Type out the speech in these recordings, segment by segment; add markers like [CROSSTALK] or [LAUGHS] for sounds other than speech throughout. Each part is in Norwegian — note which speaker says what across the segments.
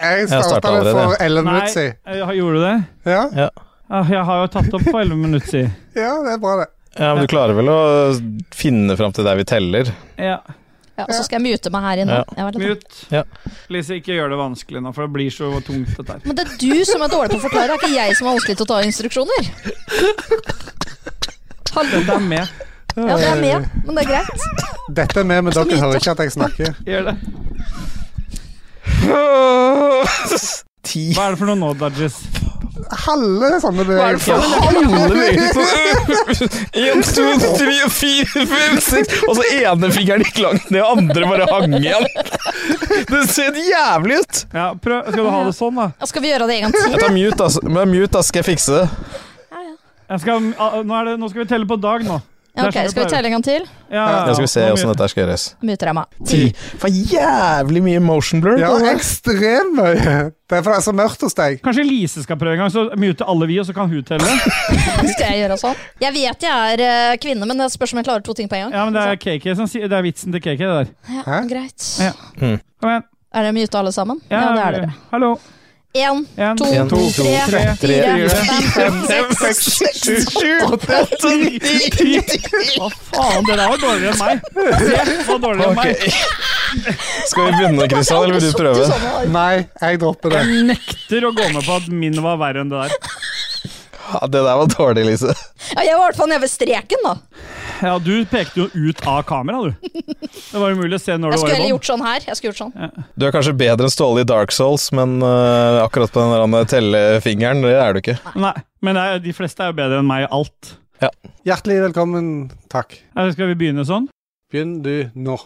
Speaker 1: Jeg
Speaker 2: startet
Speaker 1: starta det for
Speaker 2: allerede.
Speaker 1: 11
Speaker 3: Nei,
Speaker 1: minutter siden.
Speaker 3: jeg- gjorde du det?
Speaker 1: Ja,
Speaker 2: Ja.
Speaker 3: Ah, Jeg har jo tatt opp for 11 minutter siden.
Speaker 1: ja, det er bra, det.
Speaker 2: ja, men du klarer vel å finne fram til der vi [LAUGHS] teller.
Speaker 3: Ja.
Speaker 4: Ja, og så skal jeg mute meg her inne.
Speaker 2: Ja.
Speaker 4: Jeg var litt-
Speaker 3: Mute.
Speaker 2: Ja.
Speaker 3: Lise, ikke gjør det vanskelig nå, for det blir så tungt, dette her.
Speaker 4: Men det er du som er dårlig på å forklare, det er ikke jeg som er vanskelig til å ta instruksjoner. Hallo.
Speaker 3: Dette er med.
Speaker 4: Ja, det er med, men det er greit.
Speaker 1: Eh, Dette er med, men dere
Speaker 4: Så mye.
Speaker 1: hører ikke at jeg snakker.
Speaker 3: Gjør det.
Speaker 2: Ti.
Speaker 3: Hva er det for noen nå, Dodges?
Speaker 1: Halve sånne bevegelser.
Speaker 2: [LAUGHS] En, to, tre, fire, fem, seks Og så ene fingeren gikk langt ned, og andre bare hang igjen. Det ser jævlig ut.
Speaker 3: Ja, prøv. Skal du ha det sånn, da?
Speaker 4: Ja, Skal vi gjøre det en gang til?
Speaker 2: Jeg tar mute, altså. Men mute, da skal jeg fikse det.
Speaker 3: Jeg skal, ah, nå, er det, nå skal vi telle på dag, nå.
Speaker 4: Ja, ok, Skal vi telle en gang til?
Speaker 3: Ja,
Speaker 2: Da skal vi se
Speaker 3: nå
Speaker 2: åssen
Speaker 3: mute.
Speaker 2: dette her skal gjøres.
Speaker 4: Muter jeg meg.
Speaker 2: Ti. For jævlig mye motion blur.
Speaker 1: Ja,
Speaker 2: på det.
Speaker 1: ekstremt mye. Det er fordi det er så mørkt hos deg.
Speaker 3: Kanskje Lise skal prøve en gang, så mute alle vi, og så kan hun telle?
Speaker 4: Skal jeg gjøre sånn? Jeg vet jeg er eh, kvinne, men det spørs om jeg klarer to ting på en gang.
Speaker 3: Ja, men det er KK som sier Det er vitsen til KK, det der.
Speaker 4: Ja,
Speaker 1: Hæ?
Speaker 4: greit.
Speaker 3: Ja. Kom igjen.
Speaker 4: Er det mute alle sammen? Ja, det er dere.
Speaker 3: Hallo.
Speaker 4: Én,
Speaker 3: En,
Speaker 4: to,
Speaker 2: En, to,
Speaker 4: tre,
Speaker 3: tre,
Speaker 4: fire, fem, fem,
Speaker 2: Fem,
Speaker 4: seks.
Speaker 2: seks, sju, sju, åtte, åtte, ni, ti.
Speaker 3: [LAUGHS] Hva faen, det der var dårligere enn meg. Det var dårligere enn meg.
Speaker 2: Ok. Skal vi begynne, Kristian, eller vil du prøve?
Speaker 1: Nei, jeg dropper det.
Speaker 3: Jeg nekter å gå med på at min var verre enn det der.
Speaker 2: Ja, det der var dårlig, Lise.
Speaker 4: Ja, jeg var i hvert fall nede ved streken, da.
Speaker 3: Ja, Du pekte jo ut av kamera, du. Det var umulig å se når
Speaker 4: Jeg
Speaker 3: du
Speaker 4: skulle
Speaker 3: var i
Speaker 4: heller
Speaker 3: bånd.
Speaker 4: gjort sånn her. Jeg skulle gjort sånn.
Speaker 2: Du er kanskje bedre enn Ståle i Dark Souls, men øh, akkurat på den der tellefingeren, det er du ikke.
Speaker 3: Nei, men det er, de fleste er jo bedre enn meg i alt.
Speaker 1: Hjertelig velkommen. Takk.
Speaker 3: Ja, Skal vi begynne sånn?
Speaker 1: Begynn du nå.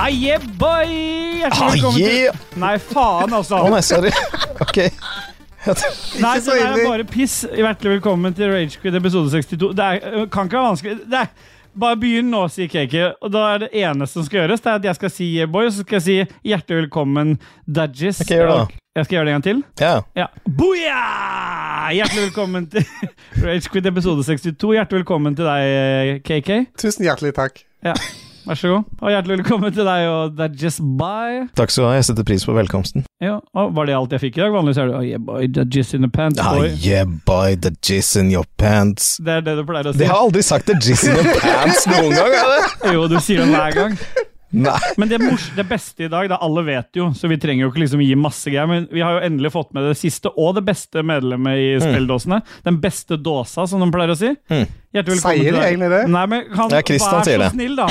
Speaker 3: Aye, yeah, boy! Hjertelig
Speaker 2: Ah,
Speaker 3: velkommen
Speaker 2: yeah.
Speaker 3: til Nei, faen, altså.
Speaker 2: Å nei, sorry. [LAUGHS] Ok.
Speaker 1: Ikke
Speaker 3: Nei, det
Speaker 1: så
Speaker 3: der er
Speaker 1: ille.
Speaker 3: bare piss. Hjertelig velkommen til Ragequid episode 62. Det er, øh, kan ikke være vanskelig. Det er, bare begynn nå, sier Kake. Og da er det eneste som skal gjøres, det er at jeg skal si yeah, boy, og så skal jeg si hjertelig velkommen, Dudgies.
Speaker 2: Ok, gjør det da.
Speaker 3: Og Jeg skal gjøre det en gang til.
Speaker 2: Ja.
Speaker 3: Ja. Booyah! Hjertelig velkommen til [LAUGHS] Ragequid episode 62. Hjertelig velkommen til deg, KK.
Speaker 1: Tusen hjertelig takk.
Speaker 3: Vær så god. Og hjertelig velkommen til deg og Dudgies. Bye.
Speaker 2: Takk skal du ha, jeg setter pris på velkomsten.
Speaker 3: Ja, og var det alt jeg fikk i dag? Vanligvis er det oh, yeah, boy, Dudgies in the pants,
Speaker 2: Ah,
Speaker 3: boy.
Speaker 2: yeah, boy, the jizz in your pants.
Speaker 3: Det er det du pleier å si.
Speaker 2: De har aldri sagt the jizz in your pants noen gang, har de?
Speaker 3: Jo, du sier det hver gang.
Speaker 2: Nei.
Speaker 3: Men det, mors det beste i dag, da alle vet jo, så vi trenger jo ikke liksom gi masse greier, men vi har jo endelig fått med det siste og det beste medlemmet i spilledåsene. Den beste dåsa, som de pleier å si.
Speaker 2: Mm.
Speaker 3: Hjertelig velkommen
Speaker 1: Sier de
Speaker 3: til deg.
Speaker 1: egentlig det?
Speaker 3: Nei, men kan,
Speaker 2: Ja, Christian
Speaker 3: vær
Speaker 2: sier
Speaker 3: så
Speaker 2: det.
Speaker 3: snill, da.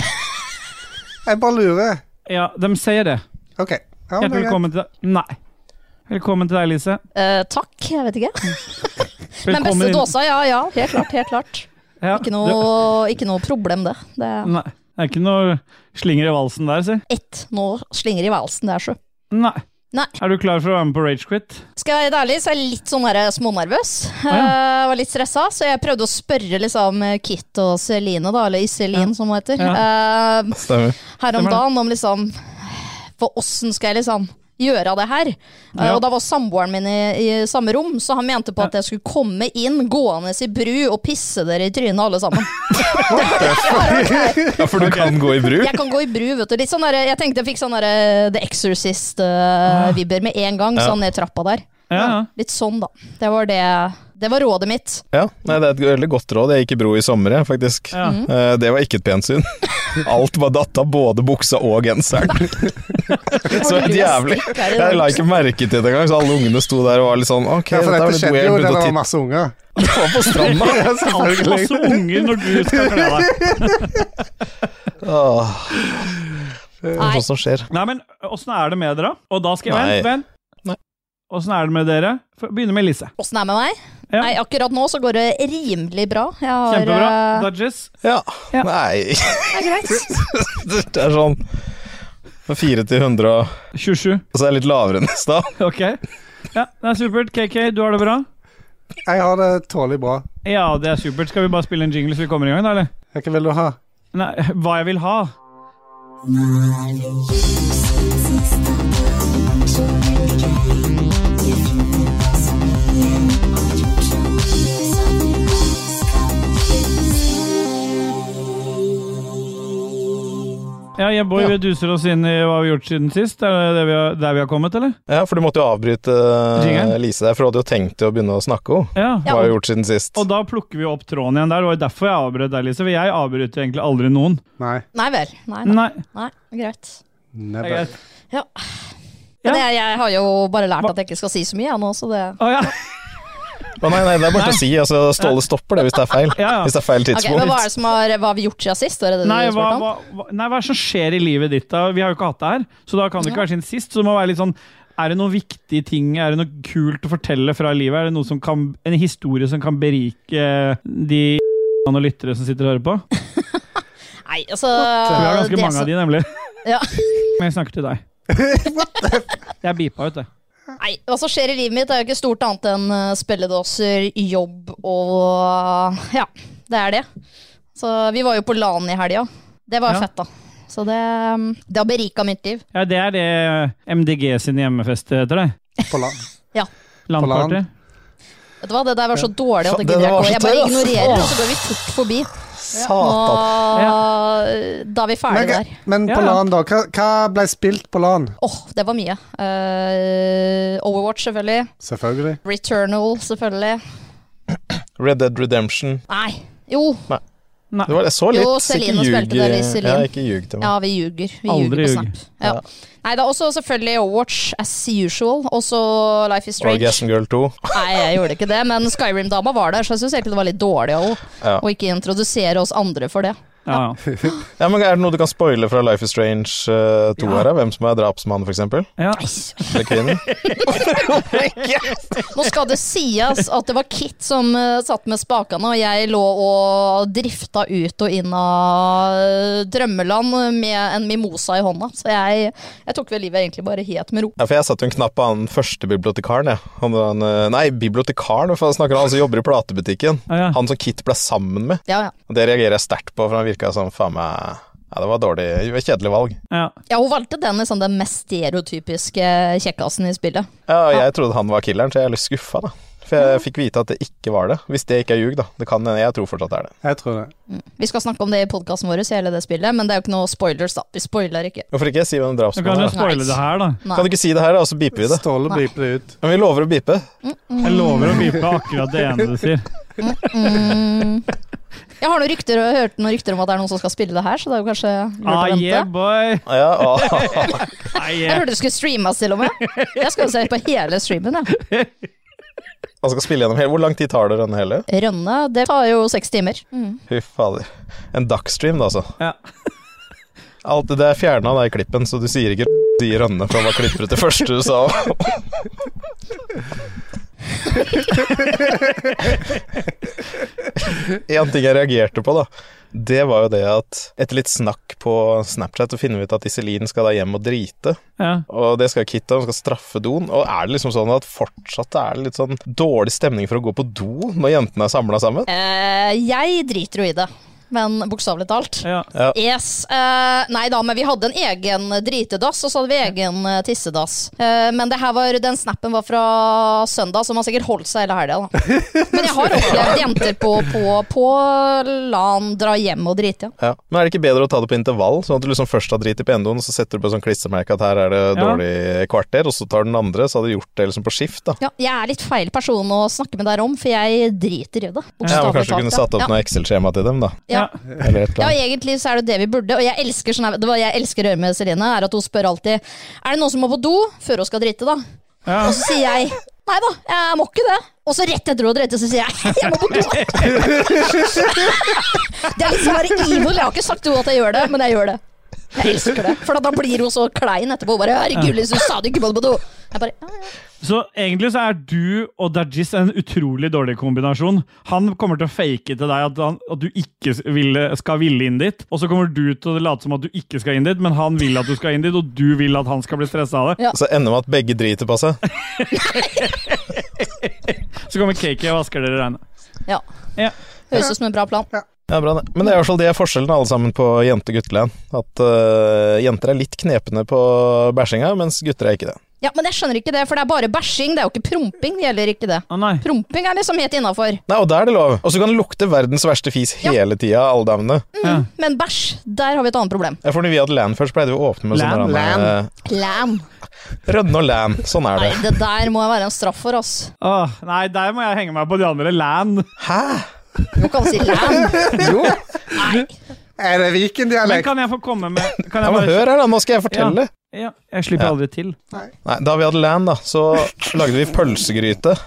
Speaker 1: Jeg bare lurer.
Speaker 3: Ja, de sier det.
Speaker 1: OK. Ja, men det
Speaker 3: Hjertelig
Speaker 1: er greit.
Speaker 3: velkommen til deg. Nei. Velkommen til deg, Lise.
Speaker 4: Eh, takk, jeg vet ikke. Men
Speaker 3: Velkommen
Speaker 4: beste
Speaker 3: inn.
Speaker 4: dåsa, ja ja. Helt klart. helt klart.
Speaker 3: Ja,
Speaker 4: Ikke noe, ikke noe problem, det. Det
Speaker 3: det-
Speaker 4: er
Speaker 3: Nei. Det er ikke noe slinger i valsen der, si.
Speaker 4: ett nå slinger i valsen, det er så.
Speaker 3: Nei.
Speaker 4: Nei.
Speaker 3: Er du klar for å være med på Ragequit?
Speaker 4: Skal jeg være helt ærlig, så er jeg litt sånn der smånervøs.
Speaker 3: ja.
Speaker 4: Eh, var litt stressa, så jeg prøvde å spørre liksom Kit og Celine, da, eller Iselin som hun heter, eh,
Speaker 2: Stemmer.
Speaker 4: her om
Speaker 3: Stemmer det.
Speaker 4: dagen om liksom For åssen skal jeg liksom gjøre det her? Eh,
Speaker 3: Ja.
Speaker 4: Og da var samboeren min i, i samme rom, så han mente på at jeg skulle komme inn gående i bru og pisse dere i trynet alle sammen.
Speaker 2: Ja, for du kan gå i bru.
Speaker 4: Jeg kan gå i bru, vet du. Litt sånn der, jeg tenkte jeg fikk sånn der, The Exorcist-vibber med en gang,
Speaker 2: Ja.
Speaker 4: sånn ned trappa der.
Speaker 3: Ja, ja.
Speaker 4: Litt sånn, da. Det var det. Det var
Speaker 2: [LAUGHS]
Speaker 4: rådet mitt.
Speaker 2: Ja, nei, det er et veldig godt råd. Jeg gikk i bro i sommer, jeg, faktisk.
Speaker 3: Ja.
Speaker 2: Eh, Det var ikke et pent syn. Alt var datt av, både buksa og genseren. Så helt jævlig. Jeg
Speaker 3: Eh,
Speaker 2: la ikke merke til det engang, så alle ungene sto der og var litt sånn Ok,
Speaker 1: Ja, for
Speaker 2: dette er
Speaker 1: dette
Speaker 2: litt
Speaker 1: skjedde jo
Speaker 2: weird.
Speaker 1: da det
Speaker 2: Begynte å
Speaker 1: var
Speaker 2: titte
Speaker 1: masse unger.
Speaker 2: på på stranda.
Speaker 1: [LAUGHS] Ja,
Speaker 3: Alltid
Speaker 1: selvfølgelig.
Speaker 3: masse unger når du skal kle deg.
Speaker 2: Åh, det er
Speaker 4: Nei.
Speaker 2: sånt som skjer.
Speaker 3: Nei, men åssen er det med dere? Og da skal jeg
Speaker 2: Nei.
Speaker 3: Vent, vent.
Speaker 2: Nei.
Speaker 3: Åssen er det med dere? F- Begynner med Lise.
Speaker 4: Åssen er det med meg?
Speaker 3: Ja.
Speaker 4: Nei, akkurat nå så går det rimelig bra. Jeg har,
Speaker 3: Kjempebra.
Speaker 4: eh,
Speaker 3: Dodges.
Speaker 2: Ja.
Speaker 3: Ja.
Speaker 2: Nei [LAUGHS]
Speaker 4: det er greit.
Speaker 2: Det er sånn fra 4 til 100 og altså,
Speaker 3: 27.
Speaker 2: Så er jeg litt lavere [LAUGHS] enn i stad.
Speaker 3: Ok. Ja, det er supert. KK, du har det bra?
Speaker 1: Jeg har det tålelig bra.
Speaker 3: Ja, det er supert. Skal vi bare spille en jingle så vi kommer i gang, da, eller?
Speaker 1: Hva vil du ha?
Speaker 3: Nei, [LAUGHS] hva jeg vil ha? Ja, jeg Boy, vi duser oss inn i hva vi har gjort siden sist. Er det det vi har, der vi har kommet, eller?
Speaker 2: Ja, for du måtte jo avbryte eh,
Speaker 3: Jingeren?
Speaker 2: Lise der, for du hadde jo tenkt til å begynne å snakke henne.
Speaker 3: Ja.
Speaker 2: Hva har du gjort siden sist?
Speaker 3: Og da plukker vi opp tråden igjen der. Det var jo derfor jeg avbrøt deg, Lise. For jeg avbryter egentlig aldri noen.
Speaker 1: Nei.
Speaker 4: Nei vel. Nei, nei.
Speaker 3: Nei.
Speaker 4: nei. Greit.
Speaker 3: det er
Speaker 1: Never.
Speaker 3: greit. Ja.
Speaker 4: Men jeg, jeg har jo bare lært
Speaker 3: Hva-
Speaker 4: at jeg ikke skal si så mye, jeg nå, så det
Speaker 3: Å ja.
Speaker 2: Å, nei, nei, det er bare
Speaker 3: Nei.
Speaker 2: til å si. Altså, Ståle stopper det hvis det er feil.
Speaker 3: ja, ja.
Speaker 2: Hvis det er feil
Speaker 4: Ok, men
Speaker 2: tidspunkt.
Speaker 4: Hva er det som har, hva har vi gjort siden sist? Var det det
Speaker 3: Nei
Speaker 4: du
Speaker 3: hva,
Speaker 4: spurte om?
Speaker 3: hva, hva, nei, hva er det som skjer i livet ditt da? Vi har jo ikke hatt det her, så da kan det ikke
Speaker 4: Ja.
Speaker 3: være siden sist. Så det må være litt sånn Er det noen viktige ting, er det noe kult å fortelle fra livet? Er det noe som kan, en historie som kan berike eh, de og lyttere som sitter og hører på?
Speaker 4: [LAUGHS] Nei, altså
Speaker 3: Vi har ganske
Speaker 4: det
Speaker 3: mange
Speaker 4: som-
Speaker 3: av de, nemlig.
Speaker 4: [LAUGHS] Ja.
Speaker 3: [LAUGHS] Men jeg snakker
Speaker 4: [LAUGHS]
Speaker 3: til deg. Jeg beepa ut, det.
Speaker 4: Nei, hva som skjer i livet mitt er jo ikke stort annet enn eh, spilledåser, jobb og Ja, det er det. Så vi var jo på LAN i helga. Det
Speaker 3: Ja.
Speaker 4: var jo fett, da. Så det, mm, det har berika mitt liv.
Speaker 3: Ja, det er det MDG sin hjemmefest heter, det.
Speaker 1: På land.
Speaker 3: Landparty.
Speaker 4: Vet du hva, Det der var så dårlig at det
Speaker 2: Det
Speaker 4: gidder jeg
Speaker 2: var så
Speaker 4: ikke. å- Jeg bare
Speaker 2: tøft.
Speaker 4: ignorerer, og så går vi fort forbi.
Speaker 2: Satan.
Speaker 4: Og da er vi
Speaker 1: Men,
Speaker 4: ferdige der.
Speaker 1: men på
Speaker 3: Ja.
Speaker 1: LAN, da? Hva, hva ble spilt på LAN?
Speaker 4: Åh, det var mye. Eh, Overwatch, selvfølgelig.
Speaker 1: Selvfølgelig.
Speaker 4: Returnal, selvfølgelig.
Speaker 2: Red Dead Redemption.
Speaker 4: Nei. Jo.
Speaker 2: Det var, jeg så litt.
Speaker 4: Jo, Celine
Speaker 2: ikke eh,
Speaker 4: spilte der i Celine.
Speaker 2: Ja, ikke ljug til meg.
Speaker 4: Ja, vi ljuger. Vi
Speaker 3: Aldri
Speaker 4: ljuger på
Speaker 3: ljug.
Speaker 4: Snap. Ja.
Speaker 2: Ja.
Speaker 4: Nei, det er også selvfølgelig Overwatch as usual. Også Life is Strange.
Speaker 2: Orgasm Girl 2.
Speaker 4: Nei, jeg gjorde ikke det, men Skyrim-dama var der, så jeg syns egentlig det var litt dårlig av henne
Speaker 2: Ja.
Speaker 4: å ikke introdusere oss andre
Speaker 2: [LAUGHS]
Speaker 4: for det.
Speaker 3: Ja, ja.
Speaker 2: Ja, men Er det noe du kan spoile fra Life is Strange 2 her? da? Hvem som er drapsmann, f.eks.?
Speaker 3: ja.
Speaker 2: Eller kvinnen?
Speaker 4: Nå skal det sies at det var Kit som eh, satt med spakene, og jeg lå og drifta ut og inn av eh, drømmeland med en mimosa i hånda. Så jeg, jeg tok vel livet egentlig bare helt med ro.
Speaker 2: Ja, for jeg satte jo en knapp på han første bibliotekaren, jeg. Han, var en, eh, nei, bibliotekaren, hva faen snakker du om? Han som jobber i platebutikken.
Speaker 3: Ja, ja.
Speaker 2: Han som Kit ble sammen med.
Speaker 4: Ja, ja.
Speaker 2: Og Det reagerer jeg sterkt på, for han virka som faen meg Ja, det var dårlig. det var et Kjedelig valg.
Speaker 3: ja.
Speaker 4: ja hun valgte den, liksom, den mest stereotypiske kjekkasen i spillet.
Speaker 2: Ja, og jeg trodde han var killeren, så jeg er litt skuffa, da. For jeg fikk vite at det ikke var det. Hvis det ikke er ljug, da. Det kan hende. Jeg tror fortsatt det er det.
Speaker 1: Jeg tror det.
Speaker 4: Vi skal snakke om det i podkasten vår, hele det spillet, men det er jo ikke noe spoilers, da. Vi spoiler ikke.
Speaker 2: Hvorfor ikke si hvem
Speaker 3: Så kan
Speaker 2: drapsmannen
Speaker 3: du
Speaker 2: er?
Speaker 4: Sånn.
Speaker 2: da?
Speaker 3: spoile det her, da.
Speaker 4: Nei.
Speaker 2: Kan du ikke si det her, da, og så beeper vi det?
Speaker 1: Ståle
Speaker 4: Nei.
Speaker 1: bliper det ut.
Speaker 2: Men vi lover å beepe.
Speaker 3: Jeg lover å beepe akkurat det ene du sier.
Speaker 4: Mm. Jeg har noen rykter, og hørt noen rykter om at det er noen som skal spille det her, så det er jo kanskje lurt
Speaker 3: Ah,
Speaker 4: å vente.
Speaker 3: yeah, boy!
Speaker 2: Ja, ah.
Speaker 3: Ah,
Speaker 4: Jeg
Speaker 3: yeah.
Speaker 4: hørte du skulle streame oss til og med. Jeg skal jo se på hele streamen, jeg.
Speaker 2: Han Altså, skal spille gjennom hele Hvor lang tid tar det denne hele?
Speaker 4: Rønne, det tar jo seks timer.
Speaker 2: Fy fader. En dagsstream, da, altså.
Speaker 3: Ja.
Speaker 2: [LAUGHS] Alt det er fjerna i klippen, så du sier ikke [LAUGHS] sier Rønne, for han var klippet det første du sa. [LAUGHS] En ting jeg reagerte på, da, det var jo det at etter litt snakk på Snapchat, så finner vi ut at Iselin skal da hjem og drite.
Speaker 3: Ja.
Speaker 2: Og det skal Kitta, hun skal straffe doen. Og er det liksom sånn at fortsatt er det litt sånn dårlig stemning for å gå på do når jentene er samla sammen?
Speaker 4: Eh, jeg driter jo i det, men bokstavelig talt.
Speaker 3: Ja.
Speaker 2: Ja.
Speaker 4: Yes. eh, nei da, men vi hadde en egen dritedass, og så hadde vi egen eh, tissedass. Eh, men det her var, den snappen var fra søndag, så man sikkert holdt seg hele helga, da. Men jeg har opplevd jenter på, på, på LAN dra hjem og drite, ja.
Speaker 2: Ja. Men er det ikke bedre å ta det på intervall, sånn at du liksom først har driti på endoen, så setter du på sånn klistremerke at her er det
Speaker 3: Ja.
Speaker 2: dårlig kvarter, og så tar du den andre, så hadde du gjort det liksom på skift, da.
Speaker 4: ja. Jeg er litt feil person å snakke med deg om, for jeg driter i
Speaker 2: Ja,
Speaker 4: det.
Speaker 2: men Kanskje du
Speaker 4: Bokstavelig
Speaker 2: kunne
Speaker 4: talt,
Speaker 2: satt opp
Speaker 4: ja.
Speaker 2: noe Excel-skjema til dem, da.
Speaker 4: Ja.
Speaker 3: Ja.
Speaker 2: Eller et eller
Speaker 4: Ja,
Speaker 2: annet.
Speaker 4: egentlig så er det det vi burde. Og jeg elsker sånn her- Det var jeg elsker å gjøre med Celine, er at hun spør alltid Er det noen som må på do før hun skal drite, da.
Speaker 3: Ja.
Speaker 4: Og så sier jeg Nei da, jeg må ikke det. Og så rett etter hun har driti, så sier jeg [LAUGHS] jeg må på do. det er litt sånn bare evil. Jeg har ikke sagt til henne at jeg gjør det, men jeg gjør det. Jeg elsker det. For da blir hun så klein etterpå. Hun bare 'Herregud, Lise, du sa du ikke måtte på do'. Jeg bare, ja, ja.
Speaker 3: Så egentlig så er du og Dajis en utrolig dårlig kombinasjon. Han kommer til å fake til deg at, han, at du ikke ville, skal ville inn dit, og så kommer du til å late som at du ikke skal inn dit, men han vil at du skal inn dit, og du vil at han skal bli stressa av det.
Speaker 4: Ja.
Speaker 2: Så ender det med at begge driter på seg.
Speaker 3: Så kommer cakey og vasker dere regnet.
Speaker 4: Ja.
Speaker 3: Ja.
Speaker 4: Høres ut som en bra plan.
Speaker 2: Ja, bra det. Men det er i hvert fall det er forskjellen alle sammen på jente-gutteland. At øh, jenter er litt knepne på bæsjinga, mens gutter er ikke det.
Speaker 4: Ja, Men jeg skjønner ikke det, for det er bare bæsjing. Det er jo ikke promping. Det gjelder ikke det.
Speaker 3: Å nei.
Speaker 4: Promping er liksom helt innafor.
Speaker 2: Nei, og der er det lov. Og så kan det lukte verdens verste fis
Speaker 4: Ja.
Speaker 2: hele tida, alle damene.
Speaker 4: Mm.
Speaker 3: Ja.
Speaker 4: Men bæsj, der har vi et annet problem.
Speaker 2: Jeg får vi hadde LAN først, pleide vi å åpne med
Speaker 3: LAN,
Speaker 2: sånn der,
Speaker 1: LAN.
Speaker 2: eh,
Speaker 4: Lam.
Speaker 2: Rødne og LAN. Sånn er
Speaker 4: Nei,
Speaker 2: det.
Speaker 4: det der må være en straff for oss.
Speaker 3: Åh, nei, der må jeg henge meg på de andre. Land.
Speaker 2: Hæ?
Speaker 4: Du kan si lam.
Speaker 1: [LAUGHS] Jo,
Speaker 4: Nei.
Speaker 1: er det
Speaker 3: Men
Speaker 1: Viken-dialekt?
Speaker 3: kan jeg få komme med kan
Speaker 2: Ja,
Speaker 3: jeg
Speaker 2: men
Speaker 3: bare,
Speaker 2: hør her, da. Nå skal jeg fortelle.
Speaker 3: ja, Jeg slipper
Speaker 2: Ja.
Speaker 3: aldri til.
Speaker 2: Nei, da vi hadde LAN, da, så lagde vi pølsegryte.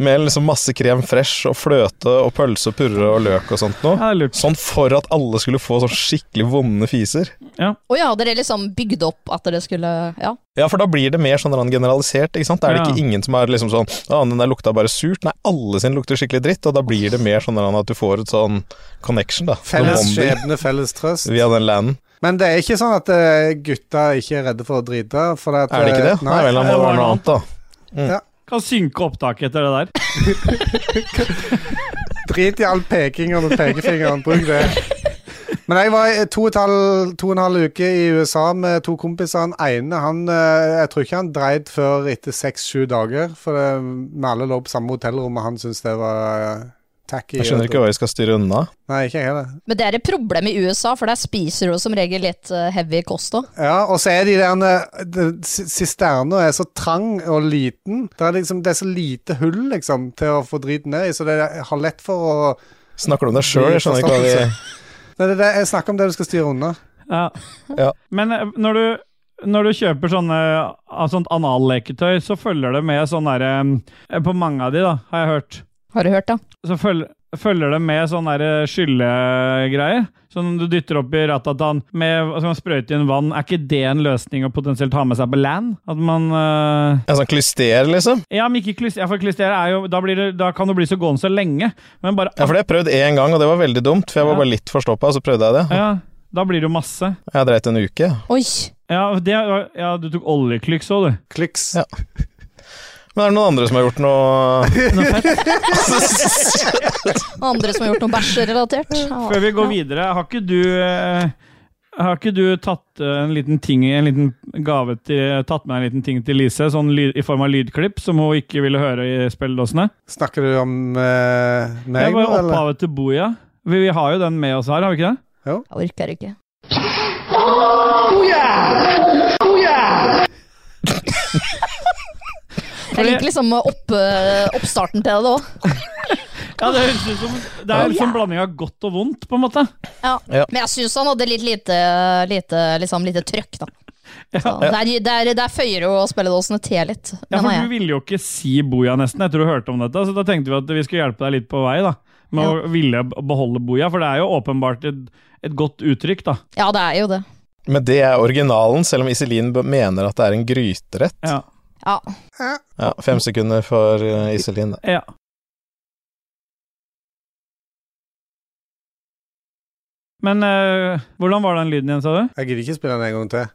Speaker 2: Med liksom masse krem fresh og fløte og pølse og purre og løk og sånt
Speaker 3: Ja,
Speaker 2: noe.
Speaker 3: det er lurt.
Speaker 2: Sånn for at alle skulle få sånn skikkelig vonde fiser.
Speaker 4: Å ja, dere liksom bygde opp at dere skulle Ja.
Speaker 2: Ja, for da blir det mer sånn generalisert, ikke sant? Da er det
Speaker 3: Ja.
Speaker 2: ikke ingen som er liksom sånn Å, den der lukta bare surt. Nei, alle sin lukter skikkelig dritt, og da blir det mer sånn at du får et sånn connection, da.
Speaker 1: Felles
Speaker 2: Noen bonder
Speaker 1: skjebne, felles trøst.
Speaker 2: Via den LAN.
Speaker 1: Men det er ikke sånn at eh, gutta ikke er redde for å drite. For at,
Speaker 2: Er det ikke
Speaker 1: eh,
Speaker 2: det? Nei, vel, da må det være noe annet, da.
Speaker 3: Kan synke opptaket etter det der.
Speaker 1: Drit i all pekingen med pekefingeren, bruk
Speaker 2: [LAUGHS]
Speaker 1: det. Men jeg var i to og, et halv, to og en halv uke i USA med to kompiser. Han ene, han, eh, jeg tror ikke han dreit før etter seks-sju dager. For det, vi alle lå på samme hotellrom, og han syntes det var eh, tacky.
Speaker 2: Jeg skjønner ikke hva vi skal styre unna.
Speaker 1: Nei, ikke jeg heller.
Speaker 4: Men det er et problem i USA, for der spiser du som regel litt eh, heavy kost òg.
Speaker 1: Ja, og så er de der de- si- Sisterna er så trang og liten. Det er, liksom, det er så lite hull liksom, til å få driten ned i, så det er, har lett for å
Speaker 2: Snakker du om deg sjøl? Jeg skjønner ikke hva vi
Speaker 1: Nei, det, er det, Jeg snakker om det du skal styre unna.
Speaker 3: Ja.
Speaker 2: [LAUGHS] Ja.
Speaker 3: Men eh, når du, når du kjøper sånne, av sånt analleketøy, så følger det med sånn derre eh, På mange av de, da, har jeg hørt.
Speaker 4: Har du hørt, da?
Speaker 3: så følger, følger det med sånne der skyllegreier. Som du dytter opp i ratatan med og så kan man sprøyte inn vann. Er ikke det en løsning å potensielt ha med seg på land? At man øh,
Speaker 2: En sånn klyster, liksom?
Speaker 3: Ja, men ikke klys- ja, for klistere er jo da, blir det, da kan du bli så gående så lenge, men bare
Speaker 2: Ja, for det har jeg prøvd én gang, og det var veldig dumt, for jeg var
Speaker 3: Ja.
Speaker 2: bare litt forstoppa, og så prøvde jeg det.
Speaker 3: ja, Da blir det jo masse.
Speaker 2: Jeg dreit en uke.
Speaker 4: Oi.
Speaker 3: Ja, det, ja du tok oljeklikk, så du.
Speaker 1: Kliks.
Speaker 2: Ja. Men er det noen andre som har gjort noe [LAUGHS]
Speaker 4: Andre som har gjort noe
Speaker 3: [LAUGHS]
Speaker 4: bæsjerelatert. Ja.
Speaker 3: Før vi går videre, har ikke du eh, har ikke du tatt eh, en liten ting En liten gave til Tatt med deg en liten ting til Lise sånn lyd, i form av lydklipp som hun ikke ville høre i spilledåsene?
Speaker 1: Snakker du om eh,
Speaker 3: Det
Speaker 1: meg nå,
Speaker 3: var
Speaker 1: eller?
Speaker 3: opphavet til Boja. Vi, vi har jo den med oss her, har vi ikke det?
Speaker 4: Jeg
Speaker 3: [LAUGHS]
Speaker 4: orker ikke. Jeg liker liksom opp, eh, oppstarten til det òg.
Speaker 3: Ja, Det høres ut som Det er liksom en blanding av godt og vondt, på en måte.
Speaker 4: Ja.
Speaker 2: Ja.
Speaker 4: Men jeg syns han hadde litt lite, lite, liksom, lite trøkk, da. Så der, der, der føyer jo spilledåsene til litt,
Speaker 3: Ja, for
Speaker 4: mener
Speaker 3: Du
Speaker 4: jeg.
Speaker 3: ville jo ikke si Boja nesten etter du hørte om dette, så da tenkte vi at vi skulle hjelpe deg litt på vei da med å ville beholde Boja, for det er jo åpenbart et, et godt uttrykk, da.
Speaker 4: Ja, det er jo det.
Speaker 2: Men det er originalen, selv om Iselin b- mener at det er en gryterett.
Speaker 3: Ja.
Speaker 4: Ja.
Speaker 2: Ja, fem sekunder for eh, Iselin, da.
Speaker 3: ja. Men eh, hvordan var den lyden igjen, sa du?
Speaker 1: Jeg gidder ikke spille den en gang til.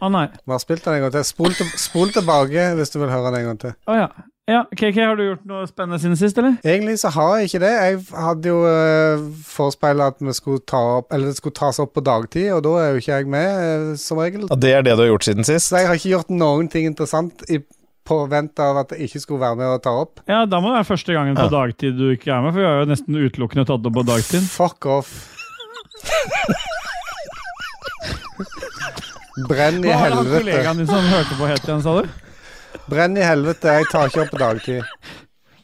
Speaker 3: Å nei.
Speaker 1: Vi har spilt den en gang til. Spol, til. spol tilbake hvis du vil høre den en gang til.
Speaker 3: Å ja. ja. KK, har du gjort noe spennende siden sist, eller?
Speaker 1: Egentlig så har jeg ikke det. Jeg hadde jo uh, forespeila at vi skulle ta opp, eller det skulle tas opp på dagtid, og da er jo ikke jeg med, eh, som regel.
Speaker 2: Ja, det er det du har gjort siden sist?
Speaker 1: Så jeg har ikke gjort noen ting interessant i påvente av at jeg ikke skulle være med og ta opp.
Speaker 3: Ja, da må det være første gangen på dagtid du ikke er med, for vi har jo nesten utelukkende tatt opp på dagtid.
Speaker 1: Fuck off. Brenn i
Speaker 3: Hva var det han
Speaker 1: helvete.
Speaker 3: kollegaen din som hørte på helt igjen, sa du?
Speaker 1: Brenn i helvete. Jeg tar ikke opp på dagtid.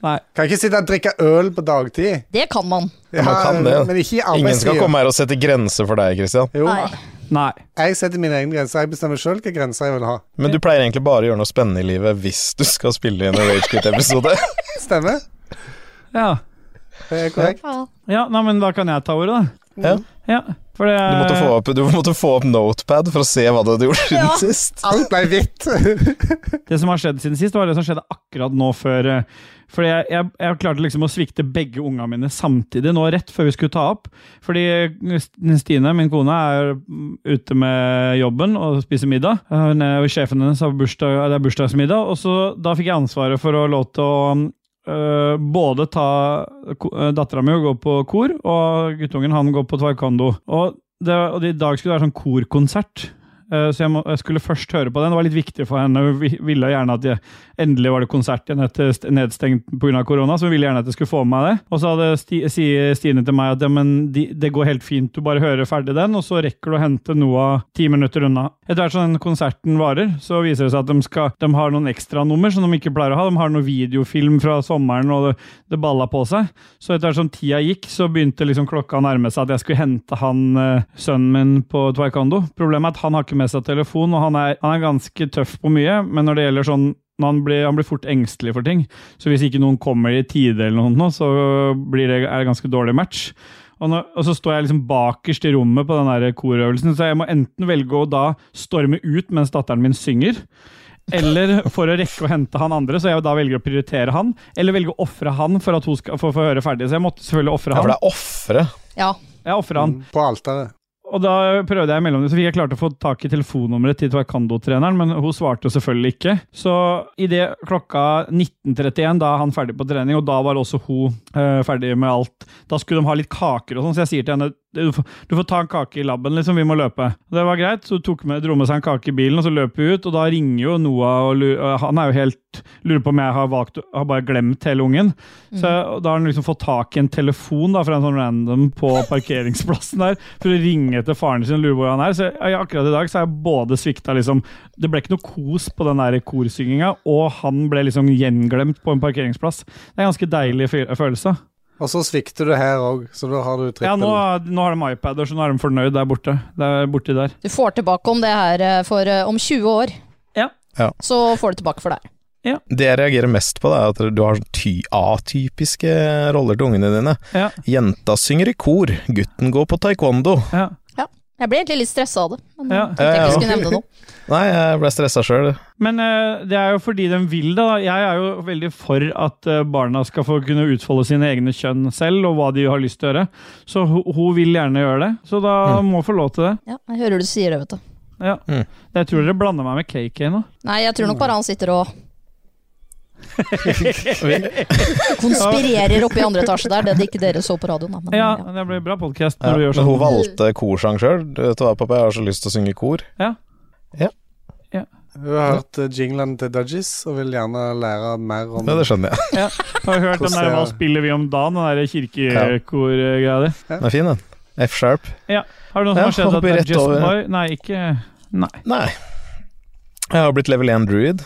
Speaker 3: Nei.
Speaker 1: Kan ikke sitte og drikke øl på dagtid.
Speaker 4: Det kan man.
Speaker 2: Ja, man kan det.
Speaker 1: Men ikke i
Speaker 2: Ingen skal
Speaker 1: arbeidstida.
Speaker 2: komme her og sette grenser for deg, Christian.
Speaker 1: Jo,
Speaker 4: Nei.
Speaker 3: Nei.
Speaker 1: jeg setter mine egne grenser. Jeg bestemmer sjøl hvilke grenser jeg vil ha.
Speaker 2: Men du pleier egentlig bare å gjøre noe spennende i livet hvis du skal spille inn en
Speaker 3: [LAUGHS]
Speaker 2: Ragequit-episode.
Speaker 1: Stemmer?
Speaker 3: Ja.
Speaker 1: Det er korrekt.
Speaker 4: Ja.
Speaker 3: ja. Nei, men da kan jeg ta ordet, da.
Speaker 2: Ja.
Speaker 3: Ja, for det
Speaker 2: Du måtte, få opp, du måtte få opp notepad for å se hva du hadde gjort siden
Speaker 4: Ja.
Speaker 2: sist.
Speaker 1: Alt ble hvitt.
Speaker 3: Det som har skjedd siden sist, var det som skjedde akkurat nå før eh, Fordi jeg, jeg, jeg klarte liksom å svikte begge unga mine samtidig, nå rett før vi skulle ta opp. Fordi eh, Stine, min kone, er mm, ute med jobben og spiser middag. Eh, Hun er, og sjefen hennes har bursdag, det er bursdagsmiddag, og så da fikk jeg ansvaret for å lov til å mm, øh, både ta eh, Dattera mi går på kor, og guttungen han går på taekwondo. Og, det, og i dag skulle det være sånn korkonsert. Eh, Så jeg, må, jeg skulle først høre på den. Det var litt viktig for henne. Hun vi- ville gjerne at jeg, Endelig var det konsert igjen etter st- nedstengt pga. korona, så hun ville gjerne at jeg skulle få med meg det. Og så hadde Sti, sier Stine til meg at ja, men de, det går helt fint, du bare hører ferdig den, og så rekker du å hente Noah ti minutter unna. Etter hvert som den konserten varer, så viser det seg at de, skal, de har noen ekstranummer som de ikke pleier å ha. De har noen videofilm fra sommeren, og det, det balla på seg. Så etter hvert som tida gikk, så begynte liksom klokka å nærme seg at jeg skulle hente han, eh, sønnen min på taekwondo. Problemet er at han har ikke med seg telefon, og han er, han er ganske tøff på mye, men når det gjelder sånn når han blir, han blir fort engstelig for ting. Så hvis ikke noen kommer i tide, eller noe, sånt nå, så blir det, er det ganske dårlig match. Og, nå, og så står jeg liksom bakerst i rommet på den der korøvelsen, så jeg må enten velge å da storme ut mens datteren min synger, eller for å rekke å hente han andre, så jeg da velger å prioritere han. Eller velge å ofre han for at hun skal få få høre ferdig. Så jeg måtte selvfølgelig ofre
Speaker 2: Ja, for
Speaker 3: han.
Speaker 2: det er ofre.
Speaker 4: Ja.
Speaker 3: Jeg offret han.
Speaker 1: Mm, På alteret.
Speaker 3: Og da prøvde jeg i mellomtiden, så fikk jeg klart å få tak i telefonnummeret til taekwondo-treneren, men hun svarte jo selvfølgelig ikke. Så i det klokka 19.31, da er han ferdig på trening, og da var også hun eh, ferdig med alt. Da skulle de ha litt kaker og sånn, så jeg sier til henne du får, du får ta en kake i labben, liksom, vi må løpe. Og det var greit, så hun tok med, dro med seg en kake i bilen, og så løp vi ut, og da ringer jo Noah, og lurer, og han er jo helt, lurer på om jeg har, valgt, har bare glemt hele ungen. Så da har han liksom fått tak i en telefon da, fra en sånn random på parkeringsplassen der, for å ringe etter faren sin og lure hvor han er. Så jeg, akkurat i dag så har jeg både svikta liksom Det ble ikke noe kos på den der korsynginga, og han ble liksom gjenglemt på en parkeringsplass. Det er en ganske deilig fy- følelse.
Speaker 1: Og så svikter du her òg, så da har du trippel.
Speaker 3: Ja, nå, nå har de iPader, så nå er de fornøyd der borte. Der, borti der.
Speaker 4: Du får tilbake om det her eh, for eh, om 20 år.
Speaker 3: Ja.
Speaker 2: Ja.
Speaker 4: Så får du tilbake for det her.
Speaker 2: Det jeg reagerer mest på, det er at du har sånn ty atypiske roller til ungene dine.
Speaker 3: Ja,
Speaker 2: Jenta synger i kor, gutten går på taekwondo.
Speaker 3: ja.
Speaker 4: Jeg ble egentlig litt stressa av det, men
Speaker 3: Ja.
Speaker 4: jeg tenkte
Speaker 2: Ja,
Speaker 4: jeg
Speaker 2: ja.
Speaker 4: ikke skulle nevne noe.
Speaker 2: Nei, jeg ble stressa sjøl.
Speaker 3: Men eh, det er jo fordi de vil det. da. Jeg er jo veldig for at eh, barna skal få kunne utfolde sine egne kjønn selv, og hva de har lyst til å gjøre. Så hun, hun vil gjerne gjøre det, så da må hun få lov til det.
Speaker 4: [LAUGHS] Ja, jeg hører du sier det, vet du.
Speaker 3: Ja.
Speaker 2: Mm.
Speaker 3: Jeg tror dere blander meg med KK nå.
Speaker 4: Nei, jeg tror nok bare han sitter
Speaker 2: [LAUGHS]
Speaker 4: og konspirerer oppe i andre etasje der. Det er det ikke dere så på radioen, da. Men,
Speaker 3: Ja,
Speaker 4: ja.
Speaker 3: det blir bra podkast
Speaker 2: Ja,
Speaker 3: når du gjør
Speaker 2: men
Speaker 3: sånn.
Speaker 2: hun valgte korsang sjøl. Du vet hva, pappa, jeg har så lyst til å synge i kor.
Speaker 1: Hun har hørt eh, jinglene til Dudgies og vil gjerne lære mer om
Speaker 2: Ja, det skjønner jeg.
Speaker 3: Har du hørt den der
Speaker 1: Hvordan-
Speaker 3: 'Hva spiller vi om dagen', den der kirkekor-greia di?
Speaker 2: Den er fin, den. F-sharp.
Speaker 3: Har det noe som
Speaker 2: Ja, [LAUGHS]
Speaker 3: har skjedd at
Speaker 2: hopper
Speaker 3: det er
Speaker 2: rett
Speaker 3: Just
Speaker 2: over.
Speaker 3: Boy Nei, ikke Nei.
Speaker 2: Nei. Jeg har blitt level 1 druid,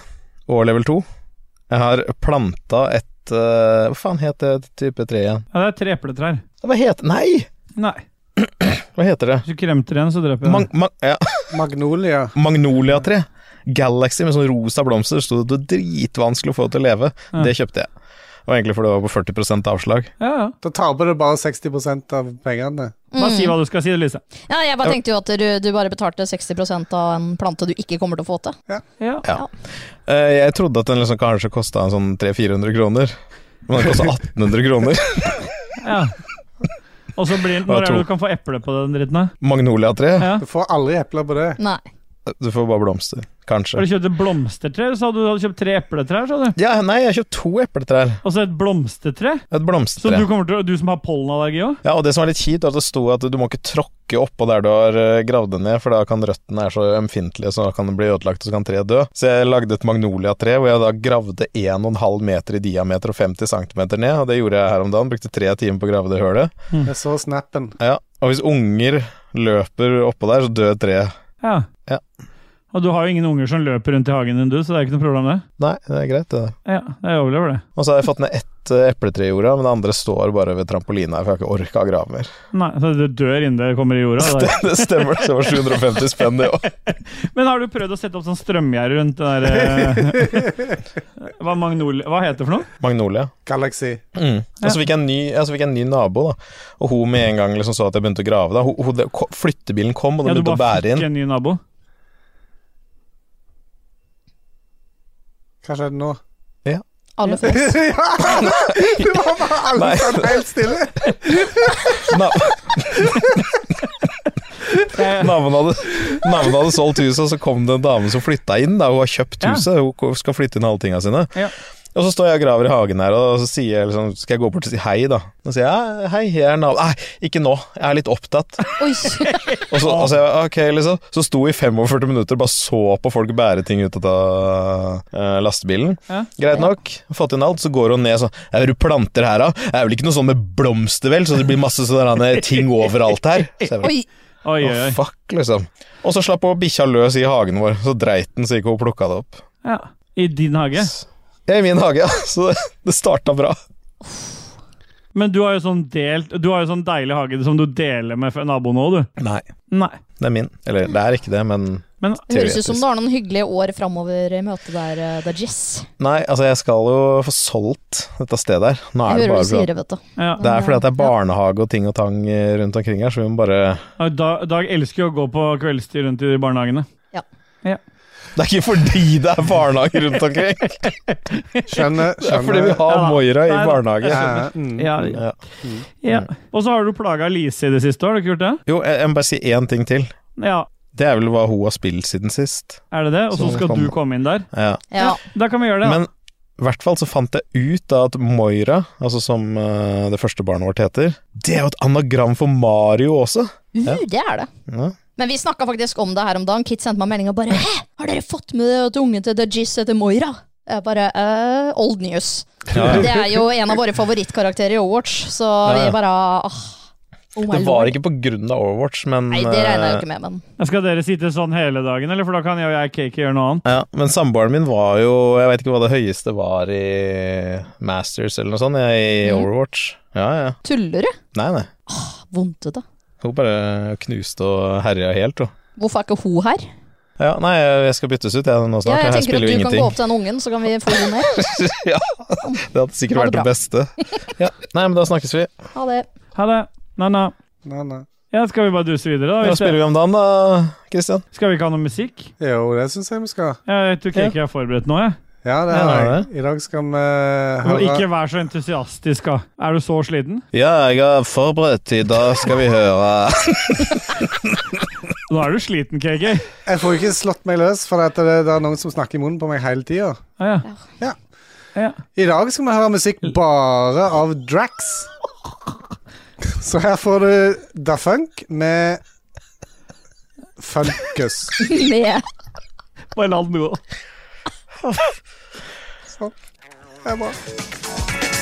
Speaker 2: og level 2. Jeg har planta et eh, Hva faen het det type tre igjen?
Speaker 3: Ja, det er tre epletrær.
Speaker 2: Hva heter Nei!
Speaker 3: Nei.
Speaker 2: Hva heter det?
Speaker 3: Hvis du kremter en, så dreper jeg
Speaker 2: Mang,
Speaker 3: deg.
Speaker 2: mang, ja,
Speaker 1: magnolia.
Speaker 2: Magnolia-tre. Galaxy med sånn rosa blomster. Sto det var dritvanskelig å få til å leve.
Speaker 3: Ja.
Speaker 2: Det kjøpte jeg. Og egentlig fordi det var på 40 avslag.
Speaker 3: Ja, ja.
Speaker 1: Da taper du bare 60 av pengene.
Speaker 3: Bare si hva du skal si, Lise.
Speaker 4: Mm. ja, jeg bare tenkte jo at du, du bare betalte 60 av en plante du ikke kommer til å få til.
Speaker 3: Ja.
Speaker 2: Eh, jeg trodde at den liksom kanskje kosta en sånn 300-400 kroner. Men den kosta 1800 kroner. [LAUGHS]
Speaker 3: ja. Og så blir Når
Speaker 2: Jeg
Speaker 3: er det
Speaker 2: tror-
Speaker 3: du kan få eple på den dritten her?
Speaker 2: Magnolia-tre.
Speaker 3: Ja.
Speaker 1: Du får aldri epler på det.
Speaker 4: Nei.
Speaker 2: Du får bare blomster. Kanskje.
Speaker 3: Har du kjøpt et blomstertre? Så hadde du hadde kjøpt tre epletrær, sa du?
Speaker 2: Ja, nei, jeg har kjøpt to epletrær.
Speaker 3: Og så et blomstertre?
Speaker 2: Et
Speaker 3: Så
Speaker 2: blomstertre.
Speaker 3: du, kommer til, å- du som har pollenallergi òg?
Speaker 2: Ja, og det som er litt kjipt, er at det sto at du må ikke tråkke oppå der du har eh, gravd det ned, for da kan røttene er så ømfintlige, så da kan det bli ødelagt, og så kan treet dø. Så jeg lagde et magnoliatre hvor jeg da gravde 1,5 meter i diameter og 50 cm ned, og det gjorde jeg her om dagen. Brukte tre timer på å grave det hølet.
Speaker 1: Jeg så snappen.
Speaker 2: Ja, og hvis unger løper oppå der, så dør treet.
Speaker 3: Ja.
Speaker 2: Ja.
Speaker 3: Og du har jo ingen unger som løper rundt i hagen din, du, så det er ikke noe problem, det.
Speaker 2: Nei, det er greit, det.
Speaker 3: Ja, jeg overlever det.
Speaker 2: Og så har jeg fått ned ett eh, epletre i jorda, men det andre står bare ved trampolina, for jeg har ikke orka å grave mer. [LAUGHS]
Speaker 3: Nei, Så du dør innen det kommer i jorda? det
Speaker 2: Det,
Speaker 3: der.
Speaker 2: det stemmer, det var 750 spenn, det òg.
Speaker 3: Men har du prøvd å sette opp sånn strømgjerde rundt det der
Speaker 2: [LAUGHS]
Speaker 3: eh, Hva, magnol... Hva heter det for noe?
Speaker 2: Magnolia.
Speaker 1: Galaxy.
Speaker 2: Mm. Og så fikk jeg en ny, ja, så fikk jeg en ny nabo, da. Og hun med en gang liksom så at jeg begynte å grave. Da. Hun, hun, det- ko- flyttebilen kom, og den
Speaker 3: du
Speaker 2: begynte å bære inn.
Speaker 3: fikk en ny nabo?
Speaker 1: Hva skjedde nå?
Speaker 4: Alle
Speaker 2: [LAUGHS]
Speaker 4: får
Speaker 1: ja! Det var bare alle
Speaker 2: Nei.
Speaker 1: sånn helt stille.
Speaker 2: Na
Speaker 3: Jeg,
Speaker 2: naboen, hadde, naboen hadde solgt huset, og så kom det en dame som flytta inn. Da. Hun har kjøpt
Speaker 3: Ja.
Speaker 2: huset, hun ko- skal flytte inn alle tinga sine.
Speaker 3: Ja.
Speaker 2: Og så står jeg og graver i hagen her, og så sier jeg liksom Skal jeg gå bort og si hei, da? Og så sier jeg «Ja, hei, jeg er nabo... Nei, ikke nå. Jeg er litt opptatt.
Speaker 4: Oi.
Speaker 2: Og så, og så, jeg, ok, liksom. så sto vi i 45 minutter og bare så på folk bære ting ut av eh, lastebilen.
Speaker 3: Ja.
Speaker 2: Greit nok. Fått inn alt. Så går hun ned sånn «Ja, Er du planter her, da? Det er vel ikke noe sånn med blomster, vel? Så det blir masse sånne ting overalt her. Så jeg bare,
Speaker 4: Oi.
Speaker 3: Oi, oi,
Speaker 2: «Å,
Speaker 3: oi.
Speaker 2: fuck, liksom. Og så slapp hun bikkja løs i hagen vår, så dreit den så ikke hun plukka det opp.
Speaker 3: Ja. I din hage.
Speaker 2: I min hage, ja. [LAUGHS] Så det, det starta bra.
Speaker 3: Men du har jo sånn delt Du har jo sånn deilig hage som du deler med f- naboen òg, du.
Speaker 2: Nei,
Speaker 3: Nei.
Speaker 2: det er min. Eller det er ikke det, men
Speaker 3: Men
Speaker 4: Det høres ut som
Speaker 2: Teoretisk.
Speaker 4: du har noen hyggelige år framover i møte der, eh, der Jess.
Speaker 2: Nei, altså, jeg skal jo få solgt dette stedet her. Nå
Speaker 4: Jeg
Speaker 2: er det
Speaker 4: hører
Speaker 2: bare
Speaker 4: du sier det, vet du.
Speaker 3: ja.
Speaker 2: Det er fordi at det er barnehage og ting og tang eh, rundt omkring her, så vi må bare
Speaker 3: Og Dag, Dag elsker jo å gå på kveldstid rundt i barnehagene.
Speaker 2: Det er ikke fordi det er barnehage rundt omkring! Det
Speaker 1: Skjønner.
Speaker 2: [LAUGHS] er fordi vi
Speaker 1: skjønner.
Speaker 2: har
Speaker 3: Ja da.
Speaker 2: Moira i
Speaker 3: Nei da.
Speaker 2: barnehage.
Speaker 1: Ja, mm.
Speaker 3: Ja,
Speaker 2: Ja.
Speaker 3: ja. Og så har du plaga Lise i det siste, har du ikke gjort det?
Speaker 2: Jo, jeg, jeg må bare si én ting til.
Speaker 3: Ja,
Speaker 2: Det er vel hva hun har spilt siden sist.
Speaker 3: er det det? Og så
Speaker 2: Så
Speaker 3: Sånn skal
Speaker 2: kom-
Speaker 3: du komme inn der?
Speaker 2: Ja.
Speaker 4: Ja.
Speaker 3: Da kan vi gjøre det. da.
Speaker 2: Men i hvert fall så fant jeg ut da at Moira, altså som eh, det første barnet vårt heter, det er jo et anagram for Mario også.
Speaker 4: Uh, det er det.
Speaker 2: Ja.
Speaker 4: Men vi snakka faktisk om det her om dagen. Kit sendte meg en melding og bare Hæ, har dere fått med dere at ungen til The Jizz heter Moira? Jeg bare «Eh, Old news.
Speaker 2: Ja.
Speaker 4: Det er jo en av våre favorittkarakterer i Overwatch, så
Speaker 2: Ja.
Speaker 4: vi bare ah, oh my
Speaker 2: Det var
Speaker 4: lord.
Speaker 2: ikke på grunn av Overwatch, men
Speaker 4: Nei, det regner jeg jo
Speaker 2: eh,
Speaker 4: ikke med, men
Speaker 3: Skal dere sitte sånn hele dagen, eller? For da kan jeg og jeg Kake gjøre noe annet.
Speaker 2: Ja, men samboeren min var jo Jeg vet ikke hva det høyeste var i Masters eller noe sånt, jeg, i
Speaker 4: Mhm.
Speaker 2: Overwatch. Ja, ja.
Speaker 4: tuller du?
Speaker 2: Nei, nei.
Speaker 4: Vondt ut, da.
Speaker 2: Hun bare knuste og herja helt, hun.
Speaker 4: Hvorfor er ikke hun her?
Speaker 2: Ja, nei, jeg skal byttes ut jeg nå
Speaker 4: Ja,
Speaker 2: snart.
Speaker 4: jeg
Speaker 2: jeg,
Speaker 4: tenker at
Speaker 2: spiller
Speaker 4: du
Speaker 2: jo
Speaker 4: kan gå
Speaker 2: ingenting.
Speaker 4: opp til den ungen, så kan vi få henne ned.
Speaker 2: ja, det hadde sikkert
Speaker 4: Ha det
Speaker 2: vært det beste.
Speaker 4: [LAUGHS]
Speaker 2: Ja, Nei, men da snakkes vi.
Speaker 4: Ha det. [LAUGHS]
Speaker 3: Ha det. Nanna.
Speaker 1: Nei, nei.
Speaker 3: Ja, skal vi bare duse videre, da?
Speaker 2: Hva
Speaker 3: Hvis
Speaker 2: spiller vi om dagen da, Christian?
Speaker 3: det- Skal vi ikke ha noe musikk?
Speaker 1: Jo, det syns jeg vi skal.
Speaker 3: Jeg vet jo Kake er forberedt nå, jeg.
Speaker 1: Ja, det
Speaker 2: Ja,
Speaker 1: er
Speaker 2: det er
Speaker 1: jeg. I dag skal vi eh,
Speaker 3: Men
Speaker 1: høre
Speaker 3: ikke vær så entusiastisk, da. Er du så sliten?
Speaker 2: Ja, jeg er forberedt. I dag skal vi [LAUGHS] høre
Speaker 3: Nå er du sliten, KK.
Speaker 1: Jeg får ikke slått meg løs, for at det, det er noen som snakker i munnen på meg hele tida.
Speaker 3: Ah, Ja, Ah,
Speaker 1: Ja.
Speaker 3: ja.
Speaker 1: I dag skal vi høre musikk bare av Drax. Så her får du Da Funk med Funkus.
Speaker 4: Med
Speaker 3: Bare la den gå.
Speaker 1: Sånn. Det er bra.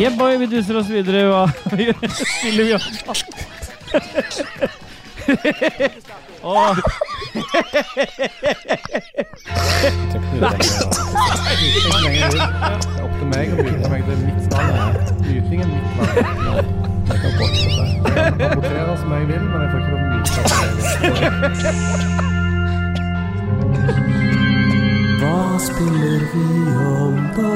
Speaker 3: Yeah, boy, vi duser oss videre. Hva [LAUGHS] spiller vi også? Åh,
Speaker 1: Opp til meg å bryte meg. Det er mitt valg. Brytingen er mitt valg. Jeg kan boikotte. Jeg kan rapportere som jeg vil, men jeg får ikke lov å myte som jeg vil.
Speaker 5: Hva spiller vi om da?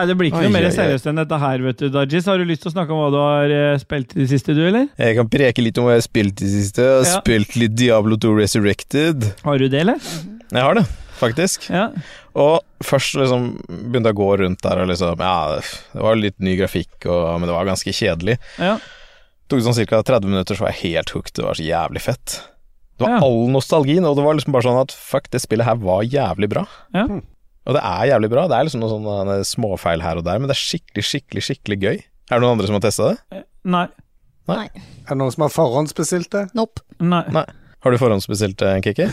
Speaker 3: Nei, det blir ikke
Speaker 2: Oi,
Speaker 3: noe mer
Speaker 2: oi, oi.
Speaker 3: seriøst enn dette her, vet du, Dajis. Har du lyst til å snakke om hva du har eh, spilt i det siste, du, eller?
Speaker 2: Jeg kan preke litt om hva jeg har spilt i det siste. Jeg har
Speaker 3: Ja.
Speaker 2: spilt litt Diablo 2 Resurrected.
Speaker 3: Har du det, eller?
Speaker 2: Jeg har det. faktisk.
Speaker 3: Mhm. Ja.
Speaker 2: Og først liksom begynte jeg å gå rundt der og liksom Ja, det var litt ny grafikk, og, men det var ganske kjedelig.
Speaker 3: Ja.
Speaker 2: tok sånn ca. 30 minutter, så var jeg helt hooked. Det var så jævlig fett. Det var
Speaker 3: Ja.
Speaker 2: all nostalgien, og det var liksom bare sånn at fuck, det spillet her var jævlig bra.
Speaker 3: Ja.
Speaker 2: Og det er jævlig bra. Det er liksom noen sånne eh, småfeil her og der, men det er skikkelig, skikkelig, skikkelig gøy. Er det noen andre som har testa det?
Speaker 3: Nei.
Speaker 1: Er det noen som har forhåndsbestilt det?
Speaker 4: Nope.
Speaker 3: Nei.
Speaker 2: Nei. Har du forhåndsbestilt eh, Kiki?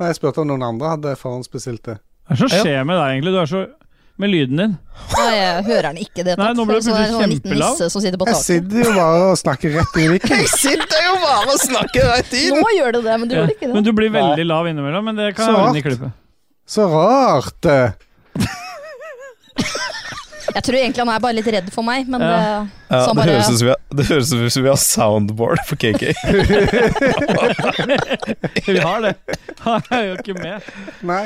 Speaker 1: Nei, jeg spurte om noen andre hadde forhåndsbestilt det.
Speaker 3: Hva er det som skjer med deg, egentlig? Du er så Med lyden din.
Speaker 4: Nei, jeg hører den ikke i det hele
Speaker 3: Nei,
Speaker 4: tatt.
Speaker 3: nå ble det
Speaker 4: Så er
Speaker 3: plutselig
Speaker 4: det en sånn liten
Speaker 3: kjempelav.
Speaker 4: nisse som sitter på
Speaker 1: Jeg
Speaker 4: taket.
Speaker 1: sitter jo bare og snakker rett inn i mikken.
Speaker 2: sitter jo bare og snakker rett
Speaker 4: Nå gjør det det, men du gjør det ikke
Speaker 3: Men
Speaker 4: det.
Speaker 3: du blir veldig lav innimellom, men det kan
Speaker 1: Så
Speaker 3: jeg ordne i
Speaker 1: rart.
Speaker 3: klippet.
Speaker 1: Så rart! eh.
Speaker 4: Jeg tror egentlig han er bare litt redd for meg, men det,
Speaker 3: Ja.
Speaker 2: Ja,
Speaker 4: så han
Speaker 2: det,
Speaker 4: bare
Speaker 2: høres ut som vi har, det høres ut som vi har soundboard for
Speaker 3: [LAUGHS]
Speaker 2: Kiki.
Speaker 3: Vi har det. Han er jo ikke med.
Speaker 1: Nei.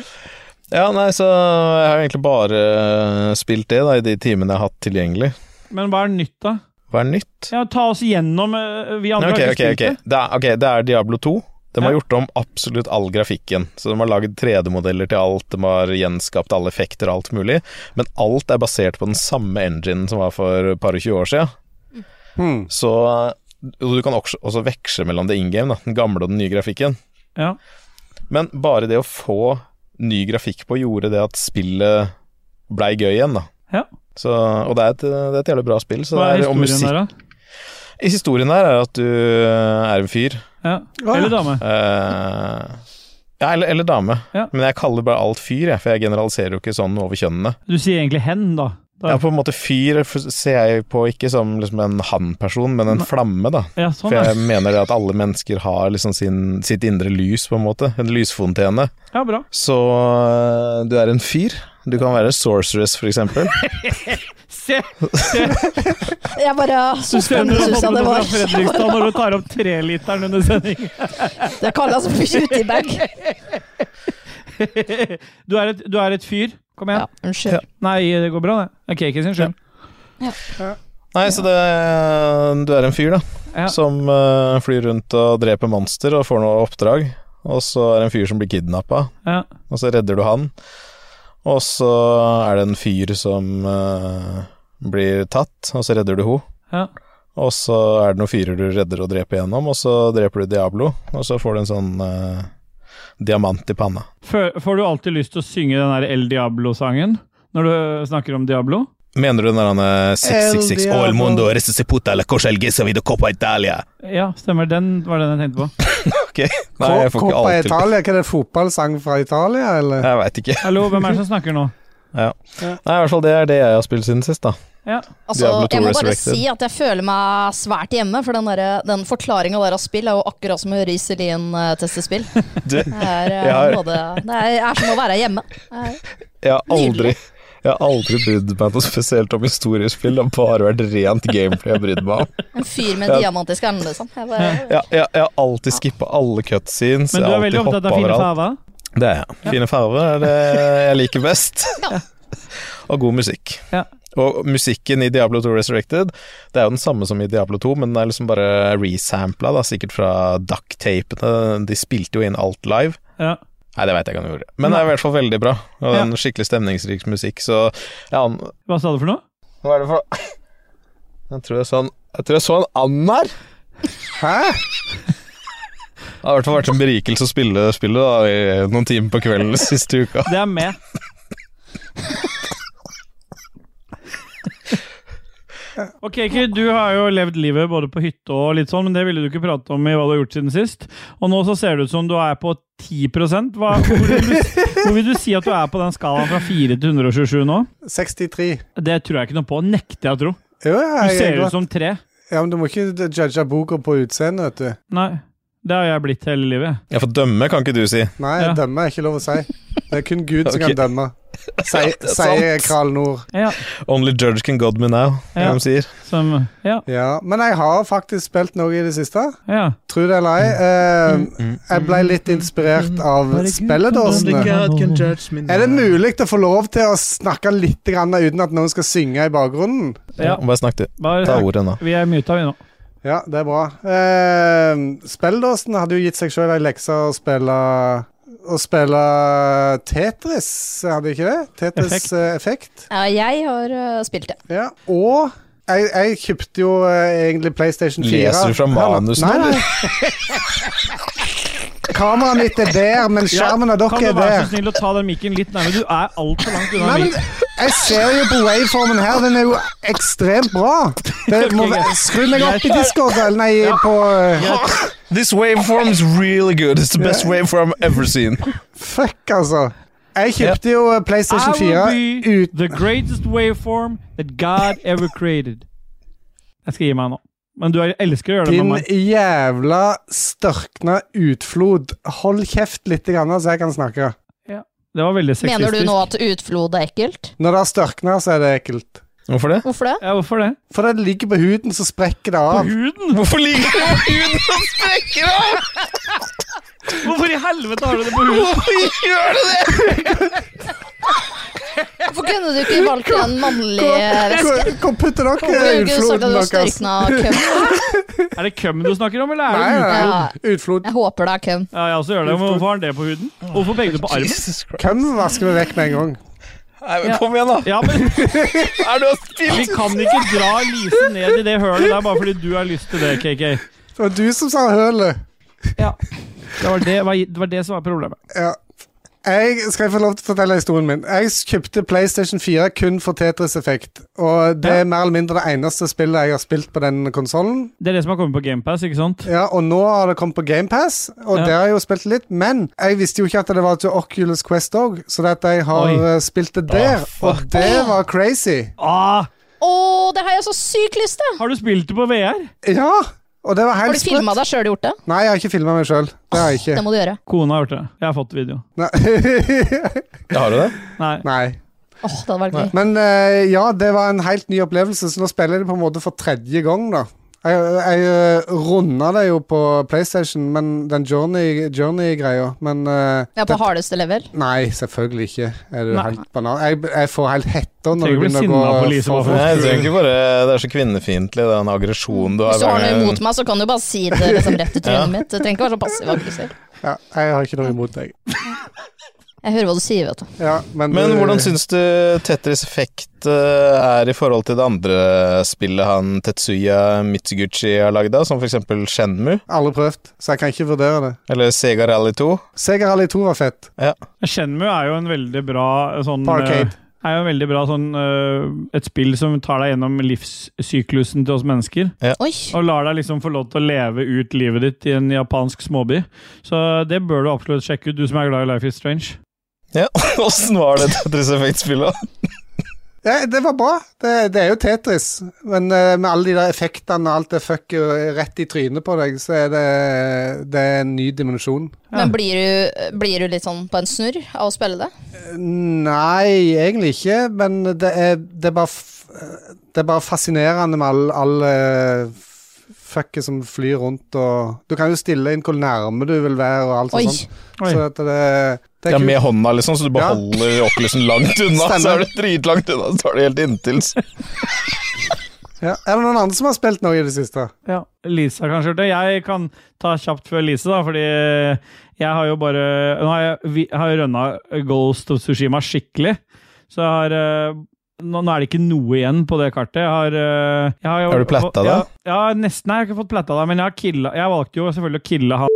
Speaker 2: Ja, nei, så jeg har egentlig bare eh, spilt det da, i de timene jeg har hatt tilgjengelig.
Speaker 3: Men hva er nytt, da?
Speaker 2: Hva er nytt?
Speaker 3: Ja, ta oss gjennom eh, Vi andre
Speaker 2: Nei, ok, ok,
Speaker 3: har ikke
Speaker 2: ok.
Speaker 3: spilt det.
Speaker 2: Det er, ok, det er Diablo 2. De har
Speaker 3: Ja.
Speaker 2: gjort om absolutt all grafikken. Så de har laget 3D-modeller til alt, de har gjenskapt alle effekter og alt mulig. Men alt er basert på den samme enginen som var for et par og tjue år siden.
Speaker 1: Hmm.
Speaker 2: Så og du kan også, også veksle mellom det in game, da, den gamle og den nye grafikken.
Speaker 3: Ja.
Speaker 2: Men bare det å få ny grafikk på gjorde det at spillet blei gøy igjen, da.
Speaker 3: Ja.
Speaker 2: Så, og det er, et, det er et jævlig bra spill. Så
Speaker 3: Hva er
Speaker 2: det er, og
Speaker 3: historien
Speaker 2: musikk
Speaker 3: der, da?
Speaker 2: I historien her er at du er en fyr
Speaker 3: Ja.
Speaker 1: ja.
Speaker 3: Eller dame.
Speaker 2: Eh, ja, eller, eller dame.
Speaker 3: Ja.
Speaker 2: Men jeg kaller bare alt fyr, jeg, for jeg generaliserer jo ikke sånn over kjønnene.
Speaker 3: Du sier egentlig hen, da. da.
Speaker 2: Ja, på en måte Fyr f- ser jeg på ikke som liksom en han-person, men en flamme, da.
Speaker 3: Ja,
Speaker 2: For
Speaker 3: sånn, ja.
Speaker 2: jeg mener det at alle mennesker har liksom sin, sitt indre lys, på en måte. En lysfontene.
Speaker 3: ja, bra.
Speaker 2: Så eh, du er en fyr. Du kan være sorceress, for eksempel.
Speaker 3: Se!
Speaker 4: Jeg bare Så
Speaker 3: Susanne
Speaker 4: spennende
Speaker 3: har
Speaker 4: synes
Speaker 3: fått
Speaker 4: jeg
Speaker 3: det
Speaker 4: det
Speaker 3: fra
Speaker 4: var.
Speaker 3: Fredrikstad når du tar opp treliteren under
Speaker 2: [LAUGHS]
Speaker 3: sending.
Speaker 4: Det kalles beautybag.
Speaker 3: Du er et, du er et fyr. Kom
Speaker 4: Ja,
Speaker 3: igjen.
Speaker 4: unnskyld.
Speaker 3: Nei, det går bra, det. Det er Cakey sin skyld.
Speaker 2: Nei, så det Du er en fyr, da.
Speaker 3: Ja.
Speaker 2: Som eh, flyr rundt og dreper monster og får noe oppdrag. Og så er det en fyr som blir kidnappa.
Speaker 3: Ja.
Speaker 2: Og så redder du han. Og så er det en fyr som eh, blir tatt, og så redder du ho.
Speaker 3: Ja.
Speaker 2: Og så er det noen fyrer du redder og dreper gjennom, og så dreper du Diablo, og så får du en sånn eh, diamant i panna.
Speaker 3: Fø- Får du alltid lyst til å synge den der El Diablo-sangen når du snakker om Diablo?
Speaker 2: Mener du den der han eh, 666
Speaker 1: El Diablo.
Speaker 2: All mondo resusciputa la cosa el gesa vida coppa Italia?
Speaker 3: Ja, stemmer. Den var den jeg tenkte på.
Speaker 2: Ok, nei, jeg får ikke
Speaker 1: Coppa
Speaker 2: alt til.
Speaker 1: Italia, hva er det fotballsang fra Italia, eller?
Speaker 2: Jeg veit ikke.
Speaker 3: Hallo, hvem er det som snakker nå?
Speaker 2: Ja. Nei, i hvert fall det er det jeg har spilt siden sist, da.
Speaker 3: Ja.
Speaker 4: Altså,
Speaker 2: Diablo 2
Speaker 4: jeg må bare
Speaker 2: Resurrected.
Speaker 4: si at jeg føler meg svært hjemme, for den, der- den forklaringa der av spill er jo akkurat som å Riselin uh, teste spill.
Speaker 2: Du,
Speaker 4: Det er, eh, [LAUGHS]
Speaker 2: Jeg har-
Speaker 4: både, det er, er som å være hjemme. Det er-
Speaker 2: Jeg har aldri jeg har aldri brydd meg noe spesielt om historiespill, det har bare vært rent gameplay jeg har brydd meg om.
Speaker 4: En fyr med
Speaker 2: Ja.
Speaker 4: diamantisk erne, liksom. Jeg bare,
Speaker 2: Ja, jeg, jeg har alltid skippa alle cutscenes. [LAUGHS]
Speaker 3: Men
Speaker 2: jeg
Speaker 3: du
Speaker 2: har
Speaker 3: er veldig
Speaker 2: alltid
Speaker 3: opptatt av
Speaker 2: hoppet
Speaker 3: fine
Speaker 2: overalt.
Speaker 3: farver?
Speaker 2: Det er jeg. Fine farver er det jeg liker best.
Speaker 4: Ja.
Speaker 2: Og god musikk.
Speaker 3: Ja.
Speaker 2: Og musikken i Diablo 2 Resurrected Det er jo den samme som i Diablo 2, men den er liksom bare resampla, da, sikkert fra ducktapene. De spilte jo inn alt live.
Speaker 3: Ja.
Speaker 2: Nei, det veit jeg ikke om de gjorde. Men det er i hvert fall veldig bra. Og det er en skikkelig stemningsrik musikk, så ja, an-
Speaker 3: Hva sa du for noe?
Speaker 2: Hva er det for [LAUGHS] Jeg tror jeg så en, jeg tror jeg så en and her.
Speaker 1: Hæ?
Speaker 2: Det har i hvert fall vært en berikelse å spille spillet da, i noen timer på kvelden [LAUGHS] den siste uka.
Speaker 3: Det er med. Ok, Kid, du har jo levd livet både på hytte og litt sånn, men det ville du ikke prate om i hva du har gjort siden sist. Og nå så ser det ut som du er på 10 hva, hvor, vil du, hvor vil du si at du er på den skalaen fra 4 til 127 nå?
Speaker 1: 63.
Speaker 3: Det tror jeg ikke noe på, nekter jeg å tro.
Speaker 1: Jo,
Speaker 3: Du
Speaker 1: ja, jeg,
Speaker 3: ser
Speaker 1: jeg,
Speaker 3: ut som tre.
Speaker 1: ja, men du må ikke judge boka på utseendet, vet du.
Speaker 3: Nei, det har jeg blitt hele livet.
Speaker 2: Ja, for dømme kan ikke du si.
Speaker 1: Nei,
Speaker 3: Ja.
Speaker 1: dømme er ikke lov å si. Det er kun Gud som
Speaker 2: [LAUGHS] Ok.
Speaker 1: kan dømme,
Speaker 2: Ja, det er
Speaker 1: sier
Speaker 2: sant.
Speaker 1: sier Kral Nord.
Speaker 3: Ja,
Speaker 2: Only judge can god me now,
Speaker 3: Ja.
Speaker 2: ja. de sier.
Speaker 3: som, ja,
Speaker 1: Ja, men jeg har faktisk spilt noe i det siste.
Speaker 3: ja.
Speaker 1: Tro det eller ei.
Speaker 2: Mm,
Speaker 1: Eh, jeg ble litt inspirert av spilledåsene. Er det mulig å få lov til å snakke litt grann uten at noen skal synge i bakgrunnen?
Speaker 3: Ja.
Speaker 2: Bare snakk, du. Ta
Speaker 3: Bare,
Speaker 2: ordet nå.
Speaker 3: vi er muta, vi nå.
Speaker 1: Ja, Ehm, det er bra. Eh, spilledåsen hadde jo gitt seg sjøl ei lekse å spille å spille Tetris, hadde jeg ikke det? Tetris
Speaker 3: Effekt.
Speaker 1: eh, Effekt.
Speaker 4: Ja, jeg har eh, spilt det.
Speaker 1: Ja. Og jeg, jeg kjøpte jo eh, egentlig PlayStation 4.
Speaker 2: Leser du fra
Speaker 1: Hør nå.
Speaker 2: manusen,
Speaker 1: Nei, [LAUGHS] nei. Kameraet mitt er der, men skjermen av dere
Speaker 3: kan
Speaker 1: er
Speaker 3: du være så
Speaker 1: der.
Speaker 3: snill å ta den mikken litt nærmere? Du er altfor langt unna
Speaker 1: Nei, men
Speaker 3: mikken.
Speaker 1: jeg ser jo på waveformen her, den er jo ekstremt bra. Det må,
Speaker 3: Ok,
Speaker 1: være-
Speaker 3: greit.
Speaker 1: skru meg opp i Discord, eller nei, på eh,
Speaker 2: This waveform is really good. It's the best waveform I've ever seen.
Speaker 1: Fuck, altså. Jeg kjøpte jo eh,
Speaker 3: I
Speaker 1: PlayStation
Speaker 3: will
Speaker 1: 4
Speaker 3: be
Speaker 1: ut
Speaker 3: the greatest waveform that God ever created. Jeg skal gi meg nå. Men du er- elsker å gjøre det med
Speaker 1: Din
Speaker 3: meg.
Speaker 1: jævla størkna utflod. Hold kjeft litt, grann, så jeg kan snakke.
Speaker 3: Det var veldig sexistisk.
Speaker 4: Mener du nå at utflod er ekkelt?
Speaker 1: Når det har størkna, så er det ekkelt.
Speaker 2: Hvorfor [LAUGHS] det?
Speaker 4: Hvorfor det?
Speaker 3: Ja, hvorfor det?
Speaker 1: For det ligger på huden, så sprekker det av.
Speaker 3: På huden?
Speaker 2: Hvorfor ligger det på huden og sprekker av?
Speaker 3: Hvorfor i helvete har du det på huden?
Speaker 2: Hvorfor gjør det det?
Speaker 4: Hvorfor kunne du ikke valgt en mannlig væske?
Speaker 1: Hvor hvor putter dere
Speaker 4: Hvorfor kunne du sagt at
Speaker 1: utfloden
Speaker 4: du har
Speaker 1: deres?
Speaker 4: størkna køm?
Speaker 3: Er det køm du snakker om, eller er
Speaker 1: Nei,
Speaker 3: det huden?
Speaker 1: nei,
Speaker 4: Ja.
Speaker 1: utflod.
Speaker 4: Jeg håper det er køm.
Speaker 3: Ja, jeg også gjør det, men hvorfor har han det på huden? Hvorfor begge du på armen?
Speaker 2: Jesus Christ.
Speaker 1: Hvem vasker vi vekk med en gang?
Speaker 2: Nei, men kom igjen, da.
Speaker 3: Ja, men
Speaker 2: Er du har
Speaker 3: Vi
Speaker 2: spilt
Speaker 3: kan ikke dra Lise ned i det hølet der bare fordi du har lyst til det, KK.
Speaker 1: Det var du som sa hølet.
Speaker 3: Ja. Det var det, var- det, var det som var problemet.
Speaker 1: Ja. Jeg skal jeg få lov til å fortelle historien min. Jeg kjøpte PlayStation 4 kun for Tetris Effekt. Og det
Speaker 3: Ja.
Speaker 1: er mer eller mindre det eneste spillet jeg har spilt på den konsollen.
Speaker 3: Det er det som har kommet på GamePass, ikke sant?
Speaker 1: Ja, og nå har det kommet på GamePass, og
Speaker 3: Ja.
Speaker 1: der har jeg jo spilt litt. Men jeg visste jo ikke at det var til Oculus Quest òg, så det at jeg har
Speaker 3: Oi.
Speaker 1: eh, spilt det der.
Speaker 2: Å,
Speaker 1: og det var crazy.
Speaker 3: Ah,
Speaker 4: Å, det har jeg så sykt lyst til!
Speaker 3: har du spilt det på VR?
Speaker 1: Ja! Og det var
Speaker 4: Har
Speaker 1: helt
Speaker 4: du filma
Speaker 1: sprøtt.
Speaker 4: deg sjøl gjort det?
Speaker 1: Nei, jeg har ikke filma meg sjøl. Det har jeg
Speaker 4: Det
Speaker 1: ikke.
Speaker 4: må du gjøre.
Speaker 3: Kona har gjort det. Jeg har fått video.
Speaker 1: Nei.
Speaker 2: Ja, har du det?
Speaker 3: Nei.
Speaker 1: [LAUGHS] Nei.
Speaker 4: Åh, det hadde vært gøy.
Speaker 1: Men eh, ja, det var en helt ny opplevelse, så nå spiller jeg det på en måte for tredje gang, da. Jeg, jeg eh, runda det jo på PlayStation, men den Journey- Journey-greia. men eh,
Speaker 4: Ja, på hardeste level.
Speaker 1: Nei, selvfølgelig ikke. Er du
Speaker 3: Nei.
Speaker 1: helt banan? Jeg, jeg får helt hetta når du
Speaker 3: Tenker å bli
Speaker 1: begynner å gå
Speaker 3: sinna på Lise
Speaker 1: for
Speaker 3: bare for
Speaker 1: fort.
Speaker 2: Nei, jeg tenker bare Det er så kvinnefiendtlig, den aggresjonen du har.
Speaker 4: Hvis du har
Speaker 2: hver
Speaker 4: noe
Speaker 2: gang-
Speaker 4: imot meg, så kan du bare si det liksom, rett i trynet mitt. Du trenger ikke være så passiv aggressiv.
Speaker 1: Ja, jeg har ikke noe imot deg.
Speaker 4: Jeg hører hva du sier, vet du.
Speaker 1: Ja, men, eh,
Speaker 2: Men
Speaker 1: du-
Speaker 2: hvordan syns du Tetris Effect eh, er i forhold til det andre spillet han Tetsuya Mitsuguchi har lagd, da, som for eksempel Shenmu
Speaker 1: Aldri prøvd, så jeg kan ikke vurdere det.
Speaker 2: eller Sega Rally 2? [LAUGHS]
Speaker 1: Sega Rally 2 var fett.
Speaker 3: Shenmue er jo en veldig bra eh, sånn
Speaker 1: På arcade.
Speaker 3: eh, er jo en veldig bra sånn eh, Et spill som tar deg gjennom livssyklusen til oss mennesker.
Speaker 4: Oi.
Speaker 3: Og lar deg liksom få lov til å leve ut livet ditt i en japansk småby. Så det bør du absolutt sjekke ut, du som er glad i Life is Strange.
Speaker 2: Ja, åssen var det Tetris Effect-spillet?
Speaker 1: Ja, det var bra. Det, det er jo Tetris, men eh, med alle de der effektene og alt det fucket rett i trynet på deg, så er det, det er en ny dimensjon.
Speaker 4: Men blir du, blir du litt sånn på en snurr av å spille det?
Speaker 1: Nei, egentlig ikke, men det er, det er, bare, f- det er bare fascinerende med all, all eh, f- fucket som flyr rundt og Du kan jo stille inn hvor nærme du vil være og alt
Speaker 4: Oi.
Speaker 1: sånt. Så at det, det
Speaker 2: Ja,
Speaker 1: er
Speaker 2: med
Speaker 1: kult.
Speaker 2: hånda, liksom, så du
Speaker 1: Ja.
Speaker 2: beholder ja. langt unna. Så
Speaker 1: Stemmer.
Speaker 2: er du dritlangt unna, så er du helt inntil.
Speaker 1: Ja. Er det noen andre som har spilt noe i det siste?
Speaker 3: Ja, Lisa kan skjorte. Jeg kan ta kjapt før Lise, da, fordi jeg har jo bare Nå har jeg, vi- har jeg rønna Ghost of Tsushima skikkelig, så jeg har eh, nå, nå er det ikke noe igjen på det kartet. Jeg har, eh, jeg har, jo-
Speaker 2: Har du platta det?
Speaker 3: Ja, ja, nesten. Jeg har ikke fått platta det, men jeg har killa Jeg valgte jo selvfølgelig å kille han.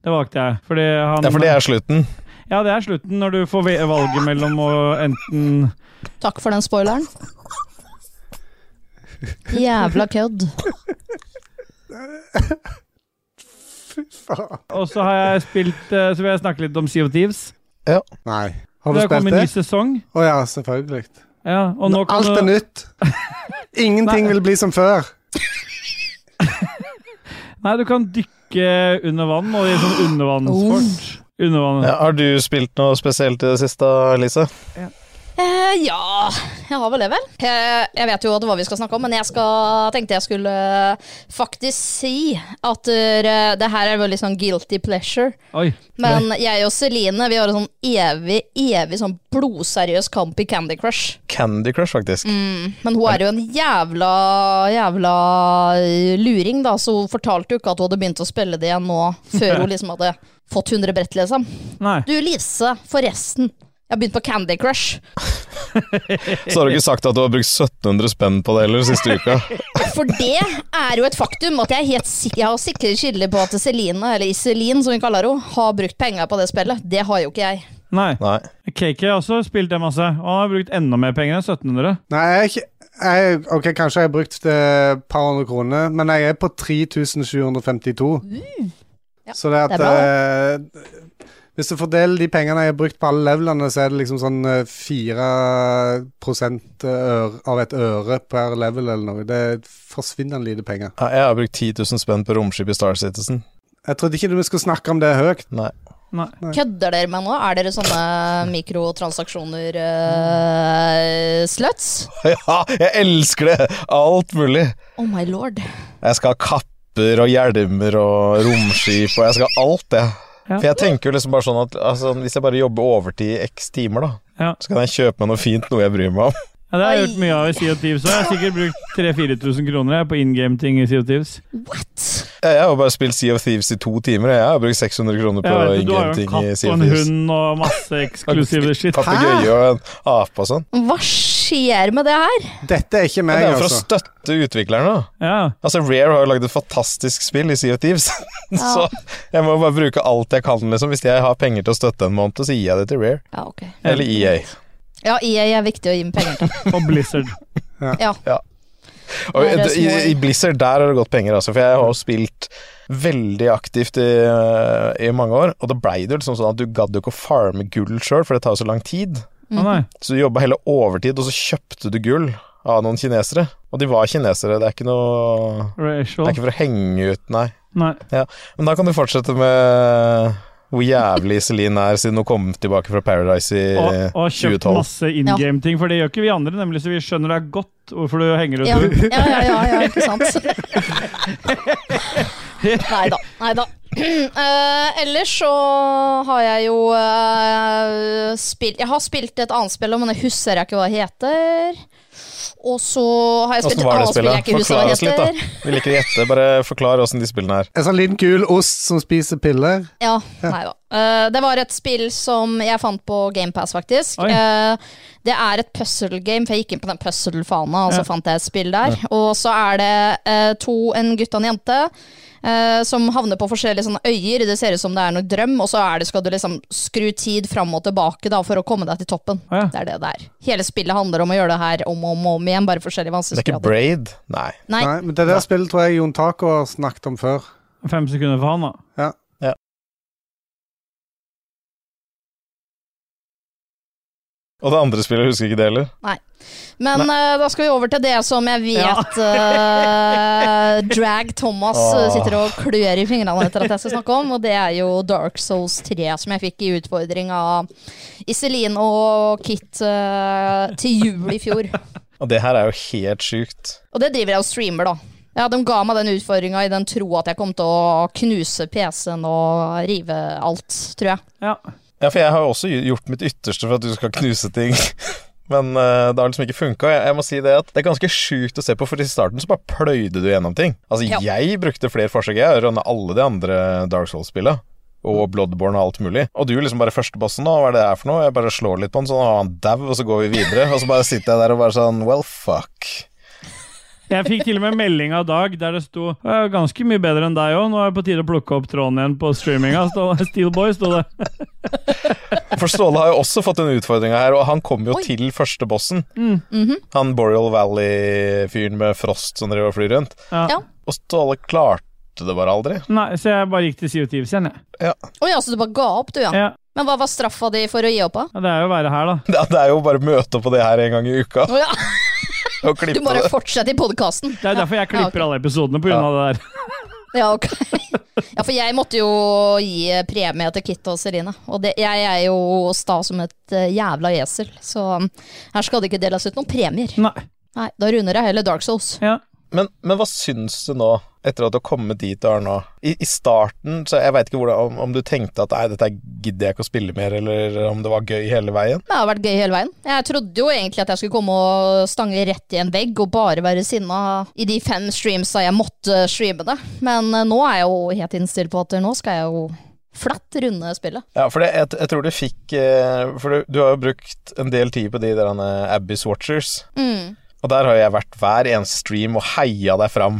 Speaker 3: Det valgte jeg. Fordi han,
Speaker 2: Ja, for det er slutten.
Speaker 3: ja, det er slutten, når du får ve- valget mellom å enten
Speaker 4: Takk for den spoileren. Jævla kødd.
Speaker 1: Faen.
Speaker 3: Og så har jeg spilt eh, Så vil jeg snakke litt om Sea of Thieves.
Speaker 1: Nei. Har du
Speaker 3: det har
Speaker 1: spilt
Speaker 3: kommet en
Speaker 1: det?
Speaker 3: ny sesong.
Speaker 1: Å ja, selvfølgelig.
Speaker 3: Ja, og nå kan
Speaker 1: Alt
Speaker 3: du-
Speaker 1: er nytt. Ingenting
Speaker 3: Nei.
Speaker 1: vil bli som før.
Speaker 3: Nei, du kan dykke under vann og i sånn
Speaker 2: Oh.
Speaker 3: undervannsfart. Undervann.
Speaker 2: Ja, har du spilt noe spesielt i det siste, Lise?
Speaker 4: Eh, ja, jeg har vel det, vel. Eh, jeg vet jo at hva vi skal snakke om, men jeg skal, tenkte jeg skulle eh, faktisk si at eh, det her er veldig sånn guilty pleasure.
Speaker 3: Oi.
Speaker 4: Men jeg og Celine vi har en sånn evig, evig sånn blodseriøs kamp i Candy Crush.
Speaker 2: Candy Crush, faktisk.
Speaker 4: Men hun er jo en jævla, jævla eh, luring, da, så hun fortalte jo ikke at hun hadde begynt å spille det igjen nå, før hun liksom hadde fått 100 brett, liksom.
Speaker 3: Nei.
Speaker 4: Du, Lise, forresten. Jeg har begynt på Candy Crush.
Speaker 2: Så har du ikke sagt at du har brukt 1700 spenn på det heller siste uka.
Speaker 4: For det er jo et faktum at jeg, er helt sikker, jeg har sikre kilder på at Celine, eller Iselin som vi kaller henne, har brukt penger på det spillet. Det har jo ikke jeg.
Speaker 3: Nei.
Speaker 2: Nei.
Speaker 3: Cakey har også spilt det masse, og han har brukt enda mer penger enn 1700.
Speaker 1: Nei, jeg er ikke jeg, Ok, kanskje jeg har brukt eh, et par hundre kroner, men jeg er på 3752. Så det
Speaker 4: det
Speaker 1: at
Speaker 4: er
Speaker 1: eh, Hvis du fordeler de pengene jeg har brukt på alle levelene, så er det liksom sånn eh, 4 ør, av et øre per level eller noe. Det er forsvinnende lite penger.
Speaker 2: Nei, Jeg har brukt 10 000 spenn på romskip i Star Citizen.
Speaker 1: Jeg trodde ikke vi skulle snakke om det høyt.
Speaker 2: Nei.
Speaker 3: Nei.
Speaker 4: Kødder dere med nå? Er dere sånne mikrotransaksjoner eh, sluts?
Speaker 2: [LAUGHS] Ja, jeg elsker det! Alt mulig.
Speaker 4: Oh my lord.
Speaker 2: Jeg skal ha kapper og hjelmer og romskip og jeg skal ha alt, jeg.
Speaker 3: Ja.
Speaker 2: For jeg tenker jo liksom bare sånn at altså, hvis jeg bare jobber overtid i x timer, da,
Speaker 3: Ja.
Speaker 2: så kan jeg kjøpe meg noe fint, noe jeg bryr meg om. [LAUGHS]
Speaker 3: Ja, det har jeg
Speaker 4: Oi.
Speaker 3: gjort mye av i Sea of Thieves. også. Jeg har sikkert brukt 3000-4000 kroner jeg, på in game-ting i Sea of Thieves.
Speaker 4: What?
Speaker 2: Jeg jeg har jo bare spilt Sea of Thieves i to timer, og jeg har brukt 600 kroner på
Speaker 3: Jeg vet, du har jo en
Speaker 2: ingame-ting i
Speaker 3: katt
Speaker 2: Sea of
Speaker 3: og en
Speaker 2: Thieves.
Speaker 3: hund og
Speaker 2: [LAUGHS]
Speaker 3: masse eksklusive shit.
Speaker 2: Papegøye og en ape og sånn.
Speaker 4: Hva skjer med det her?
Speaker 1: Dette er ikke
Speaker 2: Men
Speaker 1: meg,
Speaker 2: det er jo for å
Speaker 1: altså.
Speaker 2: støtte utviklerne, da.
Speaker 3: Ja.
Speaker 2: Altså, Rare har jo lagd et fantastisk spill i Sea of Thieves, [LAUGHS] så jeg må bare bruke alt jeg kan, liksom. Hvis jeg har penger til å støtte en måned, så gir jeg det til Rare.
Speaker 4: Ja, ok.
Speaker 2: Eller
Speaker 3: Mm.
Speaker 2: E EA.
Speaker 4: Ja, EA er viktig å gi med penger til.
Speaker 3: Og Blizzard.
Speaker 4: Ja.
Speaker 2: Og
Speaker 4: Nei, det er
Speaker 2: i,
Speaker 4: små-
Speaker 2: I Blizzard der har det gått penger, altså, for jeg har jo spilt veldig aktivt i, eh, i mange år, og da blei det jo liksom sånn at du gadd jo ikke å farme gull sjøl, for det tar jo så lang tid.
Speaker 4: Mm.
Speaker 3: Å nei.
Speaker 2: Så du jobba heller overtid, og så kjøpte du gull av noen kinesere. Og de var kinesere, det er ikke noe Det
Speaker 3: Racial.
Speaker 2: er ikke for å henge ut, nei.
Speaker 3: Nei.
Speaker 2: Ja. Men da kan du fortsette med hvor jævlig Iselin er, siden hun kom tilbake fra Paradise i
Speaker 3: Og, og kjøpt
Speaker 2: 2012.
Speaker 3: masse in game-ting, for det gjør ikke vi andre, nemlig, så vi skjønner deg godt hvorfor du henger
Speaker 4: Ja,
Speaker 2: [LAUGHS]
Speaker 3: ut.
Speaker 4: ja, ja, ja, ja ikke sant? Nei da. Nei da. [CLEARS THROAT] Eh, ellers så har jeg jo eh, spilt Jeg har spilt et annet spill, men jeg husker ikke hva det heter. Og så har jeg
Speaker 2: Åssen
Speaker 4: spilt et
Speaker 2: var det
Speaker 4: annet spill jeg
Speaker 2: spillet? Forklar
Speaker 4: ikke husker hva
Speaker 2: oss litt,
Speaker 4: heter.
Speaker 2: da. Vi liker å gjette, bare forklar åssen de spillene er.
Speaker 1: En sånn liten gul ost som spiser piller.
Speaker 4: Ja, nei da. Eh, det var et spill som jeg fant på GamePass, faktisk.
Speaker 3: Oi.
Speaker 4: Eh, det er et puzzle game, for jeg gikk inn på den puzzle-fana, og så
Speaker 3: Ja.
Speaker 4: fant jeg et spill der. Og så er det eh, to, en gutt og en jente. eh, som havner på forskjellige sånne øyer. Det ser ut som det er noe drøm, og så er det, skal du liksom skru tid fram og tilbake da, for å komme deg til toppen.
Speaker 3: Å ja.
Speaker 4: Det er det det er. Hele spillet handler om å gjøre det her om og om, og om igjen, bare forskjellige
Speaker 2: Det er ikke
Speaker 4: vanskelighetsgrader.
Speaker 2: Braid? Nei.
Speaker 4: Nei.
Speaker 1: Nei, men Det der spillet tror jeg Jon Taco har snakket om før.
Speaker 3: Fem sekunder for han, da.
Speaker 2: Og det andre spillet husker jeg ikke det heller.
Speaker 4: Men eh, da skal vi over til det som jeg vet eh, Drag Thomas eh,
Speaker 2: Åh.
Speaker 4: sitter og klør i fingrene etter at jeg skal snakke om, og det er jo Dark Souls 3 som jeg fikk i utfordring av Iselin og Kit eh, til jul i fjor.
Speaker 2: Og det her er jo helt sjukt.
Speaker 4: Og det driver jeg og streamer, da. Ja, De ga meg den utfordringa i den tro at jeg kom til å knuse PC-en og rive alt, tror jeg.
Speaker 3: Ja.
Speaker 2: Ja, for jeg har jo også gjort mitt ytterste for at du skal knuse ting. [LAUGHS] Men eh, det har liksom ikke funka. Jeg, jeg må si det at det er ganske sjukt å se på, for i starten så bare pløyde du gjennom ting. Altså,
Speaker 4: Ja.
Speaker 2: jeg brukte flere forsøk. Jeg rønna alle de andre Dark Souls-spilla. Og Bloodborne og alt mulig. Og du liksom bare første bossen, da, hva er det her for noe? Jeg bare slår litt på han, sånn, og han dau, og så går vi videre. Og så bare sitter jeg der og bare sånn, well, fuck.
Speaker 3: Jeg fikk til og med melding av Dag der det sto «Jeg er ganske mye bedre enn deg òg, nå er det på tide å plukke opp tråden igjen på streaminga. Stå- Steelboy, sto det.
Speaker 2: For Ståle har jo også fått den utfordringa her, og han kom jo
Speaker 4: Oi. Mm. Mm-hmm.
Speaker 2: til første bossen. Han Boreal Valley-fyren med frost som driver og flyr rundt.
Speaker 3: Ja.
Speaker 4: Ja.
Speaker 2: Og Ståle klarte det bare aldri.
Speaker 3: Nei, så jeg bare gikk til CO2 igjen, jeg.
Speaker 4: Å ja, så du bare ga opp, du, ja.
Speaker 3: Ja.
Speaker 4: Men hva var straffa di for å gi opp, da?
Speaker 3: Ja, Det er jo å være her, da.
Speaker 2: Det det er jo bare å møte opp på det her en gang i uka
Speaker 4: Å ja,
Speaker 2: og
Speaker 4: du
Speaker 2: klippe
Speaker 4: bare
Speaker 2: det.
Speaker 4: fortsetter i podkasten.
Speaker 3: Det er derfor jeg klipper
Speaker 4: Ja,
Speaker 3: alle episodene, på grunn av det der.
Speaker 4: Ja, ok. [LAUGHS] Ja, for jeg måtte jo gi premie til Kit og Serine. Og det, jeg er jo sta som et eh, jævla esel, så um, her skal det ikke deles ut noen premier.
Speaker 3: Nei.
Speaker 4: Nei, da runder jeg heller Dark Souls.
Speaker 3: Ja.
Speaker 2: Men, men hva syns du nå, etter at du har kommet dit du er nå? I, i starten, så jeg veit ikke hvordan, om, om du tenkte at nei, dette gidder jeg ikke å spille mer, eller om det var gøy hele veien.
Speaker 4: Det har vært gøy hele veien. Jeg trodde jo egentlig at jeg skulle komme og stange rett i en vegg og bare være sinna i de fem streamsa jeg måtte streame det. Men eh, nå er jeg jo helt innstilt på at nå skal jeg jo flatt runde spillet.
Speaker 2: Ja, for det, jeg, jeg tror du fikk eh, For du, du har jo brukt en del tid på de der eh, Abyss Watchers.
Speaker 4: Mm.
Speaker 2: Og der har jeg vært hver eneste stream og heia deg fram.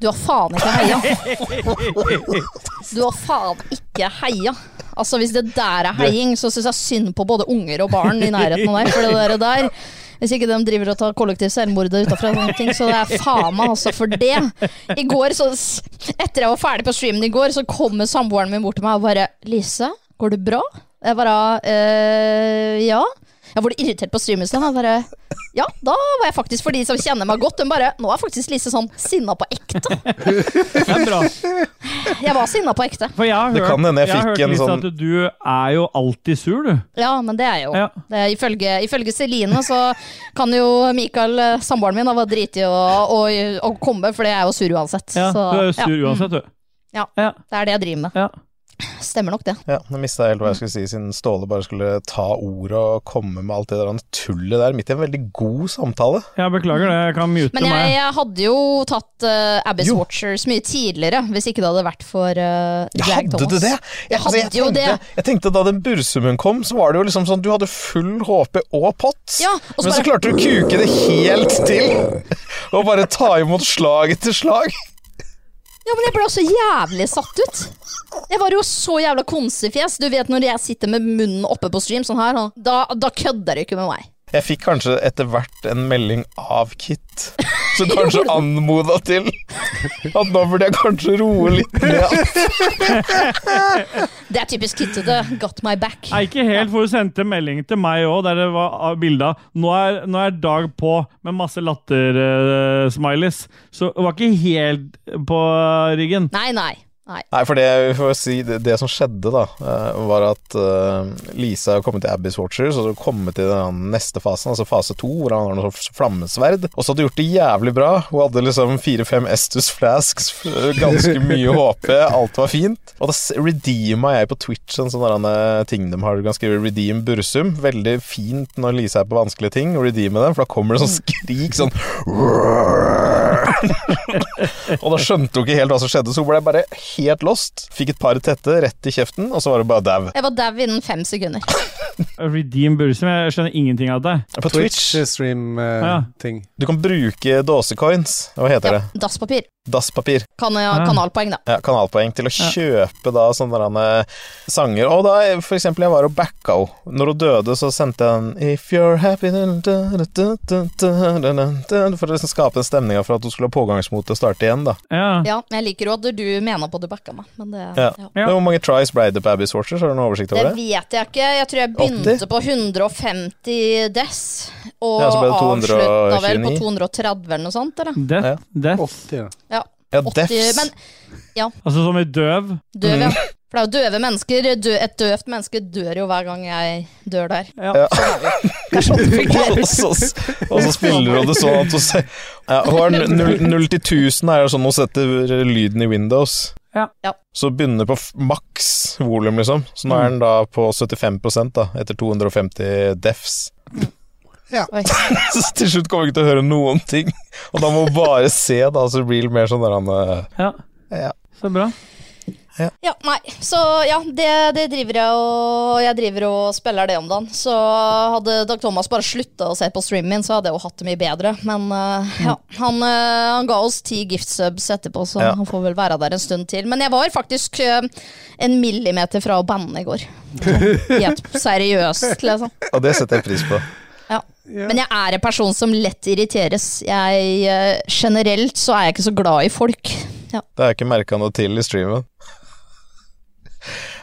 Speaker 4: Du har faen ikke heia. Du har faen ikke heia. Altså Hvis det der er heiing, så syns jeg synd på både unger og barn i nærheten av deg. For det der, der Hvis ikke de driver og tar kollektiv selvmord utafra, og sånne ting, så det er faen meg altså for det. I går, så s- Etter jeg var ferdig på streamen i går, så kommer samboeren min bort til meg og bare 'Lise, går det bra?' Jeg bare «Eh, 'Ja'. Jeg var litt irritert på streamen sin. Jeg bare ja, da var jeg faktisk for de som kjenner meg godt. Hun bare Nå er faktisk Lise sånn sinna på ekte.
Speaker 3: Det er bra.
Speaker 4: Jeg var sinna på ekte.
Speaker 3: For jeg har hørt,
Speaker 2: Det kan hende jeg
Speaker 3: har
Speaker 2: fikk
Speaker 3: hørt
Speaker 2: en
Speaker 3: Lisa,
Speaker 2: sånn-
Speaker 3: at du er jo alltid sur, du.
Speaker 4: Ja, men det er jo
Speaker 3: Ja.
Speaker 4: det er, ifølge, ifølge Celine så kan jo Mikael, eh, samboeren min, da var driti i å, å, å komme, for det er jo sur uansett.
Speaker 3: Ja,
Speaker 4: så,
Speaker 3: du er jo sur
Speaker 4: ja, mm,
Speaker 3: uansett, du.
Speaker 4: Ja.
Speaker 3: ja.
Speaker 4: Det er det jeg driver med.
Speaker 3: ja.
Speaker 4: Stemmer nok det.
Speaker 2: Ja, Nå mista jeg helt hva jeg skulle si, siden Ståle bare skulle ta ordet og komme med alt det der tullet der midt i en veldig god samtale.
Speaker 3: Jeg beklager det, jeg kan mute
Speaker 4: Men jeg,
Speaker 3: meg.
Speaker 4: jeg hadde jo tatt eh, Abyss
Speaker 2: Jo.
Speaker 4: Watchers mye tidligere, hvis ikke det hadde vært for eh,
Speaker 2: Jeg
Speaker 4: Drag
Speaker 2: hadde
Speaker 4: Thomas.
Speaker 2: du det? Jeg,
Speaker 4: Jeg hadde jo
Speaker 2: tenkte,
Speaker 4: det.
Speaker 2: jeg tenkte da den bursummen kom, så var det jo liksom sånn du hadde full HP og pott,
Speaker 4: Ja, og
Speaker 2: men
Speaker 4: så
Speaker 2: så
Speaker 4: bare-
Speaker 2: klarte du å kuke det helt til
Speaker 4: [LAUGHS]
Speaker 2: og bare ta imot slag etter slag.
Speaker 4: Ja, men jeg ble også jævlig satt ut. Jeg var jo så jævla konsefjes. Du vet når jeg sitter med munnen oppe på stream sånn her, sånn, da, da kødder du ikke med meg.
Speaker 2: Jeg fikk kanskje etter hvert en melding av Kit,
Speaker 4: [LAUGHS]
Speaker 2: som kanskje anmoda til at nå burde jeg kanskje roe litt ned.
Speaker 4: Det er typisk kittete. Got my back.
Speaker 3: Nei, ikke helt, for hun sendte melding til meg òg, der det var av bilde av nå, er- 'Nå er Dag på' med masse latter-smileys. så hun var ikke helt på ryggen.
Speaker 4: Nei, nei. nei.
Speaker 2: Nei, for det, vi får si, det, det som skjedde, da, eh, var at eh, Lisa har kommet til Abbey's Watchers, og så har hun kommet til den neste fasen, altså fase to, hvor han har noe sånt flammesverd. Og så hadde hun gjort det jævlig bra. Hun hadde liksom fire-fem Estus Flasks, f- ganske mye HP, alt var fint. Og da s- redeema jeg på Twitch en sånn der, eh, ting de har ganske redeem bursum. Veldig fint når Lisa er på vanskelige ting, å redeeme dem, for da kommer det sånn skrik sånn og da skjønte hun ikke helt hva som skjedde, så hun ble bare helt lost. Fikk et par tette rett i kjeften, og så var hun bare dau.
Speaker 4: Jeg var dau innen fem sekunder.
Speaker 3: Redeem Bursum, jeg skjønner ingenting av det.
Speaker 2: På Twitch
Speaker 1: eh,
Speaker 3: Ja.
Speaker 1: Twitch-stream-ting.
Speaker 2: du kan bruke dåsecoins, hva heter
Speaker 4: Ja, dasspapir.
Speaker 2: det, dasspapir,
Speaker 4: Kan, kanalpoeng, da.
Speaker 2: ja, kanalpoeng, til å kjøpe da sånne der, eh, sanger. Og da, eh, for eksempel, jeg var og backa henne. Når hun døde, så sendte jeg en If you're happy da, da, da, da, da, da, da, da, da, For å liksom skape den stemninga for at hun skulle ha pågangsmot til å starte igjen, da.
Speaker 3: Ja.
Speaker 4: Ja, jeg liker jo at du mener på at du backa meg, men det
Speaker 2: Ja.
Speaker 4: ja.
Speaker 3: Ja.
Speaker 2: Men Hvor mange tries ble det på Abbey's Watchers, har du noen oversikt
Speaker 4: Det
Speaker 2: over det?
Speaker 4: vet jeg ikke. Jeg tror jeg begynte
Speaker 2: 80?
Speaker 4: på 150 dess, og
Speaker 2: Ja, så ble det
Speaker 4: avslutta vel på
Speaker 2: 229.
Speaker 4: 230 eller noe sånt, eller?
Speaker 3: Death.
Speaker 2: Ja.
Speaker 3: Death.
Speaker 1: 80, ja.
Speaker 4: Ja.
Speaker 2: Ja,
Speaker 4: 80,
Speaker 2: Defs.
Speaker 4: men
Speaker 3: Altså som i døv.
Speaker 4: døv,
Speaker 2: Mm.
Speaker 4: ja. For det er jo døve mennesker. Dø, et døvt menneske dør jo hver gang jeg dør der.
Speaker 2: Ja.
Speaker 4: Det er sånn det fungerer.
Speaker 2: og, så, og så spiller hun det sånn at hun ser ja, Hun har null- null til 1000 er jo sånn hun setter lyden i Windows.
Speaker 3: Ja.
Speaker 4: Ja.
Speaker 2: Så begynner på f- maks volum, liksom. Så nå er den da på 75 da, etter 250 defs. [LAUGHS]
Speaker 4: Oi.
Speaker 2: Så til slutt kommer hun ikke til å høre noen ting. Og da må hun bare se, da, så blir det mer sånn der han eh,
Speaker 3: Ja.
Speaker 2: Ja.
Speaker 3: Så bra.
Speaker 4: Ja, nei. Så ja, det, det driver jeg og Jeg driver og spiller det om dagen. Så hadde Dag Thomas bare slutta å se på streamen min, så hadde jeg jo hatt det mye bedre. Men eh, ja, han, eh, han ga oss ti gift subs etterpå, så
Speaker 2: Ja.
Speaker 4: han får vel være der en stund til. Men jeg var faktisk eh, en millimeter fra å banne i går. Sånn, Helt seriøst, liksom.
Speaker 2: Og det setter jeg pris på.
Speaker 4: Ja. Men jeg er en person som lett irriteres. Jeg, eh, generelt så er jeg ikke så glad i folk. Ja.
Speaker 2: Det har jeg ikke merka noe til i streamen.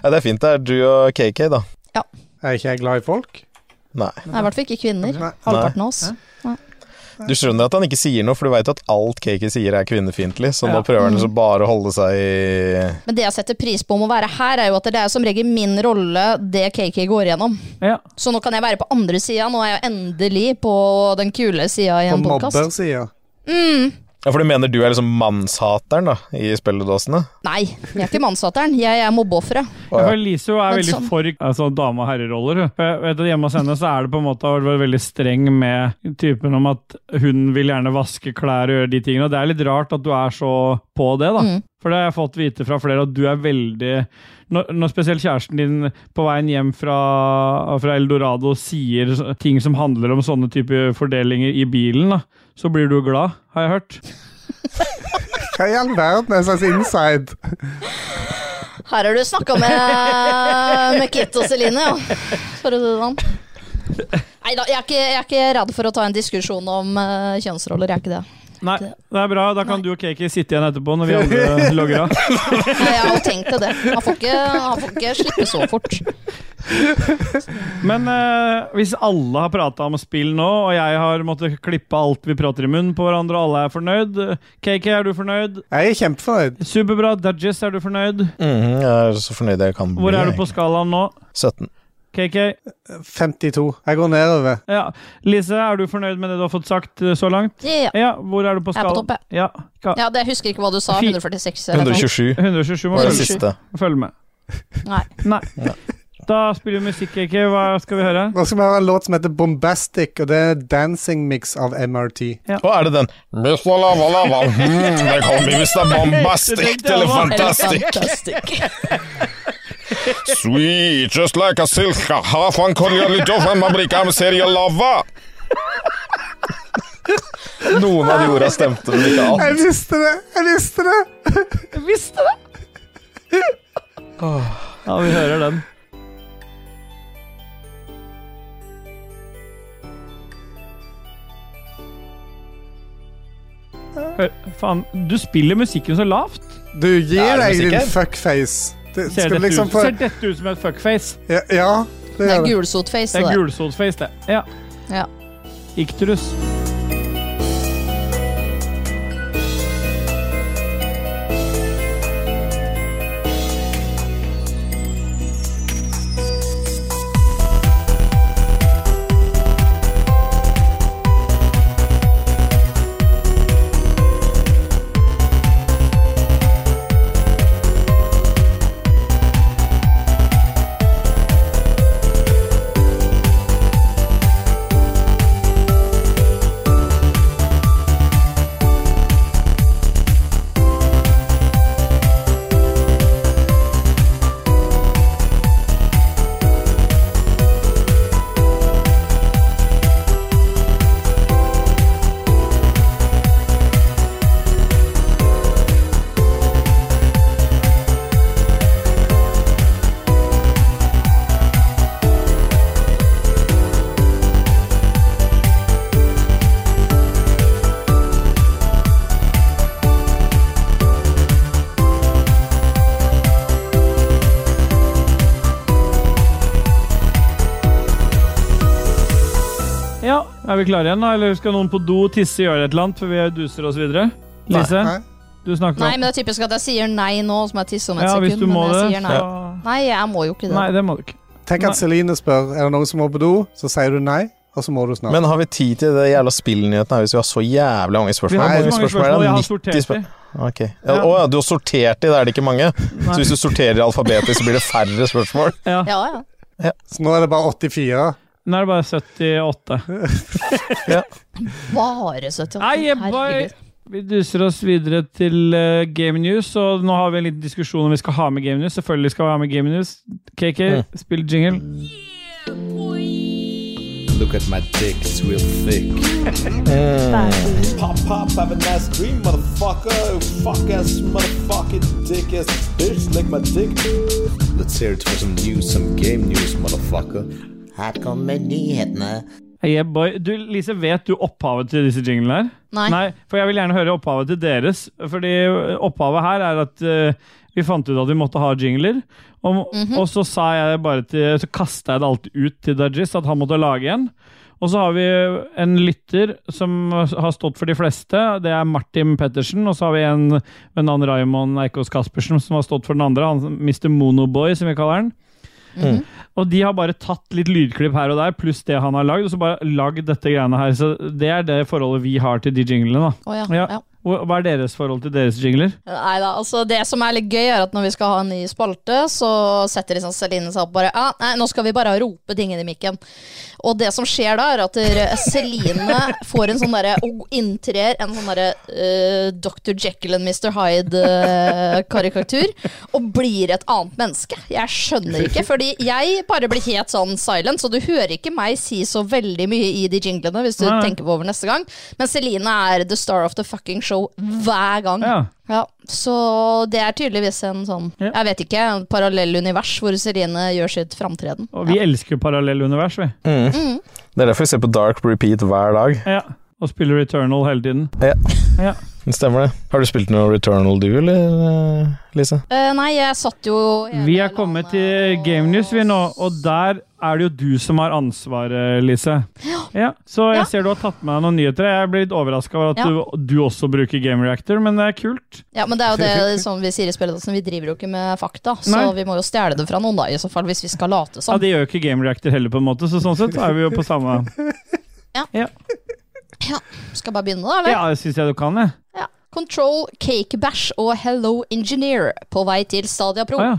Speaker 2: Ja, det er fint. Det er du og KK, da.
Speaker 1: Er ikke jeg glad i folk?
Speaker 2: Nei.
Speaker 4: Jeg er i hvert fall ikke kvinner.
Speaker 1: Nei.
Speaker 4: Halvparten av oss.
Speaker 2: Du skjønner at han ikke sier noe, for du veit at alt Kiki sier er kvinnefiendtlig, så
Speaker 3: Ja. Mm.
Speaker 2: nå prøver han liksom bare å holde seg i
Speaker 4: Men det jeg setter pris på om å være her, er jo at det er som regel min rolle det KK går igjennom.
Speaker 3: Ja.
Speaker 4: Så nå kan jeg være på andre sida. Nå er jeg endelig på den kule sida i
Speaker 1: På
Speaker 4: en Mm. podkast.
Speaker 1: mobbersida.
Speaker 2: Ja, for du mener du er liksom mannshateren, da, i spilledåsene?
Speaker 4: Nei, jeg er ikke mannshateren. Jeg er mobbeofferet.
Speaker 2: Å, ja.
Speaker 3: For Lise hun er
Speaker 4: Men
Speaker 3: veldig
Speaker 4: sånn-
Speaker 3: for altså, dame- og herreroller. hun. For jeg vet at Hjemme hos henne så er det på en måte har vært veldig streng med typen om at hun vil gjerne vaske klær og gjøre de tingene. Og Det er litt rart at du er så på det, da. For det har jeg fått vite fra flere at du er veldig når, når spesielt kjæresten din på veien hjem fra, fra Eldorado sier så- ting som handler om sånne type fordelinger i bilen, da, så blir du glad, har jeg hørt.
Speaker 1: Hva i all verden er en slags inside?
Speaker 4: Her har du snakka [LAUGHS] med, med Kit og Celine, ja. For å si det sånn. Nei da, jeg, er ikke- jeg er ikke redd for å ta en diskusjon om eh, kjønnsroller. Jeg er ikke det.
Speaker 3: Nei, det er bra. Da kan du og Kiki sitte igjen etterpå når vi andre logger av.
Speaker 4: Nei, jeg har jo tenkt til det. Han får ikke, han får ikke slippe så fort.
Speaker 3: Men eh, hvis alle har prata om spill nå, og jeg har måttet klippe alt vi prater i munnen på hverandre, og alle er fornøyd KK, er du fornøyd?
Speaker 1: Jeg er kjempefornøyd.
Speaker 3: Superbra. Dudges, er du fornøyd?
Speaker 2: Mhm, jeg er så fornøyd jeg kan bli.
Speaker 3: Hvor er du på
Speaker 2: jeg.
Speaker 3: skalaen nå?
Speaker 2: 17.
Speaker 3: KK?
Speaker 1: 52. Jeg går nedover.
Speaker 3: Ja. Lise, er du fornøyd med det du har fått sagt eh, så langt?
Speaker 4: Ja.
Speaker 3: Ja, hvor er du på
Speaker 4: Jeg er på
Speaker 3: skalaen?
Speaker 4: topp,
Speaker 3: Ja. Ka-
Speaker 4: ja, det jeg husker ikke hva du sa.
Speaker 3: Fi-
Speaker 4: 146. eller noe.
Speaker 2: 127
Speaker 3: 127 må
Speaker 2: var det
Speaker 4: Unnskyld.
Speaker 3: følge,
Speaker 2: siste.
Speaker 3: følge med.
Speaker 4: Nei.
Speaker 3: Nei. Da spiller vi musikk, KK. Hva skal vi høre?
Speaker 1: Nå skal vi høre en låt som heter Bombastic, og det er en dancing mix av MRT.
Speaker 2: Å, er det den? Mr. Lava Lava, mm, det kommer
Speaker 3: [LAUGHS]
Speaker 2: Mr. Bombastic
Speaker 3: til det var- [LAUGHS]
Speaker 4: Eller fantastic.
Speaker 2: Sweet, just like a silka, half one collier, litt off, en mabrika med serie lava. Noen av de orda stemte, men ikke alt.
Speaker 1: Jeg visste det! Jeg visste det!
Speaker 3: Visste det! Ja, vi hører den. Hør, faen, du spiller musikken så lavt.
Speaker 1: Du gir
Speaker 2: Er det
Speaker 1: deg din
Speaker 2: musikken?
Speaker 1: fuckface. Det,
Speaker 3: Ser,
Speaker 1: skal
Speaker 3: dette,
Speaker 1: du liksom
Speaker 3: ut,
Speaker 1: få
Speaker 3: ser dette ut som et fuckface?
Speaker 1: Ja, ja det
Speaker 4: Det er
Speaker 1: gjør det.
Speaker 4: gulsotface,
Speaker 3: Det
Speaker 4: det
Speaker 3: er
Speaker 4: der.
Speaker 3: gulsotface, det. Ja.
Speaker 4: Ja.
Speaker 3: Ikterus. Ja, er vi klare igjen, da? Eller skal noen på do tisse, gjøre et eller annet, før vi duser oss videre? Lise,
Speaker 1: Nei.
Speaker 3: du snakker
Speaker 4: Nei, men det er typisk at jeg sier nei nå, som jeg tisser om et
Speaker 3: Ja, hvis
Speaker 4: sekund.
Speaker 3: du må
Speaker 4: men jeg
Speaker 3: det,
Speaker 4: sier nei.
Speaker 3: så
Speaker 4: nei, jeg må jo ikke det.
Speaker 3: Nei, det må du ikke.
Speaker 1: Tenk
Speaker 3: Nei.
Speaker 1: at Celine spør Er det noen som må på do, så sier du nei, og så må du snart.
Speaker 2: Men har vi tid til det jævla spillnyheten her hvis vi har så jævlig mange
Speaker 3: Vi
Speaker 2: spørsmål?
Speaker 3: har
Speaker 2: Hvor
Speaker 3: mange spørsmål, jeg har
Speaker 2: 90
Speaker 3: sortert
Speaker 2: spør-
Speaker 3: de.
Speaker 2: Ok. Ja, Å ja, du har sortert de, da er det ikke mange. Så hvis du sorterer alfabetisk, så blir det færre spørsmål.
Speaker 3: Ja.
Speaker 4: Ja, ja.
Speaker 1: Så nå er det bare 84.
Speaker 3: Nå er det bare 78.
Speaker 4: Bare 78.
Speaker 3: Nei, jeg bare-
Speaker 4: Herregud.
Speaker 3: Vi duser oss videre til eh, Game News, og nå har vi en liten diskusjon om vi skal ha med Game News. Selvfølgelig skal vi ha med Game News. KK, spill jingle.
Speaker 6: Look at my dick, it's real thick. Pop, pop, have a nice dream, motherfucker. Fuck ass, motherfucking dick ass bitch, lick my dick. Let's hear it for some news, some game news, motherfucker.
Speaker 7: Her kommer nyhetene.
Speaker 3: Hey, boy. Du, Lise, vet du opphavet til disse jinglene her?
Speaker 4: Nei.
Speaker 3: For jeg vil gjerne høre opphavet til deres. Fordi eh, opphavet her er at eh, vi fant ut at vi måtte ha jingler. Og, og så sa jeg bare til Så kasta jeg det alt ut til Dudgies, at han måtte lage en. Og så har vi en lytter som har stått for de fleste. Det er Martin Pettersen. Og så har vi en ved navn Raymond Eikås Caspersen som har stått for den andre. Han Mr. Monoboy, som vi kaller han.
Speaker 4: Mhm.
Speaker 3: Og de har bare tatt litt lydklipp her og der, pluss det han har lagd, og så bare lagd dette greiene her. Så det er det forholdet vi har til de jinglene, da.
Speaker 4: Å ja,
Speaker 3: Ja.
Speaker 4: ja.
Speaker 3: Hva hva er deres forhold til deres jingler?
Speaker 4: Nei da, altså det som er litt gøy, er at når vi skal ha en ny spalte, så setter liksom Celine seg opp bare ah, Nei, nå skal vi bare rope ting inn i mikken. Og det som skjer da, er at der- [LAUGHS] Celine får en sånn derre Og inntrer en sånn derre eh, Dr. Jekyll and Mr. Hyde-karikatur. og blir et annet menneske. Jeg skjønner ikke, fordi jeg bare blir helt sånn silent, så du hører ikke meg si så veldig mye i de jinglene hvis du
Speaker 3: Nei, nei.
Speaker 4: tenker på over neste gang. Men Celine er the star of the fucking show hver gang.
Speaker 3: Ja.
Speaker 4: Ja, så det er tydeligvis en sånn
Speaker 3: Ja.
Speaker 4: Jeg vet ikke, en parallell univers hvor Celine gjør sitt framtreden.
Speaker 3: Og vi elsker jo parallellunivers, vi.
Speaker 2: Mm.
Speaker 4: Mm.
Speaker 2: Det er derfor vi ser på Dark Repeat hver dag.
Speaker 3: Ja. Og spiller Returnal hele tiden.
Speaker 2: Det Stemmer det. Har du spilt noe Returnal du, eller eh, Lise?
Speaker 4: Eh, nei, jeg satt jo hele
Speaker 3: Vi er kommet til
Speaker 4: landet
Speaker 3: Game News, vi nå,
Speaker 4: og
Speaker 3: og der er det jo du som har ansvaret, Lise. Ja, så
Speaker 4: Ja.
Speaker 3: jeg ser du har tatt med deg noen nyheter. Jeg ble litt overraska over at
Speaker 4: Ja.
Speaker 3: du, du også bruker Game Reactor, men det er kult.
Speaker 4: Ja, men det er jo det som vi sier i spilleddelsen, vi driver jo ikke med fakta. Så
Speaker 3: Nei.
Speaker 4: vi må jo stjele det fra noen, da, i så fall, hvis vi skal late
Speaker 3: Ja,
Speaker 4: som.
Speaker 3: Det gjør jo ikke Game Reactor heller, på en måte, så sånn sett er vi jo på
Speaker 4: [LAUGHS]
Speaker 3: samme
Speaker 4: Skal jeg bare begynne, da? eller?
Speaker 3: Ja, det syns jeg du kan, jeg.
Speaker 4: Ja. Control, Cake Bash og Hello Engineer på vei til Stadia Pro.
Speaker 3: Å ja.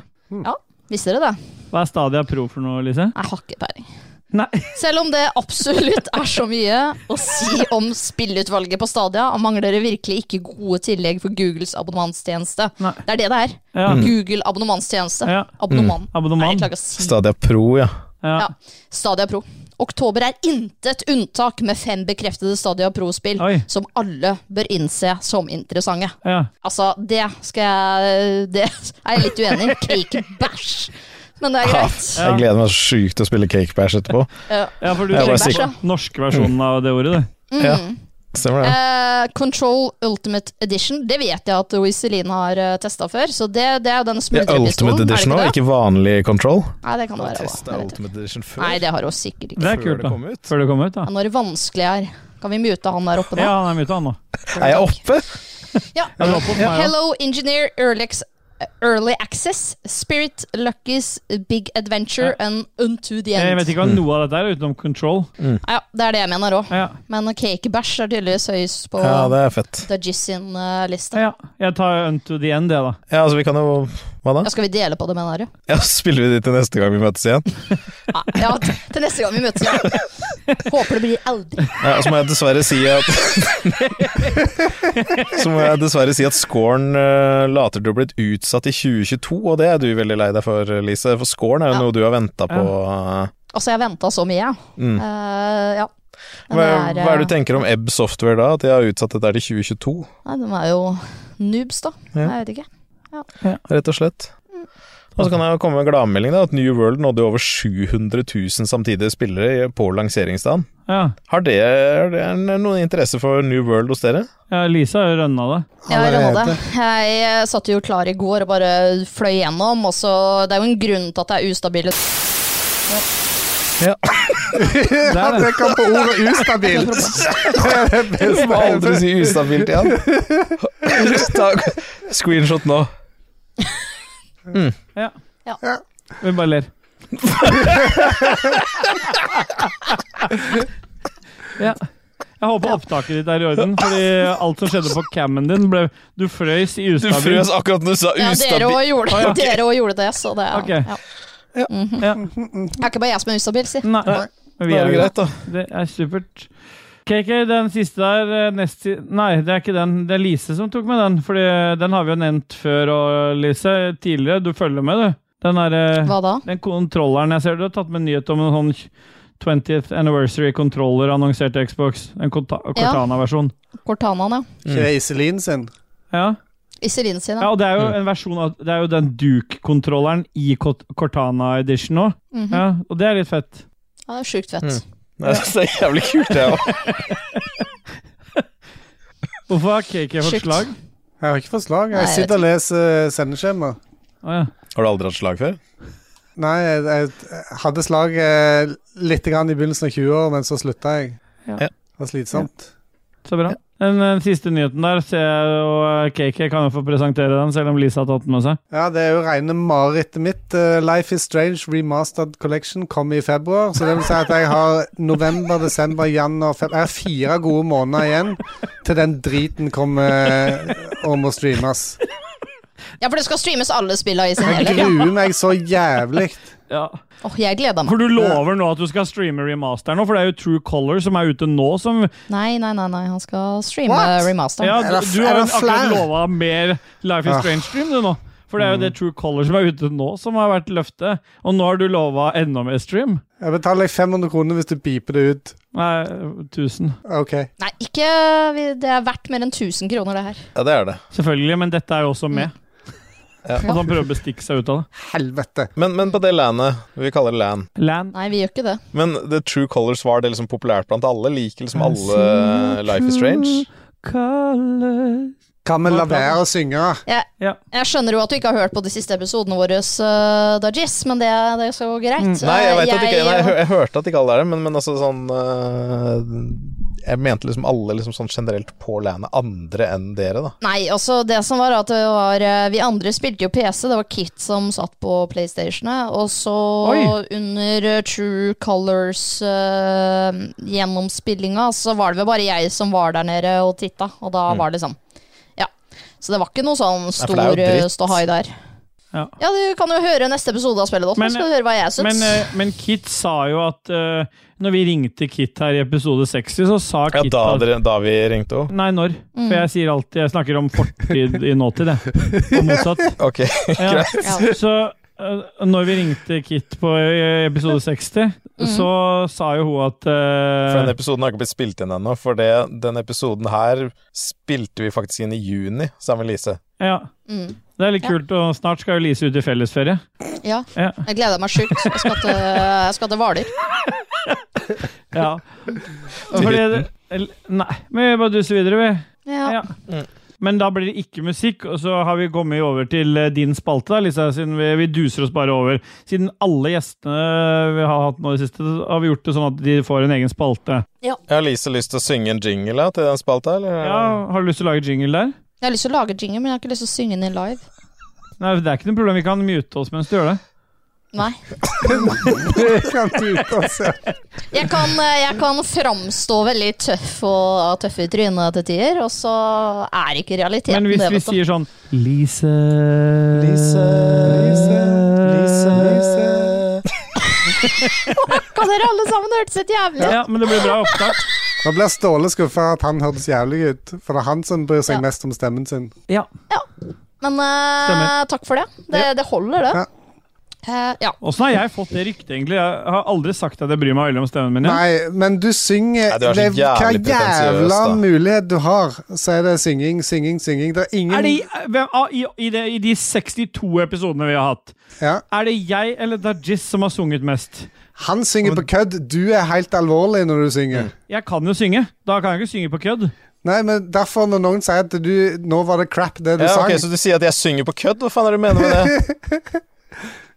Speaker 4: Visste dere det?
Speaker 3: Hva er Stadia Pro for noe, Lise?
Speaker 4: Jeg har ikke peiling.
Speaker 3: Nei.
Speaker 4: Selv om det absolutt er så mye å si om spillutvalget på Stadia, mangler det virkelig ikke gode tillegg for Googles abonnementstjeneste.
Speaker 3: Nei.
Speaker 4: Det er det det er.
Speaker 3: Ja.
Speaker 4: Google abonnementstjeneste.
Speaker 3: Ja.
Speaker 4: Abonnement. Nei, jeg
Speaker 3: Abonnement.
Speaker 4: klarer ikke å si
Speaker 2: Stadia Pro, ja.
Speaker 3: Ja.
Speaker 4: Ja. Stadia Pro. Oktober er intet unntak med fem bekreftede Stadia Pro-spill
Speaker 3: Oi.
Speaker 4: som alle bør innse som interessante.
Speaker 3: ja.
Speaker 4: Altså, det skal jeg Det er jeg litt uenig i. Cake bæsj. Men det er greit.
Speaker 3: Ja.
Speaker 2: Jeg gleder meg så sjukt til å spille Cake Bash etterpå.
Speaker 3: ja, for du
Speaker 2: Jeg
Speaker 4: var
Speaker 3: tenker
Speaker 4: sikker.
Speaker 3: på norske versjonen av det ordet, du.
Speaker 4: Mm.
Speaker 2: Ja. Stemmer det.
Speaker 4: Eh, Control Ultimate Edition, det vet jeg at Wizelin har uh, testa før. Så det, det er jo den
Speaker 2: Ja, Ultimate
Speaker 4: smultrepistolen. er det
Speaker 2: Edition
Speaker 4: ikke
Speaker 2: òg,
Speaker 4: det?
Speaker 2: ikke vanlig Control.
Speaker 4: Nei, det kan det være. også. Jeg vet ikke.
Speaker 2: Edition før.
Speaker 4: Nei, det har hun sikkert ikke.
Speaker 3: Det er
Speaker 2: Før
Speaker 3: kult,
Speaker 2: det
Speaker 3: da.
Speaker 2: kom ut.
Speaker 3: Før det kom ut, da.
Speaker 4: Men Når vanskelig er Kan vi mute han der oppe nå?
Speaker 3: Ja, han er mye til han nå.
Speaker 2: Er jeg oppe?
Speaker 4: Ja.
Speaker 3: Ja, det var på meg, da.
Speaker 4: Hello Engineer Early, Ex- Early Access, Spirit Lucky's Big Adventure and Unto the
Speaker 3: Jeg
Speaker 4: End.
Speaker 3: vet ikke hva noe av dette er utenom Control.
Speaker 4: Ja, det er det jeg mener òg.
Speaker 3: Ja,
Speaker 4: Men cakebæsj er tydeligvis høyest på
Speaker 2: Ja, det er fett.
Speaker 4: Dajis sin eh, liste.
Speaker 3: ja. Jeg tar Unto the End, jeg, da.
Speaker 2: Ja, altså vi kan jo Hva da?
Speaker 4: Ja, skal vi dele på det, mener du?
Speaker 2: Ja, så spiller vi de til neste gang vi møtes igjen.
Speaker 4: Ja, ja, t- til neste gang vi møtes. Ja. Håper det blir aldri.
Speaker 2: Ja, og så må jeg dessverre si at [LAUGHS] Så må jeg dessverre si at scoren eh, later til å ha blitt utsatt i 2022, og det er du veldig lei deg for, Lise. For scoren er jo
Speaker 4: Ja.
Speaker 2: noe du har venta på. eh.
Speaker 4: Altså, jeg venta så mye, jeg.
Speaker 2: Mm.
Speaker 4: Eh, ja.
Speaker 2: Hva,
Speaker 4: Men det
Speaker 2: hva er det du
Speaker 4: eh,
Speaker 2: tenker om Ebb Software da, at de har utsatt dette her til 2022,
Speaker 4: Nei, de er jo noobs, da.
Speaker 2: Ja.
Speaker 4: Jeg vet ikke.
Speaker 2: rett og slett? Og så kan jeg jo komme med en gladmelding, da, at New World nådde jo over 700 000 samtidige spillere i- på lanseringsdagen.
Speaker 3: Ja.
Speaker 2: Har det, er det noen interesse for New World hos dere?
Speaker 3: ja Lisa har jo rønna det.
Speaker 4: Ja, Jeg
Speaker 1: Allerede.
Speaker 4: runda det. Jeg eh, satt jo klar i går og bare fløy gjennom, og så Det er jo en grunn til at det er ustabile
Speaker 3: er det.
Speaker 1: det kan på ordet
Speaker 3: [LAUGHS]
Speaker 1: ustabilt!
Speaker 2: Du må aldri si ustabilt [LAUGHS] igjen. Ta screenshot nå.
Speaker 3: Vi bare ler. ja. Jeg håper opptaket ditt er i orden, fordi alt som skjedde på cammen din, ble Du frøys i
Speaker 2: Du frøs
Speaker 3: ustabilt.
Speaker 2: akkurat når du sa
Speaker 4: Ja, dere
Speaker 2: ustabil.
Speaker 4: òg gjorde,
Speaker 3: Å, ja, ok.
Speaker 4: [LAUGHS] dere også gjorde det, så det er
Speaker 3: Ok.
Speaker 4: ja.
Speaker 2: Ja.
Speaker 4: Mhm.
Speaker 3: Ja.
Speaker 4: Det er ikke bare jeg som er ustabil, si.
Speaker 3: Nei.
Speaker 2: Det
Speaker 3: Men vi
Speaker 2: er
Speaker 3: er
Speaker 2: jo
Speaker 3: jo
Speaker 2: greit, da.
Speaker 3: Det er supert. KK, den siste der eh, nest, si- Nei, det er ikke den. Det er Lise som tok med den. Fordi eh, den har vi jo nevnt før, og Lise. Tidligere. Du følger med, du. Den er, eh,
Speaker 4: Hva da?
Speaker 3: den kontrolleren jeg ser du har tatt med nyhet om en sånn 20th anniversary controller annonserte Xbox. En Corta-
Speaker 4: Ja.
Speaker 3: Cortana-versjon.
Speaker 4: Cortanaen, ja.
Speaker 1: Ikke det Iselin sin?
Speaker 3: Ja.
Speaker 4: Iselin sin,
Speaker 3: ja,
Speaker 4: ja.
Speaker 3: og det er jo en versjon av Det er jo den Duke-kontrolleren i Cort- Cortana Edition òg.
Speaker 4: Mhm.
Speaker 3: Ja, og det er litt fett.
Speaker 4: Ja, det er sjukt fett.
Speaker 2: Mm. Nei, jeg synes det er jævlig kult, det [LAUGHS] òg.
Speaker 3: Hvorfor har KK fått
Speaker 4: Shit.
Speaker 3: slag?
Speaker 1: Jeg har ikke forslag.
Speaker 4: Nei,
Speaker 1: Jeg
Speaker 4: jeg
Speaker 1: sitter og leser sendeskjema.
Speaker 3: Å ja.
Speaker 2: Har du aldri hatt slag før?
Speaker 1: Nei, jeg, jeg hadde slag eh, litt grann i begynnelsen av 20-åra, men så slutta jeg.
Speaker 3: Ja.
Speaker 2: Ja.
Speaker 1: Det var slitsomt.
Speaker 3: Så bra. Den, eh, siste nyheten der, ser jeg, og eh, KK kan jo få presentere den, selv om Lisa har tatt den med seg.
Speaker 1: Ja, det er jo rene marerittet mitt. Eh, Life Is Strange Remastered Collection kommer i februar, så det vil si at jeg har november, desember, januar, februar Jeg har fire gode måneder igjen til den driten kommer og må streames.
Speaker 4: Ja, for det skal streames alle spillene i sin
Speaker 1: Jeg
Speaker 4: helhet.
Speaker 1: gruer meg så jævlig.
Speaker 3: Ja.
Speaker 4: Åh, jeg gleder meg.
Speaker 3: For du lover nå at du skal streame remasteren nå, for det er jo True Color som er ute nå, som
Speaker 4: Nei, nei, nei, nei. han skal streame
Speaker 1: What?
Speaker 4: remasteren.
Speaker 3: Ja,
Speaker 1: Er det-
Speaker 3: du, du
Speaker 1: er
Speaker 3: har
Speaker 1: det
Speaker 3: akkurat
Speaker 1: flau?
Speaker 3: lova mer Life is
Speaker 1: Ah. Mm.
Speaker 3: Strange-stream, du nå. For det er jo det True Color som er ute nå, som har vært løftet. Og nå har du lova enda mer stream.
Speaker 1: Jeg betaler deg 500 kroner hvis du beeper det ut.
Speaker 3: Nei, 1000.
Speaker 1: OK.
Speaker 4: Nei, ikke vi- Det er verdt mer enn 1000 kroner, det her.
Speaker 2: Ja, det er det.
Speaker 3: Selvfølgelig, men dette er jo også med.
Speaker 2: Ja.
Speaker 3: At han prøver å bestikke seg ut av det.
Speaker 1: Helvete.
Speaker 2: Men, men på det landet, vi kaller det land
Speaker 3: Land.
Speaker 4: Nei, vi gjør ikke det.
Speaker 2: Men The True Colors var det liksom populært blant alle? Liker liksom alle Life is Strange?
Speaker 3: Colors.
Speaker 1: Kan vi la være å synge?
Speaker 2: [LAUGHS]
Speaker 4: Jeg,
Speaker 3: Ja.
Speaker 4: jeg skjønner jo at du ikke har hørt på de siste episodene våre, uh, Dajis, men det, det skal gå greit.
Speaker 2: Mm.
Speaker 4: Eh,
Speaker 2: Nei, jeg, vet at ikke, nei, jeg, hø-
Speaker 4: jeg,
Speaker 2: jeg hørte at ikke alle er det, men, men altså sånn øh, Jeg mente liksom alle liksom sånn generelt på landet, andre enn dere, da.
Speaker 4: nei, altså det som var at det var eh, Vi andre spilte jo PC, det var Kit som satt på PlayStationet. Og så
Speaker 3: Oi.
Speaker 4: under eh, True Colors-gjennomspillinga, så var det vel bare jeg som var der nede og titta, og da var det sånn. Ja. Så det var ikke noe sånn
Speaker 2: for det er
Speaker 4: stor
Speaker 2: jo
Speaker 4: eh,
Speaker 2: dritt.
Speaker 4: ståhai der.
Speaker 3: Ja.
Speaker 4: Ja, du kan jo høre neste episode av Spillet,
Speaker 3: Men,
Speaker 4: så skal du høre hva jeg syns.
Speaker 3: Men, eh, men Kit sa jo at eh, Når vi ringte Kit her i episode 60, så sa
Speaker 2: Ja,
Speaker 3: Kit
Speaker 2: da,
Speaker 3: at
Speaker 2: dere, da vi ringte òg?
Speaker 3: Nei, når?
Speaker 4: Mm.
Speaker 3: For jeg sier alltid Jeg snakker om fortid i nåtid, jeg. Og motsatt.
Speaker 1: [LAUGHS]
Speaker 2: Ok.
Speaker 3: Ja.
Speaker 4: Ja.
Speaker 3: Så eh, når vi ringte Kit på eh, episode 60,
Speaker 4: Mm.
Speaker 3: så sa jo hun at eh,
Speaker 2: [LAUGHS] For den episoden har ikke blitt spilt inn ennå, for det, den episoden her spilte vi faktisk inn i juni sammen med Lise.
Speaker 3: ja,
Speaker 4: Mm.
Speaker 3: Det er litt
Speaker 4: Ja.
Speaker 3: kult, og snart skal jo Lise ut i fellesferie.
Speaker 4: Ja.
Speaker 3: Ja.
Speaker 4: Jeg gleder meg sjukt. Jeg skal til, jeg skal til Hvaler.
Speaker 3: Ja. Fordi,
Speaker 2: hytten.
Speaker 3: eller- nei, men vi bare duser videre, vi.
Speaker 4: Ja.
Speaker 3: Ja. Men da blir det ikke musikk, og så har vi kommet over til eh, din spalte, da, Lisa, siden vi, vi duser oss bare over. Siden alle gjestene eh, vi har hatt nå i det siste, så har vi gjort det sånn at de får en egen spalte.
Speaker 2: Jeg har Lise lyst til å synge en jingle ja, til den spalta, eller?
Speaker 3: Ja, Har du lyst til å lage jingle der?
Speaker 4: Jeg har lyst til å lage jingle, men jeg har ikke lyst til å synge den live.
Speaker 3: Nei, Det er ikke noe problem, vi kan mute oss mens du gjør det.
Speaker 4: Nei.
Speaker 1: Det kan du ikke se.
Speaker 4: Jeg kan, eh, jeg kan framstå veldig tøff og tøff i trynet til tider, og så er ikke realiteten
Speaker 3: Men hvis
Speaker 4: det.
Speaker 3: vi
Speaker 4: vet du.
Speaker 3: sier sånn Lise
Speaker 2: Lise, Lise, Lise,
Speaker 4: Kan dere alle sammen hørtes helt jævlig ut?
Speaker 3: Ja, men det blir bra opptak.
Speaker 1: Nå blir Ståle skuffa at han hørtes jævlig ut, for det er han som bryr seg
Speaker 4: Ja.
Speaker 1: mest om stemmen sin.
Speaker 3: Ja.
Speaker 4: Men eh,
Speaker 3: Stemmer.
Speaker 4: takk for det. Det, det holder, det.
Speaker 1: Ja.
Speaker 4: Eh, ja.
Speaker 3: Åssen har jeg fått det ryktet, egentlig? Jeg har aldri sagt at jeg bryr meg veldig om stemmen min. jeg.
Speaker 1: Nei, men du synger
Speaker 2: Nei, du er så
Speaker 1: det, Hva
Speaker 2: jævlig pretensiøs,
Speaker 1: jævla
Speaker 2: da.
Speaker 1: mulighet du har, så er det synging, synging, synging. Det er ingen
Speaker 3: Er det, i- hvem, av- i, i, det, I de 62 episodene vi har hatt,
Speaker 1: ja.
Speaker 3: er det jeg eller Dajis som har sunget mest?
Speaker 1: Han synger på kødd. Du er helt alvorlig når du synger.
Speaker 3: Jeg kan jo synge. Da kan jeg ikke synge på kødd.
Speaker 1: Nei, men derfor når noen sier at du Nå var det crap, det du
Speaker 2: Ja,
Speaker 1: sang.
Speaker 2: ok, så du sier at jeg synger på kødd? Hva faen er det du mener med det?
Speaker 3: [LAUGHS]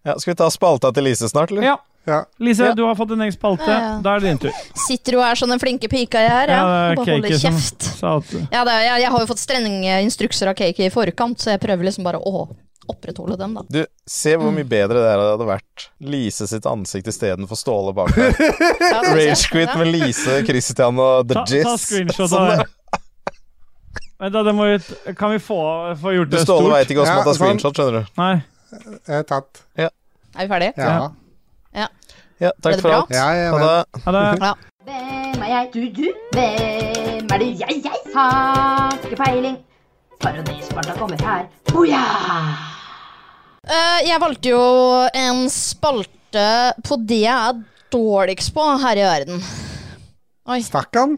Speaker 2: Ja, skal vi ta spalta til Lise snart, eller?
Speaker 3: Ja.
Speaker 1: Ja.
Speaker 3: Lise,
Speaker 2: Ja.
Speaker 3: du har fått en egen spalte.
Speaker 4: Ja, ja.
Speaker 3: Da er det din tur.
Speaker 4: Sitter jo her som den flinke pika jeg er, ja.
Speaker 3: Ja, det er
Speaker 4: Bare
Speaker 3: Keiki
Speaker 4: holder
Speaker 3: som-
Speaker 4: kjeft.
Speaker 3: Sa at,
Speaker 4: Ja, det, er- jeg, jeg har jo fått strenge instrukser av Kaki i forkant, så jeg prøver liksom bare å opprettholde dem, da.
Speaker 2: Du, se hvor mye bedre det her hadde vært. Lise sitt ansikt istenfor Ståle bak
Speaker 3: [LAUGHS]
Speaker 2: der.
Speaker 4: Ja, det-
Speaker 2: Rage quit
Speaker 4: Ja.
Speaker 2: med Lise, Christian og The
Speaker 3: ta,
Speaker 2: Jizz.
Speaker 3: ta screenshot av
Speaker 2: Sånn,
Speaker 3: det. Vent, da. Det må vi, kan vi få, få gjort
Speaker 2: Du,
Speaker 3: det
Speaker 2: Ståle
Speaker 3: stort?
Speaker 2: veit ikke hvordan man
Speaker 1: Ja,
Speaker 2: tar screenshot, skjønner du.
Speaker 3: Nei.
Speaker 1: Jeg er tatt.
Speaker 4: Er vi ferdige?
Speaker 1: Ja.
Speaker 3: Ja.
Speaker 2: Ja,
Speaker 4: Ble
Speaker 2: takk
Speaker 4: det
Speaker 2: for
Speaker 4: bra?
Speaker 2: alt.
Speaker 1: Ja, ja,
Speaker 2: Ha
Speaker 1: men.
Speaker 2: det.
Speaker 3: Ja, det er,
Speaker 8: Hvem er jeg? Du, du? Hvem er det jeg, jeg? Har ikke peiling. Paradisbarna kommer her. Boja!
Speaker 4: Eh, jeg valgte jo en spalte på det jeg er dårligst på her i verden.
Speaker 1: Stakk han?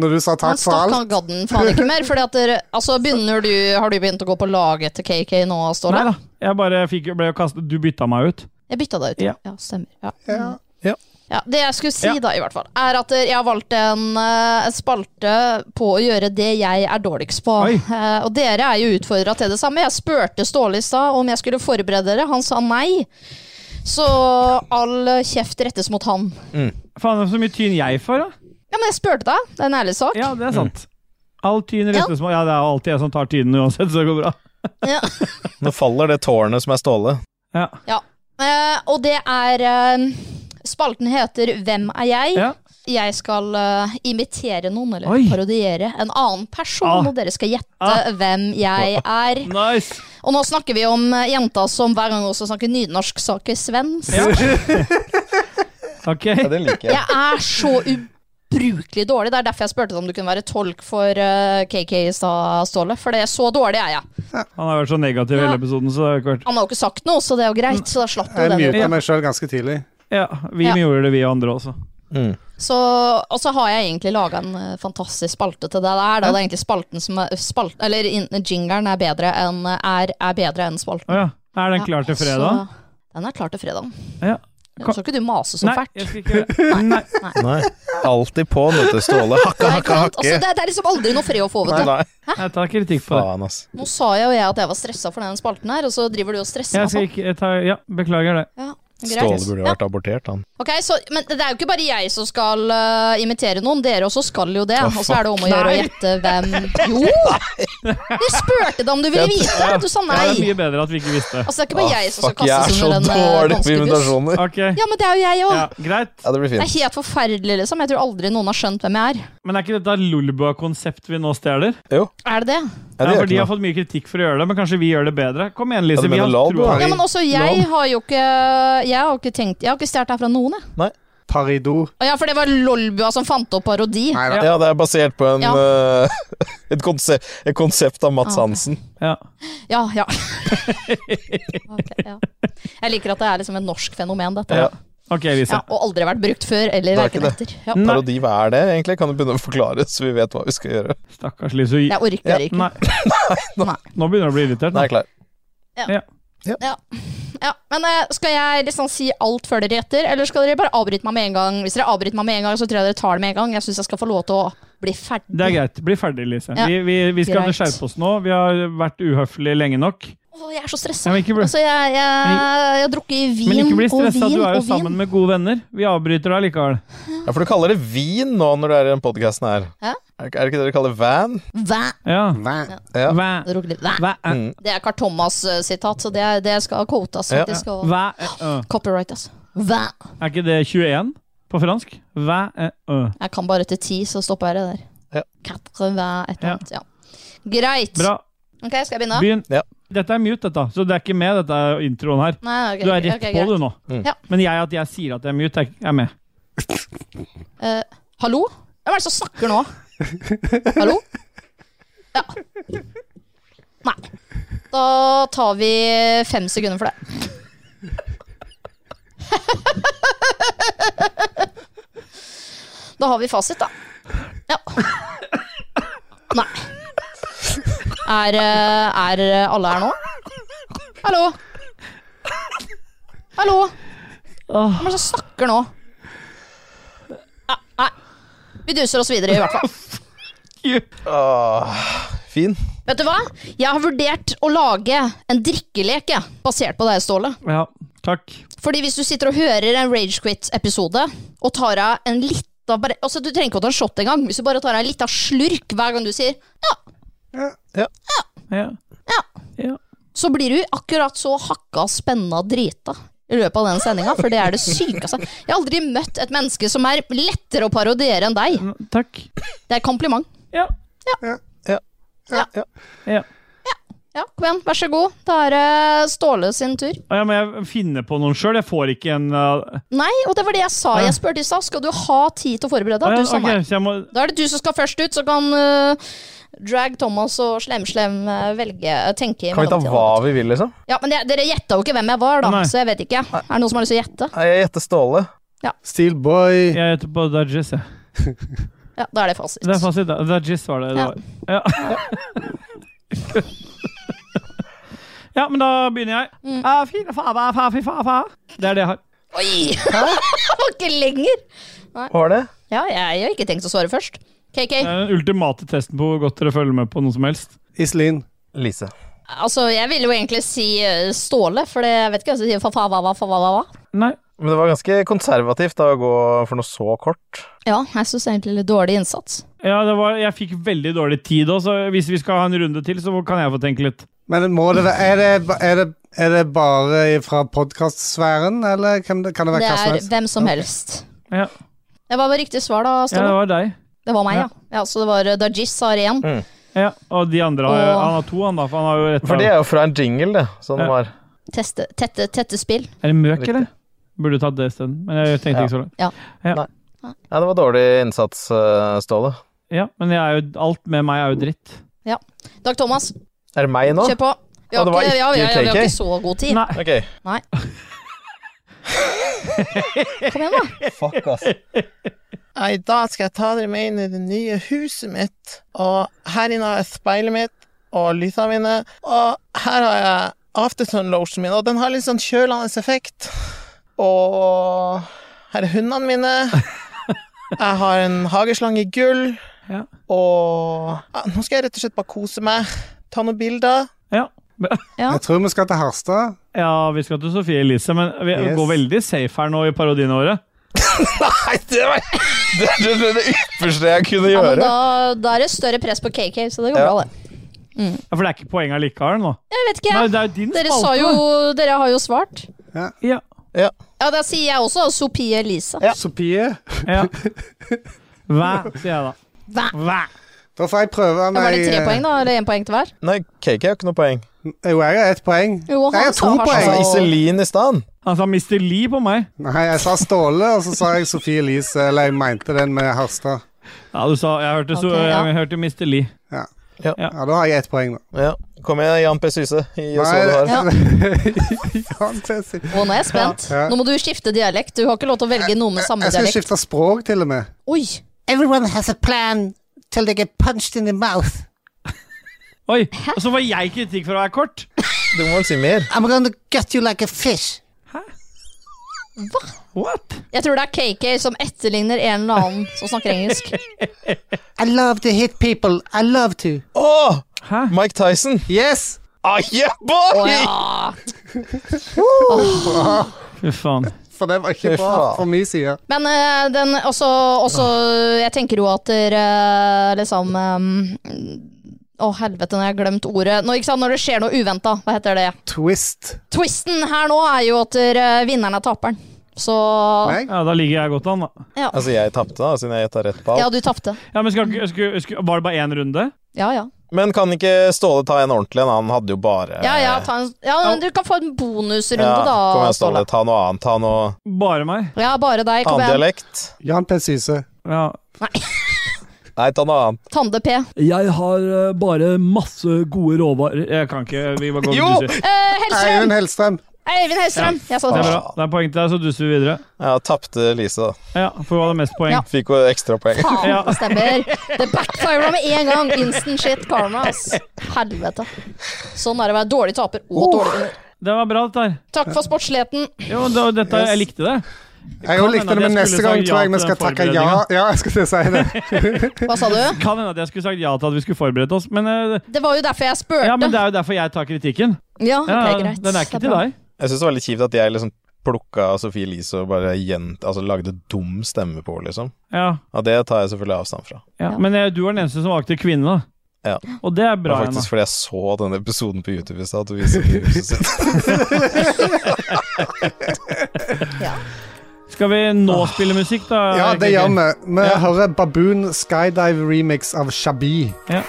Speaker 1: Når du sa
Speaker 4: Men
Speaker 1: takk for
Speaker 4: stakk han
Speaker 1: alt?
Speaker 4: gadd den faen ikke mer. Fordi at dere, altså begynner du, Har du begynt å gå på laget til KK nå,
Speaker 3: nei
Speaker 4: Ståle?
Speaker 3: da. Jeg bare fikk, ble jo kastet Du bytta meg ut.
Speaker 4: Jeg bytta deg ut.
Speaker 3: Ja.
Speaker 4: Ja, stemmer. Ja.
Speaker 1: Ja.
Speaker 4: Ja, Det jeg skulle si,
Speaker 3: Ja.
Speaker 4: da, i hvert fall, er at jeg har valgt en eh, spalte på å gjøre det jeg er dårligst på.
Speaker 3: Oi.
Speaker 4: Eh, og dere er jo utfordra til det samme. Jeg spurte Ståle i stad om jeg skulle forberede dere. Han sa nei. Så all kjeft rettes mot han.
Speaker 3: Faen, det er så mye tyn jeg får, da.
Speaker 4: Ja, men jeg spurte deg. Det er en ærlig sak.
Speaker 3: Ja, det er sant. All tyn rettes mot Ja, det er jo alltid jeg som tar tynen uansett, så det går bra.
Speaker 4: [LAUGHS] Ja.
Speaker 2: Nå faller det tårnet som er Ståle.
Speaker 3: Ja.
Speaker 4: Eh, og det er eh, Spalten heter Hvem er jeg?
Speaker 3: ja.
Speaker 4: Jeg skal eh, imitere noen, eller
Speaker 3: Oi.
Speaker 4: parodiere en annen person.
Speaker 3: Ah.
Speaker 4: Og dere skal gjette
Speaker 3: Ah.
Speaker 4: hvem jeg er.
Speaker 3: Nice.
Speaker 4: Og nå snakker vi om eh, jenta som hver gang også snakker nynorsk, snakker svensk.
Speaker 3: Ja. Ok.
Speaker 2: Ja, det liker jeg.
Speaker 4: Jeg er så ubrukelig dårlig. Det er derfor jeg spurte deg om du kunne være tolk for eh, KK i stad, Ståle. For det er så dårlig er jeg.
Speaker 3: Han har vært så negativ i hele episoden, så det har ikke vært
Speaker 4: Han har jo ikke sagt noe, så det er jo greit. Så da slapp du
Speaker 1: Jeg
Speaker 4: den.
Speaker 1: muta meg sjøl ganske tidlig.
Speaker 3: Ja, vi
Speaker 4: Ja.
Speaker 3: gjorde det, vi og andre også.
Speaker 2: Mm.
Speaker 4: Så, og så har jeg egentlig laga en eh, fantastisk spalte til det der. Da. Det er egentlig spalten som er spalt, Eller in- jingeren er bedre enn er, er bedre enn spalten.
Speaker 3: Å ja. Er den klar til
Speaker 4: Ja,
Speaker 3: fredag?
Speaker 4: Så, den er klar til fredag.
Speaker 3: Ja.
Speaker 4: Nå skal ikke du mase så
Speaker 3: Nei,
Speaker 4: fælt.
Speaker 3: jeg skal ikke gjøre Nei.
Speaker 2: Nei. Alltid på nå til Ståle. Hakka,
Speaker 4: Nei, ikke
Speaker 2: hakka,
Speaker 4: sant?
Speaker 2: hakke.
Speaker 4: Altså, det, det er liksom aldri noe fred å få,
Speaker 2: Nei,
Speaker 4: vet du.
Speaker 2: nei.
Speaker 3: Jeg tar kritikk på det.
Speaker 2: Faen, ass.
Speaker 4: Nå sa jeg jo jeg at jeg var stressa for den spalten her, og så driver du og stresser
Speaker 3: Jeg skal
Speaker 4: meg på.
Speaker 3: ikke jeg tar, Ja, beklager det.
Speaker 4: Ja,
Speaker 2: Ståle
Speaker 4: greit.
Speaker 2: burde jo
Speaker 4: Ja.
Speaker 2: vært abortert, han.
Speaker 4: Ok, så, men det er jo ikke bare jeg som skal eh, imitere noen. Dere også skal jo det.
Speaker 2: Å,
Speaker 4: Og så er det om å gjøre å
Speaker 3: Nei.
Speaker 4: gjette hvem Jo!
Speaker 2: [LAUGHS]
Speaker 4: Jeg spurte deg om du ville vite! Du sa
Speaker 3: Ja, det er
Speaker 4: nei.
Speaker 3: mye bedre at vi ikke visste.
Speaker 4: Altså, det er ikke bare
Speaker 2: Ah,
Speaker 4: jeg som skal
Speaker 2: fuck, jeg er
Speaker 4: kastes
Speaker 2: så
Speaker 4: under en eh,
Speaker 2: dårlig på
Speaker 4: danskebus.
Speaker 2: invitasjoner.
Speaker 3: Ok,
Speaker 4: Ja, men det er jo jeg òg.
Speaker 3: ja, greit.
Speaker 2: Ja, det blir
Speaker 4: Det er
Speaker 2: fint.
Speaker 4: helt forferdelig, liksom. Jeg tror aldri noen har skjønt hvem jeg er.
Speaker 3: Men er ikke dette Lolbua-konsept vi nå stjeler?
Speaker 4: Er det det?
Speaker 2: Ja, det gjør ikke
Speaker 3: Ja, for de har
Speaker 2: noe.
Speaker 3: fått mye kritikk for å gjøre det, men kanskje vi gjør det bedre? Kom igjen, Lise.
Speaker 2: Ja, du
Speaker 3: vi
Speaker 2: mener
Speaker 3: har
Speaker 2: Lolbua?
Speaker 3: troa.
Speaker 4: Ja, men også jeg har jo ikke Jeg har ikke tenkt Jeg har ikke stjålet det her fra noen, jeg.
Speaker 1: Paridor.
Speaker 4: Å Ja, for det var Lolbua som fant opp parodi.
Speaker 1: Nei da.
Speaker 3: Ja.
Speaker 2: Ja, det er basert på en,
Speaker 4: Ja.
Speaker 2: eh, [LAUGHS] et, konsept, et konsept av Mats
Speaker 4: Ah.
Speaker 2: Hansen.
Speaker 3: Ja.
Speaker 4: Ja, ja. [LAUGHS] Ok, ja. Jeg liker at det er liksom et norsk fenomen, dette.
Speaker 2: Ja.
Speaker 3: Ok, Lise.
Speaker 4: Ja, og aldri vært brukt før, eller
Speaker 2: Det er
Speaker 4: verken
Speaker 2: ikke
Speaker 4: etter. Ja.
Speaker 3: Nei.
Speaker 2: Parodi, hva er det egentlig? Kan du begynne å forklare, så vi vet hva vi skal gjøre?
Speaker 3: Stakkars Lise.
Speaker 4: Jeg orker ikke.
Speaker 3: Nei.
Speaker 4: [LAUGHS] Nei.
Speaker 3: Nå begynner du å bli irritert.
Speaker 2: Nei,
Speaker 3: Nei.
Speaker 2: klar.
Speaker 4: Ja, men eh, Skal jeg liksom si alt før dere gjetter, eller skal dere bare avbryte meg med en gang? Hvis dere avbryter meg med en gang, så tror jeg dere tar det med en gang. Jeg syns jeg skal få lov til å bli ferdig.
Speaker 3: Det er greit. Bli ferdig, Lise.
Speaker 4: Ja.
Speaker 3: Vi, vi, vi skal
Speaker 4: Greit.
Speaker 3: skjerpe oss nå. Vi har vært uhøflige lenge nok.
Speaker 4: Åh, jeg er så
Speaker 3: Ja,
Speaker 4: stressa.
Speaker 3: men ikke bli,
Speaker 4: Altså, jeg, jeg, jeg har drukket i vin
Speaker 3: men ikke bli
Speaker 4: og
Speaker 3: stressa.
Speaker 4: vin
Speaker 3: Du er jo
Speaker 4: og vin.
Speaker 3: sammen med gode venner. Vi avbryter deg likevel.
Speaker 2: Ja, for du kaller det vin nå når du er i den podkasten her.
Speaker 4: Ja.
Speaker 2: Er det ikke- er det ikke det dere kaller van?
Speaker 4: Væ,
Speaker 3: Ja.
Speaker 1: Hva?
Speaker 2: Ja.
Speaker 3: Hva?
Speaker 4: jeg har drukket litt. Væ.
Speaker 3: Hva?
Speaker 2: Mm.
Speaker 4: Det er Carl Thomas-sitat, så det, det skal altså. quotas
Speaker 2: Ja.
Speaker 4: faktisk. Og
Speaker 3: Hva? eh,
Speaker 4: copyrightes. Væ.
Speaker 3: øh. Er ikke det 21 på fransk? Hva? eh, øh.
Speaker 4: Jeg kan bare til ti, så stopper jeg det der.
Speaker 2: Ja.
Speaker 4: Quatre, væ, et
Speaker 3: Ja.
Speaker 4: eller annet. Ja. Greit.
Speaker 3: Bra.
Speaker 4: Ok, skal jeg begynne?
Speaker 3: Begynn.
Speaker 2: Ja.
Speaker 3: Dette er mute, dette. Så det er ikke med, dette er introen her.
Speaker 4: Nei, ok,
Speaker 3: Du er
Speaker 4: ok,
Speaker 3: rett
Speaker 4: greit.
Speaker 3: på, du, nå.
Speaker 2: Mm.
Speaker 4: Ja.
Speaker 3: Men jeg, at jeg sier at jeg er mute, er- er med.
Speaker 4: Eh, hallo? Hvem er det som snakker nå? Hallo? Ja. Nei. Da tar vi fem sekunder for det. Da har vi fasit, da. Ja. Nei. Er, eh, er alle her nå? Hallo? Hallo? Hvem er det som snakker nå? Nei. Vi duser oss videre, i hvert fall.
Speaker 2: Åh, Ah, fin.
Speaker 4: Vet du hva? Jeg har vurdert å lage en drikkelek jeg, basert på deg, Ståle.
Speaker 3: Ja, takk.
Speaker 4: Fordi hvis du sitter og hører en Ragequit-episode og tar av en litt av bare, altså Du trenger ikke å ta en shot engang. Hvis du bare tar av en liten slurk hver gang du sier ja,
Speaker 3: Ja.
Speaker 4: Ja.
Speaker 3: Ja.
Speaker 4: så blir du akkurat så hakka spenna drita i løpet av den sendinga, for det er det sykeste. Jeg har aldri møtt et menneske som er lettere å parodiere enn deg.
Speaker 3: N- Takk.
Speaker 4: Det er et kompliment.
Speaker 3: Ja. Ja.
Speaker 4: Ja, kom igjen, vær så god. Da er det Ståle sin tur.
Speaker 3: Å, ja, men jeg finner på noen sjøl. Jeg får ikke en uh,
Speaker 4: Nei, og det var det jeg sa. Jeg spurte i stad. Skal du ha tid til å forberede
Speaker 3: å, ja,
Speaker 4: deg? Du sa nei.
Speaker 3: Ah, ok, så jeg må
Speaker 4: Da er det du som skal først ut, så kan eh, Drag Thomas og Slem-Slem eh, velge tenke i
Speaker 2: Kan vi ta
Speaker 4: mellomtiden.
Speaker 2: hva vi vil, liksom?
Speaker 4: Ja, men det, Dere gjetta jo ikke hvem jeg var, da,
Speaker 3: Nei.
Speaker 4: så jeg vet ikke. Er det noen som har lyst til å gjette?
Speaker 2: Nei, Jeg gjetter Ståle.
Speaker 1: Steelboy.
Speaker 3: Jeg heter på Dudges, jeg.
Speaker 4: Ja, Da er det fasit.
Speaker 3: Det er fasit. da. Dudges var det. det
Speaker 4: Ja.
Speaker 3: var. Ja. ja, men da begynner jeg. Ah, fy fa, fa, fa, fy fa, fa. Det er det jeg har.
Speaker 4: Oi! det [LAUGHS] var ikke lenger!
Speaker 2: Hva var det?
Speaker 4: Ja, jeg har ikke tenkt å svare først. KK.
Speaker 3: Det er den ultimate testen på hvor godt dere følger med på noe som helst.
Speaker 1: Iselin.
Speaker 2: Lise.
Speaker 4: Altså, jeg ville jo egentlig si eh, Ståle, for det, jeg vet ikke hva som sier fa fa va va fa va va va.
Speaker 3: Nei.
Speaker 2: Men det var ganske konservativt da, å gå for noe så kort.
Speaker 4: Ja, jeg syns egentlig litt dårlig innsats.
Speaker 3: Ja, det var, jeg fikk veldig dårlig tid òg, så hvis vi skal ha en runde til, så kan jeg få tenke litt.
Speaker 1: Men må det være Er det, ba- er det, er det bare fra podkastsfæren, eller kan det, kan det være
Speaker 4: Det
Speaker 1: hva som
Speaker 4: er
Speaker 1: helst?
Speaker 4: hvem som helst.
Speaker 3: Ja,
Speaker 4: Det var bare riktig svar, da,
Speaker 3: ja det
Speaker 4: Ståle.
Speaker 3: var deg.
Speaker 4: Det var meg, ja. ja så det var eh, Dajis har én.
Speaker 3: Ja, og de andre har,
Speaker 4: Og-
Speaker 3: Han har to, han da. For han har jo rett
Speaker 2: For det er jo fra en jingle, det. Sånn
Speaker 3: Ja.
Speaker 2: det var.
Speaker 4: Teste, tette, tette spill.
Speaker 3: Er det møk,
Speaker 2: Riktig.
Speaker 3: eller? Burde du tatt det isteden. Men jeg tenkte
Speaker 2: Ja.
Speaker 3: ikke så langt.
Speaker 2: Ja, det var dårlig innsats, eh, Ståle.
Speaker 3: Ja, men jeg er jo, alt med meg er jo dritt.
Speaker 4: Dag Thomas,
Speaker 2: Er det meg nå?
Speaker 4: kjør på. Vi
Speaker 2: Ja,
Speaker 4: har,
Speaker 2: det var
Speaker 4: ikke, ja, vi,
Speaker 2: ikke
Speaker 4: har, vi har
Speaker 2: KK.
Speaker 4: ikke så god tid.
Speaker 3: Nei.
Speaker 2: Ok.
Speaker 4: Kom igjen, da.
Speaker 2: Fuck, ass.
Speaker 9: I dag skal jeg ta dere med inn i det nye huset mitt. Og her inne har jeg speilet mitt og lysene mine. Og her har jeg aftersun-lotionen min, og den har litt sånn kjølende effekt. Og her er hundene mine. Jeg har en hageslange i gull.
Speaker 3: Ja.
Speaker 9: Og ja, nå skal jeg rett og slett bare kose meg. Ta noen bilder.
Speaker 3: Ja. [LAUGHS]
Speaker 4: Ja.
Speaker 1: Jeg tror vi skal til Harstad.
Speaker 3: ja, vi skal til Sofie Elise, men vi
Speaker 1: Yes.
Speaker 3: går veldig safe her nå i parodiene våre.
Speaker 2: Nei, [LAUGHS] det var det, det, det, det ypperste jeg kunne
Speaker 4: Ja, men
Speaker 2: gjøre.
Speaker 4: da, da er det større press på KK, så det går
Speaker 2: Ja.
Speaker 4: bra, det.
Speaker 3: Ja, For det er ikke poenget likevel nå.
Speaker 4: Jeg vet ikke,
Speaker 3: Nei,
Speaker 4: jeg.
Speaker 3: det er jo din
Speaker 4: Dere, sa
Speaker 3: spalte.
Speaker 4: jo, dere har jo svart.
Speaker 3: Ja.
Speaker 4: Ja, da sier jeg også Sophie Elise.
Speaker 1: Sofie.
Speaker 2: [LAUGHS]
Speaker 3: ja. Hva, sier jeg da.
Speaker 4: Hva?
Speaker 3: Hva?
Speaker 1: Da får jeg prøve
Speaker 4: Ja,
Speaker 1: meg eh,
Speaker 4: var det tre poeng, da? Eller én poeng til hver?
Speaker 2: Nei, cake er jo ikke noe poeng.
Speaker 1: Jo, jeg har ett poeng.
Speaker 4: Jo, han
Speaker 1: Nei, jeg har
Speaker 4: sa
Speaker 1: to
Speaker 4: Harstad.
Speaker 1: poeng.
Speaker 2: Altså, Iselin i stand.
Speaker 3: Han sa Mr. Lee på meg.
Speaker 1: Nei, jeg sa Ståle, og så sa jeg Sofie Elise. Eller jeg mente den med Harstad.
Speaker 3: Ja, du sa Jeg hørte, så,
Speaker 4: Ok, ja.
Speaker 3: jeg hørte Mr. Lee.
Speaker 1: Ja, da har jeg ett poeng, da.
Speaker 2: Ja. Kom igjen, Jan P. Syse. Gi oss hva
Speaker 1: [LAUGHS]
Speaker 2: du har.
Speaker 1: Nei, Jan Tessi.
Speaker 4: Å, nå er jeg spent.
Speaker 1: Ja.
Speaker 4: Nå må du skifte dialekt. Du har ikke lov til å velge noe med samme
Speaker 1: Jeg skal
Speaker 4: dialekt.
Speaker 1: skifte språk, til og med.
Speaker 4: Oi!
Speaker 7: Everyone has a plan till they get punched in the mouth.
Speaker 3: Oi, og så var jeg kritikk for å være kort.
Speaker 2: Du må vel si mer.
Speaker 7: I'm gonna gut you like a fish.
Speaker 3: What?
Speaker 4: Jeg tror det er KK som etterligner en eller annen som snakker engelsk.
Speaker 7: I love to hit people. I love to.
Speaker 2: Å!
Speaker 3: Hæ?
Speaker 2: Mike Tyson.
Speaker 1: Yes!
Speaker 2: Ah, yeah, boy!
Speaker 4: Å ja!
Speaker 3: Fy faen.
Speaker 1: For det var ikke
Speaker 2: Fy
Speaker 1: bra
Speaker 2: faen.
Speaker 1: fra min side.
Speaker 4: Men eh, den også, også Jeg tenker jo at dere eh, liksom eh, Å, helvete, nå har jeg glemt ordet. Nå, ikke sant? Når det skjer noe uventa, hva heter det?
Speaker 1: Twist.
Speaker 4: Twisten her nå er jo at dere, eh, vinneren er taperen. Så
Speaker 1: Nei?
Speaker 3: Ja, da ligger jeg godt an, da.
Speaker 4: ja.
Speaker 2: Altså, jeg tapte, da, siden jeg gjetta rett på alt.
Speaker 4: ja, du tapte.
Speaker 3: Ja, men skal, ikke- skulle- skulle- Var det bare én runde?
Speaker 4: Ja ja.
Speaker 2: Men kan ikke Ståle ta en ordentlig en? Han hadde jo bare
Speaker 4: Ja, ja, ta en, ja, men du kan få en bonusrunde,
Speaker 2: Eh, Ja, Kom
Speaker 4: da.
Speaker 2: igjen, Ståle. Ta noe annet. Ta noe
Speaker 3: Bare meg?
Speaker 4: Ja, bare deg. Kom
Speaker 2: annen
Speaker 4: igjen.
Speaker 2: dialekt.
Speaker 1: Jan P. Syse.
Speaker 3: Ja.
Speaker 2: Nei, ta noe annet.
Speaker 4: Tande P.
Speaker 10: Jeg har eh, bare masse gode råvarer.
Speaker 3: Jeg kan ikke Vi bare går
Speaker 2: Jo!
Speaker 3: og duser.
Speaker 4: Eh, Hellstrøm!
Speaker 1: Eivind Hellstrøm.
Speaker 4: Eivind Hellstrøm! Jeg sa
Speaker 3: Det er
Speaker 4: det først.
Speaker 3: bra. Det er poeng til deg, så duser vi videre.
Speaker 2: Ja, tapte Lise, da.
Speaker 3: Ja, For hun hadde mest poeng.
Speaker 4: Ja.
Speaker 2: Fikk jo ekstrapoeng.
Speaker 4: Faen,
Speaker 3: Ja.
Speaker 4: det stemmer. Det backfira med en gang. Instant shit karma, ass. Helvete. Sånn er det å være dårlig taper og dårlig vinner.
Speaker 3: Det var bra, dette her.
Speaker 4: Takk for sportsligheten.
Speaker 3: Jo, det, var dette, jeg likte det.
Speaker 1: Jeg jo
Speaker 3: kan
Speaker 1: likte
Speaker 3: hende
Speaker 1: det,
Speaker 3: at
Speaker 1: men
Speaker 3: jeg
Speaker 1: neste gang
Speaker 3: skulle sagt
Speaker 1: tror
Speaker 3: ja
Speaker 1: jeg vi
Speaker 3: til
Speaker 1: skal
Speaker 3: den
Speaker 1: takke ja.
Speaker 3: forberedningen.
Speaker 1: Ja, jeg skulle si
Speaker 3: [LAUGHS]
Speaker 1: det.
Speaker 4: Hva sa du?
Speaker 3: Kan hende at jeg skulle sagt ja til at vi skulle forberedt oss, men eh,
Speaker 4: Det var jo derfor jeg
Speaker 3: Ja, men det
Speaker 4: spurte.
Speaker 3: er jo derfor jeg tar kritikken.
Speaker 4: Ja, ok,
Speaker 3: Ja,
Speaker 4: greit.
Speaker 3: Den er
Speaker 4: Det
Speaker 3: ikke
Speaker 4: er
Speaker 3: til
Speaker 4: bra.
Speaker 3: deg.
Speaker 2: Jeg syns det var litt kjipt at jeg liksom plukka Sophie Elise og bare gjent, altså, lagde dum stemme på henne, liksom.
Speaker 3: Ja,
Speaker 2: Ja, det tar jeg selvfølgelig avstand fra.
Speaker 3: ja.
Speaker 4: Ja.
Speaker 3: Men eh, du var den eneste som valgte kvinne, da.
Speaker 2: Ja.
Speaker 3: Og det er
Speaker 2: Det
Speaker 3: bra.
Speaker 2: var
Speaker 3: Emma.
Speaker 2: faktisk fordi jeg så denne episoden på YouTube i stad. at du viser det i huset sitt.
Speaker 3: [LAUGHS] Skal vi nå
Speaker 2: Ah.
Speaker 3: spille musikk, da?
Speaker 1: Ja, det gjør vi. Vi
Speaker 3: Ja.
Speaker 1: hører Baboon Skydive remix av Shabi. Eh,
Speaker 3: Ja.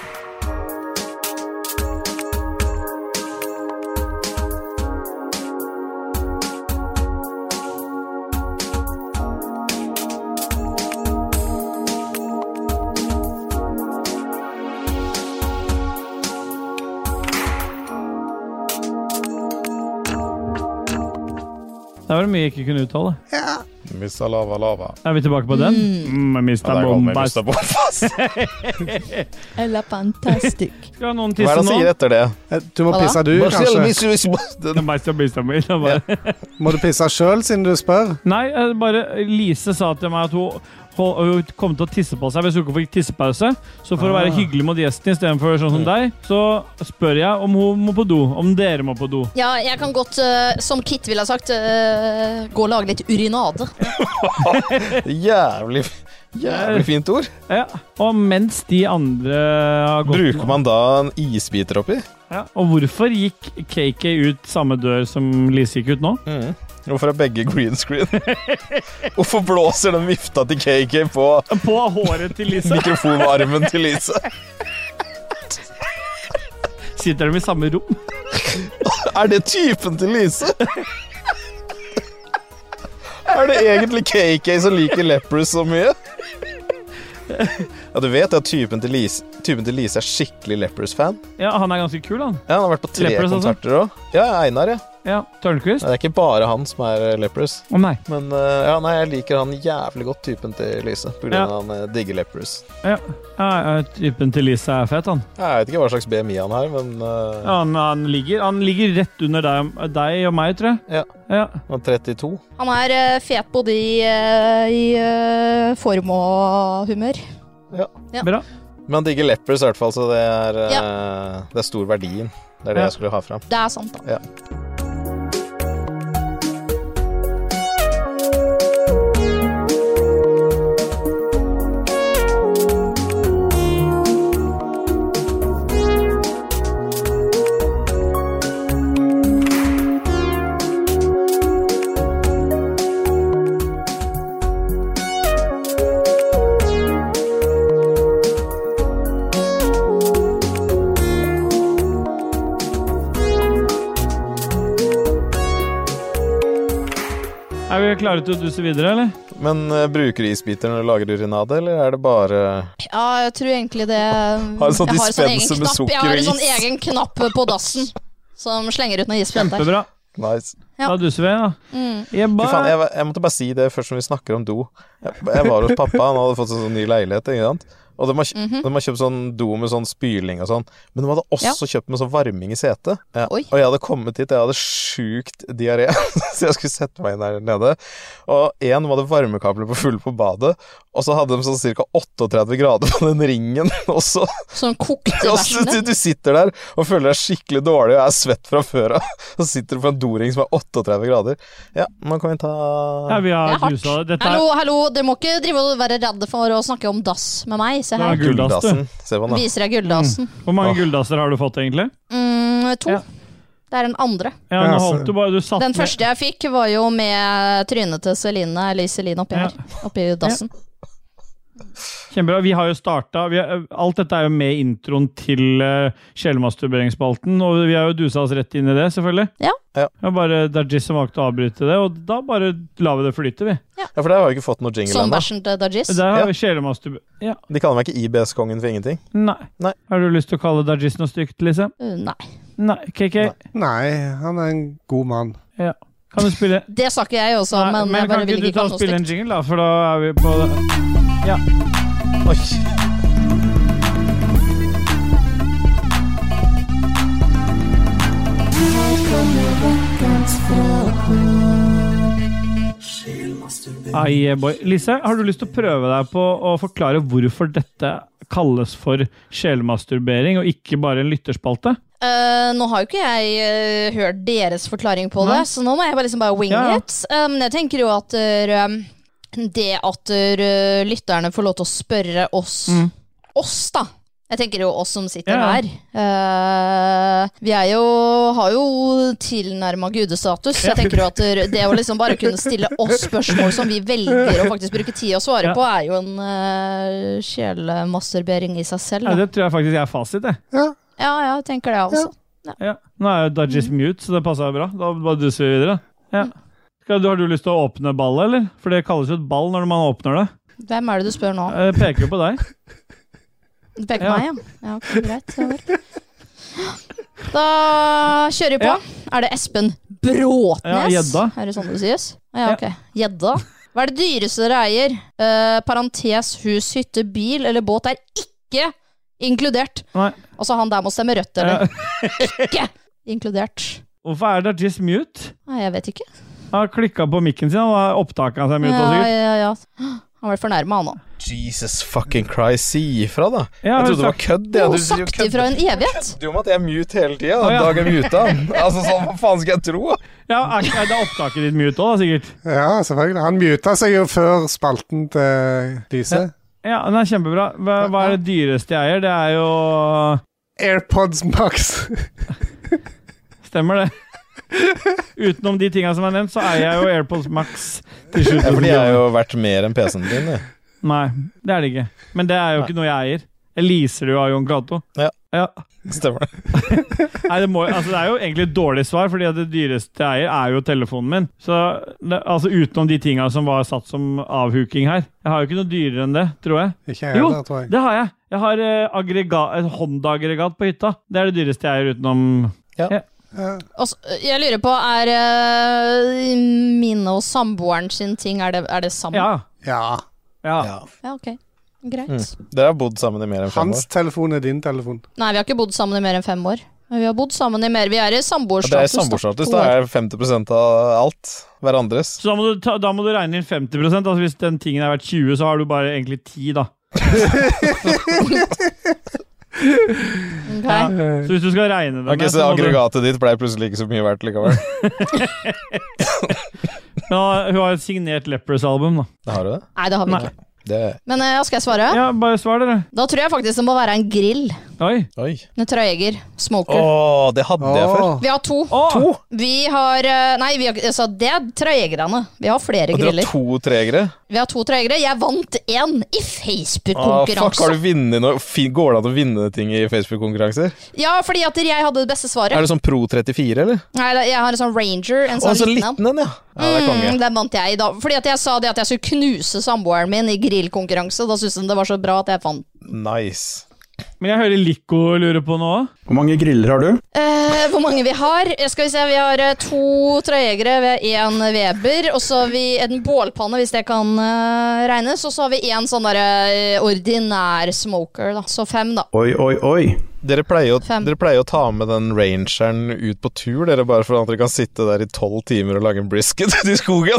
Speaker 3: Der var det mye jeg ikke kunne uttale.
Speaker 2: Mista lava lava.
Speaker 3: Er vi tilbake på den? Mm,
Speaker 2: Ja,
Speaker 3: jeg mistet
Speaker 2: der kom jeg,
Speaker 3: bombast.
Speaker 2: Mr. Bombast.
Speaker 4: Eller fantastic.
Speaker 3: Skal noen
Speaker 2: Hva
Speaker 3: tisse
Speaker 2: er det han
Speaker 3: nå?
Speaker 2: sier etter det?
Speaker 1: Eh, Du må
Speaker 4: Hva da?
Speaker 1: pisse du, kanskje.
Speaker 2: [LAUGHS] Den-
Speaker 3: Bombast og bistommer. Det er bare-
Speaker 1: Må du pisse sjøl, siden du spør?
Speaker 3: Nei, eh, bare Lise sa til meg at hun hol- hun kom til å tisse på seg hvis hun ikke fikk tissepause. Så for å
Speaker 10: Ah.
Speaker 3: være hyggelig mot gjesten istedenfor sånn som deg, så spør jeg om hun må på do. Om dere må på do.
Speaker 4: Ja, jeg kan godt, eh, som Kit ville ha sagt, eh, gå og lage litt urinade.
Speaker 2: Jævlig, jævlig fint ord.
Speaker 3: Ja, Og mens de andre har gått
Speaker 2: Bruker man da en isbiter oppi?
Speaker 3: Ja, Og hvorfor gikk KK ut samme dør som Lise gikk ut nå?
Speaker 2: Hvorfor er begge green screen? [LAUGHS] Hvorfor blåser den vifta til KK på
Speaker 3: På håret til Lise.
Speaker 2: mikrofonarmen til Lise?
Speaker 3: [LAUGHS] Sitter de i samme rom?
Speaker 2: Er det typen til Lise? Er det egentlig KK som liker Lepros så mye? Ja, du vet at typen til Lise, typen til Lise er skikkelig Lepros-fan?
Speaker 3: Ja, han er ganske kul, han.
Speaker 2: Ja, han har vært på tre
Speaker 3: Lepros, altså?
Speaker 2: konserter òg. Ja, Einar, ja.
Speaker 3: Ja, Tørnquist?
Speaker 2: Det er ikke bare han som er Lepros.
Speaker 3: Å nei.
Speaker 2: Men eh, ja, nei, jeg liker han jævlig godt, typen til Lise, på grunn
Speaker 3: Ja.
Speaker 2: av at han eh, digger Lepros.
Speaker 3: Ja, ja, ja, Typen til Lise er fet, han.
Speaker 2: Jeg vet ikke hva slags BMI han har, men eh,
Speaker 3: Ja, han, han, ligger, han ligger rett under deg, deg og meg, tror jeg. Ja.
Speaker 2: han er 32.
Speaker 4: Han er eh, fet både i, eh, i eh, form og humør. Ja.
Speaker 3: Bra.
Speaker 2: Men han digger Lepros i hvert fall, så det er, eh, det er stor verdien. Det er det
Speaker 4: Ja.
Speaker 2: jeg skulle ha fram.
Speaker 4: Det er sant, da.
Speaker 2: Ja.
Speaker 3: Er vi klare til å duse videre, eller?
Speaker 2: Men eh, bruker du isbiter når du lager urinade, eller er det bare
Speaker 4: Ja, jeg tror egentlig det
Speaker 2: Har en sånn
Speaker 4: Jeg har en sånn egen
Speaker 2: dispenser med
Speaker 4: knapp. Jeg
Speaker 2: sukker
Speaker 4: har
Speaker 2: og
Speaker 4: en sånn
Speaker 2: is.
Speaker 4: egen knapp på dassen som slenger ut noe isbit der.
Speaker 3: Kjempebra.
Speaker 2: Nice.
Speaker 4: Ja.
Speaker 3: Da duser vi, da.
Speaker 4: Mm.
Speaker 3: Jeg
Speaker 2: Fy faen,
Speaker 3: bare
Speaker 2: jeg, var- jeg måtte bare si det først som vi snakker om do. Jeg, jeg var hos pappa, han hadde fått seg sånn ny leilighet. Ikke sant? Og de har, kj-
Speaker 4: Mhm.
Speaker 2: de har kjøpt sånn do med sånn spyling og sånn. Men de hadde også kjøpt med sånn varming i setet. Ja.
Speaker 4: Oi.
Speaker 2: Og jeg hadde kommet dit, jeg hadde sjukt diaré, [LAUGHS] så jeg skulle sette meg inn der nede. Og én hadde varmekabler på full på badet, og så hadde de sånn ca. 38 grader på den ringen [LAUGHS] også.
Speaker 4: Som kokte
Speaker 2: Ja, så
Speaker 4: bæsjene.
Speaker 2: du, du sitter der og føler deg skikkelig dårlig og er svett fra før av. [LAUGHS] Så sitter du på en doring som er 38 grader. Ja, nå kan vi ta
Speaker 3: ja, vi
Speaker 4: Det
Speaker 3: har
Speaker 4: er hardt.
Speaker 3: dusa det. Dette
Speaker 4: Hallo,
Speaker 3: er,
Speaker 4: hallo, dere må ikke drive og være redde for å snakke om dass med meg. Se
Speaker 3: det
Speaker 4: her.
Speaker 3: er gulldass, du.
Speaker 2: Gulldassen. Se på den, da.
Speaker 4: Viser deg gulldassen.
Speaker 3: Hvor mange gulldasser har du fått, egentlig?
Speaker 4: Mm, to.
Speaker 3: Ja.
Speaker 4: Det er den andre.
Speaker 1: Ja,
Speaker 3: Ja, nå
Speaker 1: så-
Speaker 2: altså-
Speaker 3: holdt du bare Du satt
Speaker 4: Den første jeg fikk, var jo med trynet til Celine, eller Celine oppi
Speaker 3: Ja.
Speaker 4: her. Oppi dassen.
Speaker 3: med Kjempebra. Vi har jo starta vi har, Alt dette er jo med i introen til uh, sjelmasturberingsspalten, og vi har jo dusa oss rett inn i det, selvfølgelig.
Speaker 4: Ja.
Speaker 2: Ja.
Speaker 3: Det var bare Dajis som valgte å avbryte det, og da bare lar vi det flyte, vi.
Speaker 2: Ja, for der har vi ikke fått noe jingle
Speaker 4: Som
Speaker 2: ennå.
Speaker 4: bæsjen til Dajis.
Speaker 3: Der
Speaker 2: Ja.
Speaker 3: har vi sjelmasturber... Ja.
Speaker 2: De kaller meg ikke IBS-kongen for ingenting.
Speaker 3: Nei.
Speaker 2: Nei.
Speaker 3: Har du lyst til å kalle Dajis noe stygt, Lise?
Speaker 4: Uh, Nei.
Speaker 3: Nei. KK,
Speaker 1: Nei, han er en god mann.
Speaker 3: kan du spille
Speaker 4: Det sa ikke jeg også,
Speaker 3: Nei,
Speaker 4: men, jeg
Speaker 3: kan
Speaker 4: bare
Speaker 3: ikke
Speaker 4: vil
Speaker 3: du
Speaker 4: ikke
Speaker 3: ta
Speaker 4: kalle
Speaker 3: og
Speaker 4: noe
Speaker 3: spille
Speaker 4: stygt.
Speaker 3: en jingle, da? For da er vi på
Speaker 2: Oi.
Speaker 3: Ai, boy. Lise, har du lyst til å prøve deg på å forklare hvorfor dette kalles for sjelmasturbering, og ikke bare en lytterspalte?
Speaker 4: Eh, nå har jo ikke jeg eh, hørt deres forklaring på det,
Speaker 3: Nei.
Speaker 4: så nå må jeg bare liksom bare wing
Speaker 3: Ja, ja.
Speaker 4: it. Eh, Men jeg tenker jo at eh, det at eh, lytterne får lov til å spørre oss
Speaker 3: Mm.
Speaker 4: Oss, da. Jeg tenker jo oss som sitter
Speaker 3: Ja, ja.
Speaker 4: her. Eh, vi er jo har jo tilnærma gudestatus. så Jeg tenker jo at det å liksom bare kunne stille oss spørsmål som vi velger å faktisk bruke tid å svare
Speaker 3: Ja.
Speaker 4: på, er jo en uh, sjelemasturbering i seg selv.
Speaker 3: Ja,
Speaker 4: Da.
Speaker 3: det tror jeg faktisk er fasit. Det.
Speaker 4: Ja, ja, jeg tenker det altså. også.
Speaker 3: Ja. Nå er jo Dudgies mute, så det passer jo bra. Da bare duser vi videre. Mhm. Ja. Skal, du- har du lyst til å åpne ballet, eller? For det kalles jo et ball når man åpner det.
Speaker 4: Hvem er det du spør nå?
Speaker 3: Jeg peker jo på deg.
Speaker 4: Du peker
Speaker 3: Ja.
Speaker 4: på meg, ja. ja ok, greit. Ja, vel. Da kjører vi på.
Speaker 3: Ja.
Speaker 4: Er det Espen Bråtnes?
Speaker 3: Ja, gjedda.
Speaker 4: Er det sånn det sies? Ja, ok. Gjedda. Hva er det dyreste dere eier? Eh, parentes hus, hytte, bil eller båt er ikke inkludert.
Speaker 3: Nei.
Speaker 4: Altså, han der må stemme rødt, eller?
Speaker 3: [LAUGHS] Ja.
Speaker 4: Ikke inkludert.
Speaker 3: Hvorfor er Dudgies mute?
Speaker 4: Nei, jeg vet ikke.
Speaker 3: Han har klikka på mikken sin, og opptaket hans er mute.
Speaker 4: Ja,
Speaker 3: også, sikkert.
Speaker 4: ja, ja. Han ble fornærma, han òg.
Speaker 2: Jesus fucking Christ, si ifra, da. jeg
Speaker 3: men
Speaker 2: trodde det var
Speaker 3: sagt-
Speaker 2: kødd. jeg.
Speaker 4: Hun
Speaker 2: Du- du
Speaker 4: sagt ifra en evighet.
Speaker 2: kødder jo med at jeg er mute hele tida.
Speaker 3: Å, ja.
Speaker 2: Dag er muta. Altså, sånn, hva faen skal jeg tro?
Speaker 3: Ja, er, er det opptaket ditt mute òg, da, sikkert?
Speaker 1: Ja, selvfølgelig. Han muta seg jo før spalten til Lise.
Speaker 3: Ja, den er kjempebra. Hva, hva er det dyreste jeg eier? Det er jo
Speaker 1: AirPods Max. [LAUGHS]
Speaker 3: [LAUGHS] Stemmer det. Utenom de tinga som er nevnt, så eier jeg jo AirPods Max til slutt.
Speaker 2: Ja, for de er jo verdt mer enn PC-en din. jeg.
Speaker 3: Nei, det er det ikke. Men det er jo ikke noe jeg eier. Jeg leaser det jo av Jon Cato.
Speaker 2: Ja.
Speaker 3: Ja.
Speaker 2: Stemmer det.
Speaker 3: Nei, det, må, altså, det er jo egentlig et dårlig svar, fordi at det dyreste jeg eier, er jo telefonen min. Så det, altså Utenom de tinga som var satt som avhuking her. Jeg har jo ikke noe dyrere enn det, tror jeg.
Speaker 1: Ikke jeg
Speaker 3: Jo,
Speaker 1: heller, tror jeg.
Speaker 3: det har jeg. Jeg har eh, aggregat, et Honda-aggregat på hytta. Det er det dyreste jeg eier utenom
Speaker 4: Og så- Altså, jeg lurer på, er eh, mine og samboeren sin ting Er det, er det sammen?
Speaker 3: Ja.
Speaker 1: Ja.
Speaker 3: ja.
Speaker 4: Ja, ok. Greit.
Speaker 2: Dere har bodd sammen i mer enn fem
Speaker 1: Hans
Speaker 2: år.
Speaker 1: telefon er din telefon.
Speaker 4: Nei, vi har ikke bodd sammen i mer enn fem år. Men vi har bodd sammen i mer Vi er
Speaker 2: Ja,
Speaker 4: i
Speaker 2: Det er
Speaker 4: samboerstatus.
Speaker 2: samboerstatus.
Speaker 4: To
Speaker 2: Da
Speaker 4: år.
Speaker 2: er 50 av alt hverandres.
Speaker 3: Så da må, du ta, da må du regne inn 50 altså Hvis den tingen er verdt 20, så har du bare egentlig 10, da.
Speaker 4: Ok.
Speaker 3: Så hvis du skal regne det
Speaker 2: Ok,
Speaker 3: med
Speaker 2: Så
Speaker 3: så må du,
Speaker 2: aggregatet ditt ble plutselig ikke så mye verdt likevel.
Speaker 3: ja, Hun har et signert Lepros-album, da.
Speaker 2: Det [LAUGHS] har du det?
Speaker 4: Nei, det har vi
Speaker 3: Nei.
Speaker 4: ikke.
Speaker 2: Det
Speaker 4: Men eh, skal jeg svare?
Speaker 3: Ja, bare svar, dere.
Speaker 4: Da tror jeg faktisk det må være en grill.
Speaker 3: Oi.
Speaker 2: Oi.
Speaker 4: En trøyeger.
Speaker 2: Å,
Speaker 4: Smoker.
Speaker 2: det hadde jeg før.
Speaker 1: Åh,
Speaker 4: Vi har to.
Speaker 3: to?
Speaker 4: Vi har eh, Nei, vi har, ikke- altså, det er trøyegerne. Vi har flere
Speaker 2: Og dere har
Speaker 4: griller.
Speaker 2: to tregere?
Speaker 4: Vi har to trøyegere. Jeg vant én i
Speaker 2: Ah, fuck, har
Speaker 4: Facebook-konkurranse.
Speaker 2: du vunnet noe? Fin- Går det an å vinne ting i Facebook-konkurranser?
Speaker 4: ja, fordi at jeg hadde det beste svaret.
Speaker 2: Er du sånn Pro 34, eller?
Speaker 4: Nei, jeg har en sånn Ranger. En
Speaker 2: Å,
Speaker 4: sånn
Speaker 2: så
Speaker 4: liten en.
Speaker 2: liten en, ja. Ja, det er konge.
Speaker 4: Mm, den vant jeg i dag. Fordi at jeg sa det at jeg skulle knuse samboeren min i grillkonkurranse. Da syntes hun det var så bra at jeg vant.
Speaker 2: Nice.
Speaker 3: Men jeg hører Lico lure på noe òg.
Speaker 11: Hvor mange griller har du?
Speaker 4: Eh, hvor mange vi har? Eh, Skal vi se, Vi har eh, to trøyejegere, vi har én Weber, og så har vi en bålpanne, hvis det kan eh, regnes. Og så har vi én sånn derre eh, ordinær smoker, da. Så fem, da.
Speaker 11: Oi, oi, oi.
Speaker 2: Dere pleier, å,
Speaker 4: Fem.
Speaker 2: dere pleier å ta med den rangeren ut på tur, dere, bare for at dere kan sitte der i tolv timer og lage en brisket [LAUGHS] ute i skogen.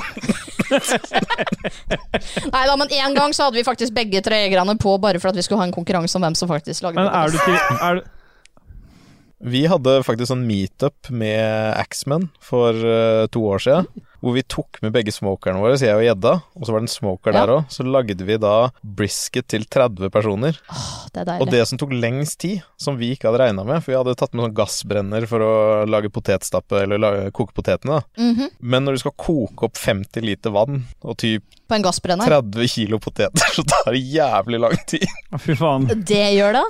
Speaker 4: Nei da, men én gang så hadde vi faktisk begge trøyejegerne på, bare for at vi skulle ha en konkurranse om hvem som faktisk lagde
Speaker 3: Men er
Speaker 4: det.
Speaker 3: du til er du,
Speaker 2: Vi hadde faktisk sånn meetup med Axman for eh, to år siden. Hvor vi tok med begge smokerne våre, så jeg og gjedda. Og så var det en smoker
Speaker 4: Ja.
Speaker 2: der òg. Så lagde vi da brisket til 30 personer.
Speaker 4: Det er
Speaker 2: Og
Speaker 4: deilig.
Speaker 2: det som tok lengst tid, som vi ikke hadde regna med, for vi hadde tatt med sånn gassbrenner for å lage potetstappe, eller lage, koke potetene, da.
Speaker 4: Mhm,
Speaker 2: Men når du skal koke opp 50 liter vann og typ
Speaker 4: På en gassbrenner.
Speaker 2: 30 kilo poteter, [LAUGHS] så tar det jævlig lang tid.
Speaker 3: Å, Fy faen.
Speaker 4: Det gjør det.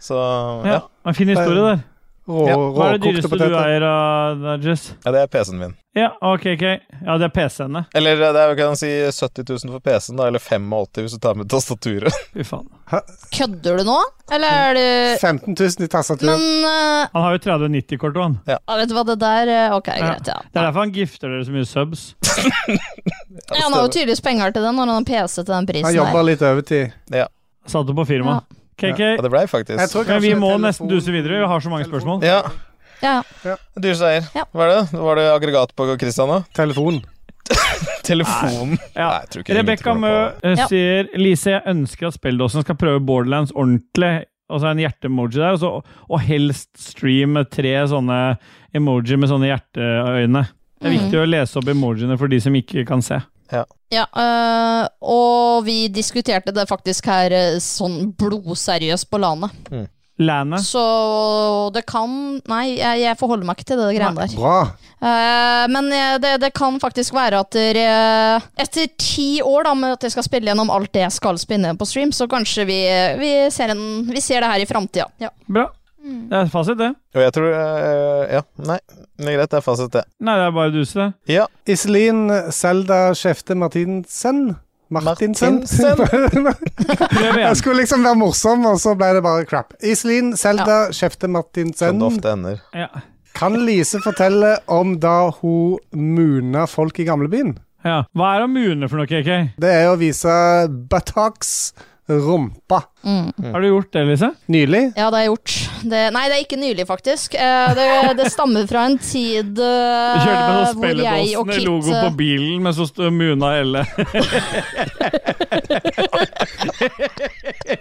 Speaker 2: Så
Speaker 3: Ja,
Speaker 2: ja,
Speaker 3: en fin historie der.
Speaker 1: Rå,
Speaker 2: Ja.
Speaker 3: Hva er det
Speaker 1: råkokte
Speaker 3: dyreste du
Speaker 1: poteter.
Speaker 3: eier, uh, Jess?
Speaker 2: ja det er PC-en min.
Speaker 3: Ja, ok, ok. Ja, det er PC-ene.
Speaker 2: Eller det er jo kan jeg si 70 000 for PC-en, da, eller 85 000 hvis du tar med tastaturet. [LAUGHS]
Speaker 3: Fy faen.
Speaker 4: Kødder du nå, eller er du
Speaker 1: 15 000 i tastatur.
Speaker 4: Men eh,
Speaker 3: Han har jo 3090-kort òg, han.
Speaker 4: ja, vet du hva, det der eh, Ok,
Speaker 3: Ja.
Speaker 4: greit, ja.
Speaker 3: Det er derfor han gifter dere så mye subs.
Speaker 4: Ja, Han har jo tydeligvis penger til det når han har PC til den prisen
Speaker 1: Han
Speaker 4: her.
Speaker 1: jobber litt overtid.
Speaker 3: Satte på firma.
Speaker 2: Ja,
Speaker 3: KK,
Speaker 2: det blei faktisk.
Speaker 1: Jeg tror
Speaker 3: men vi
Speaker 1: kanskje
Speaker 3: må
Speaker 1: telefon-
Speaker 3: nesten duse videre. Vi har så mange
Speaker 1: Telefon.
Speaker 3: spørsmål.
Speaker 2: Ja,
Speaker 4: Ja, ja.
Speaker 2: dyreste eier.
Speaker 4: Ja.
Speaker 2: Hva er det? Var det aggregat på Christian, da?
Speaker 1: Telefon.
Speaker 2: Telefonen.
Speaker 3: Ja.
Speaker 2: Nei, jeg tror ikke det er
Speaker 3: Rebekka
Speaker 2: mye til
Speaker 3: Mø
Speaker 2: å komme på.
Speaker 3: eh,
Speaker 4: Ja.
Speaker 3: sier Lise, jeg ønsker at Spelldåsen skal prøve Borderlands ordentlig. Og så er det en hjerte-emoji der, og, så, og helst stream med tre sånne emoji med sånne hjerteøyne. Det er
Speaker 4: Mhm.
Speaker 3: viktig å lese opp emojiene for de som ikke kan se.
Speaker 4: Ja, øh, og vi diskuterte det faktisk her øh, sånn blodseriøst på landet.
Speaker 3: Landet.
Speaker 4: Så det kan Nei, jeg, jeg forholder meg ikke til det greiene der.
Speaker 1: Bra.
Speaker 4: Eh, men eh, det, det kan faktisk være at dere, eh, etter ti år da, med at jeg skal spille gjennom alt det jeg skal spille gjennom på stream, så kanskje vi, eh, vi, ser, en, vi ser det her i framtida. Ja.
Speaker 3: Bra.
Speaker 4: Mm.
Speaker 3: Det er fasit, det.
Speaker 2: Og jeg tror eh, Ja, nei. Det er greit, det er fasit, det.
Speaker 3: Nei, det er bare å duse det.
Speaker 2: Ja.
Speaker 1: Iselin Selda Skjefte Martinsen. Martinsen.
Speaker 3: Prøv
Speaker 1: [LAUGHS] Jeg
Speaker 3: igjen.
Speaker 1: skulle liksom være morsom, og så ble det bare crap. Iselin Selda Skjefte Martinsen.
Speaker 2: Som det ofte ender.
Speaker 3: Ja.
Speaker 1: Kan Lise fortelle om da hun muna folk i gamlebyen?
Speaker 3: Ja. Hva er amune for noe, KK?
Speaker 1: Det er å vise buttocks rumpa.
Speaker 3: Har du gjort det, Lise?
Speaker 1: Nylig?
Speaker 4: Ja, det har jeg gjort. Det, nei, det er ikke nylig, faktisk. Eh, Det, det stammer fra en tid eh,
Speaker 3: Du kjørte med sånn
Speaker 4: hvor jeg og
Speaker 3: spelledåsende
Speaker 4: Kit
Speaker 3: logo på
Speaker 4: eh,
Speaker 3: bilen, men så sto Muna [LAUGHS] Elle.
Speaker 4: eh,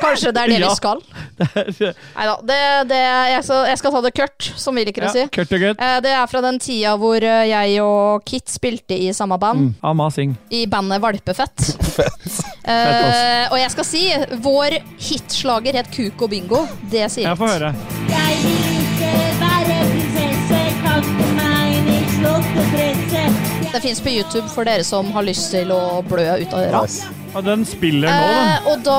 Speaker 4: Kanskje det er
Speaker 3: [LAUGHS]
Speaker 4: det
Speaker 3: Ja.
Speaker 4: vi skal? Nei da. Det, det, jeg, skal, jeg skal ta det kort, som vi liker å si.
Speaker 3: Kurt og Gut.
Speaker 4: Eh, Det er fra den tida hvor eh, jeg og Kit spilte i samme band.
Speaker 3: Ama Singh.
Speaker 4: I bandet
Speaker 3: [LAUGHS]
Speaker 4: Valpefett.
Speaker 3: Mm. Fett,
Speaker 4: Eh, og jeg skal si, vår hitslager het Kuk og bingo. Det sier
Speaker 3: Jeg får høre.
Speaker 11: Jeg vil ikke være prinsesse, kaste meg i slott og presse.
Speaker 4: Det fins på YouTube for dere som har lyst til å blø ut av øra.
Speaker 3: Og den spiller nå, den.
Speaker 4: Eh, og da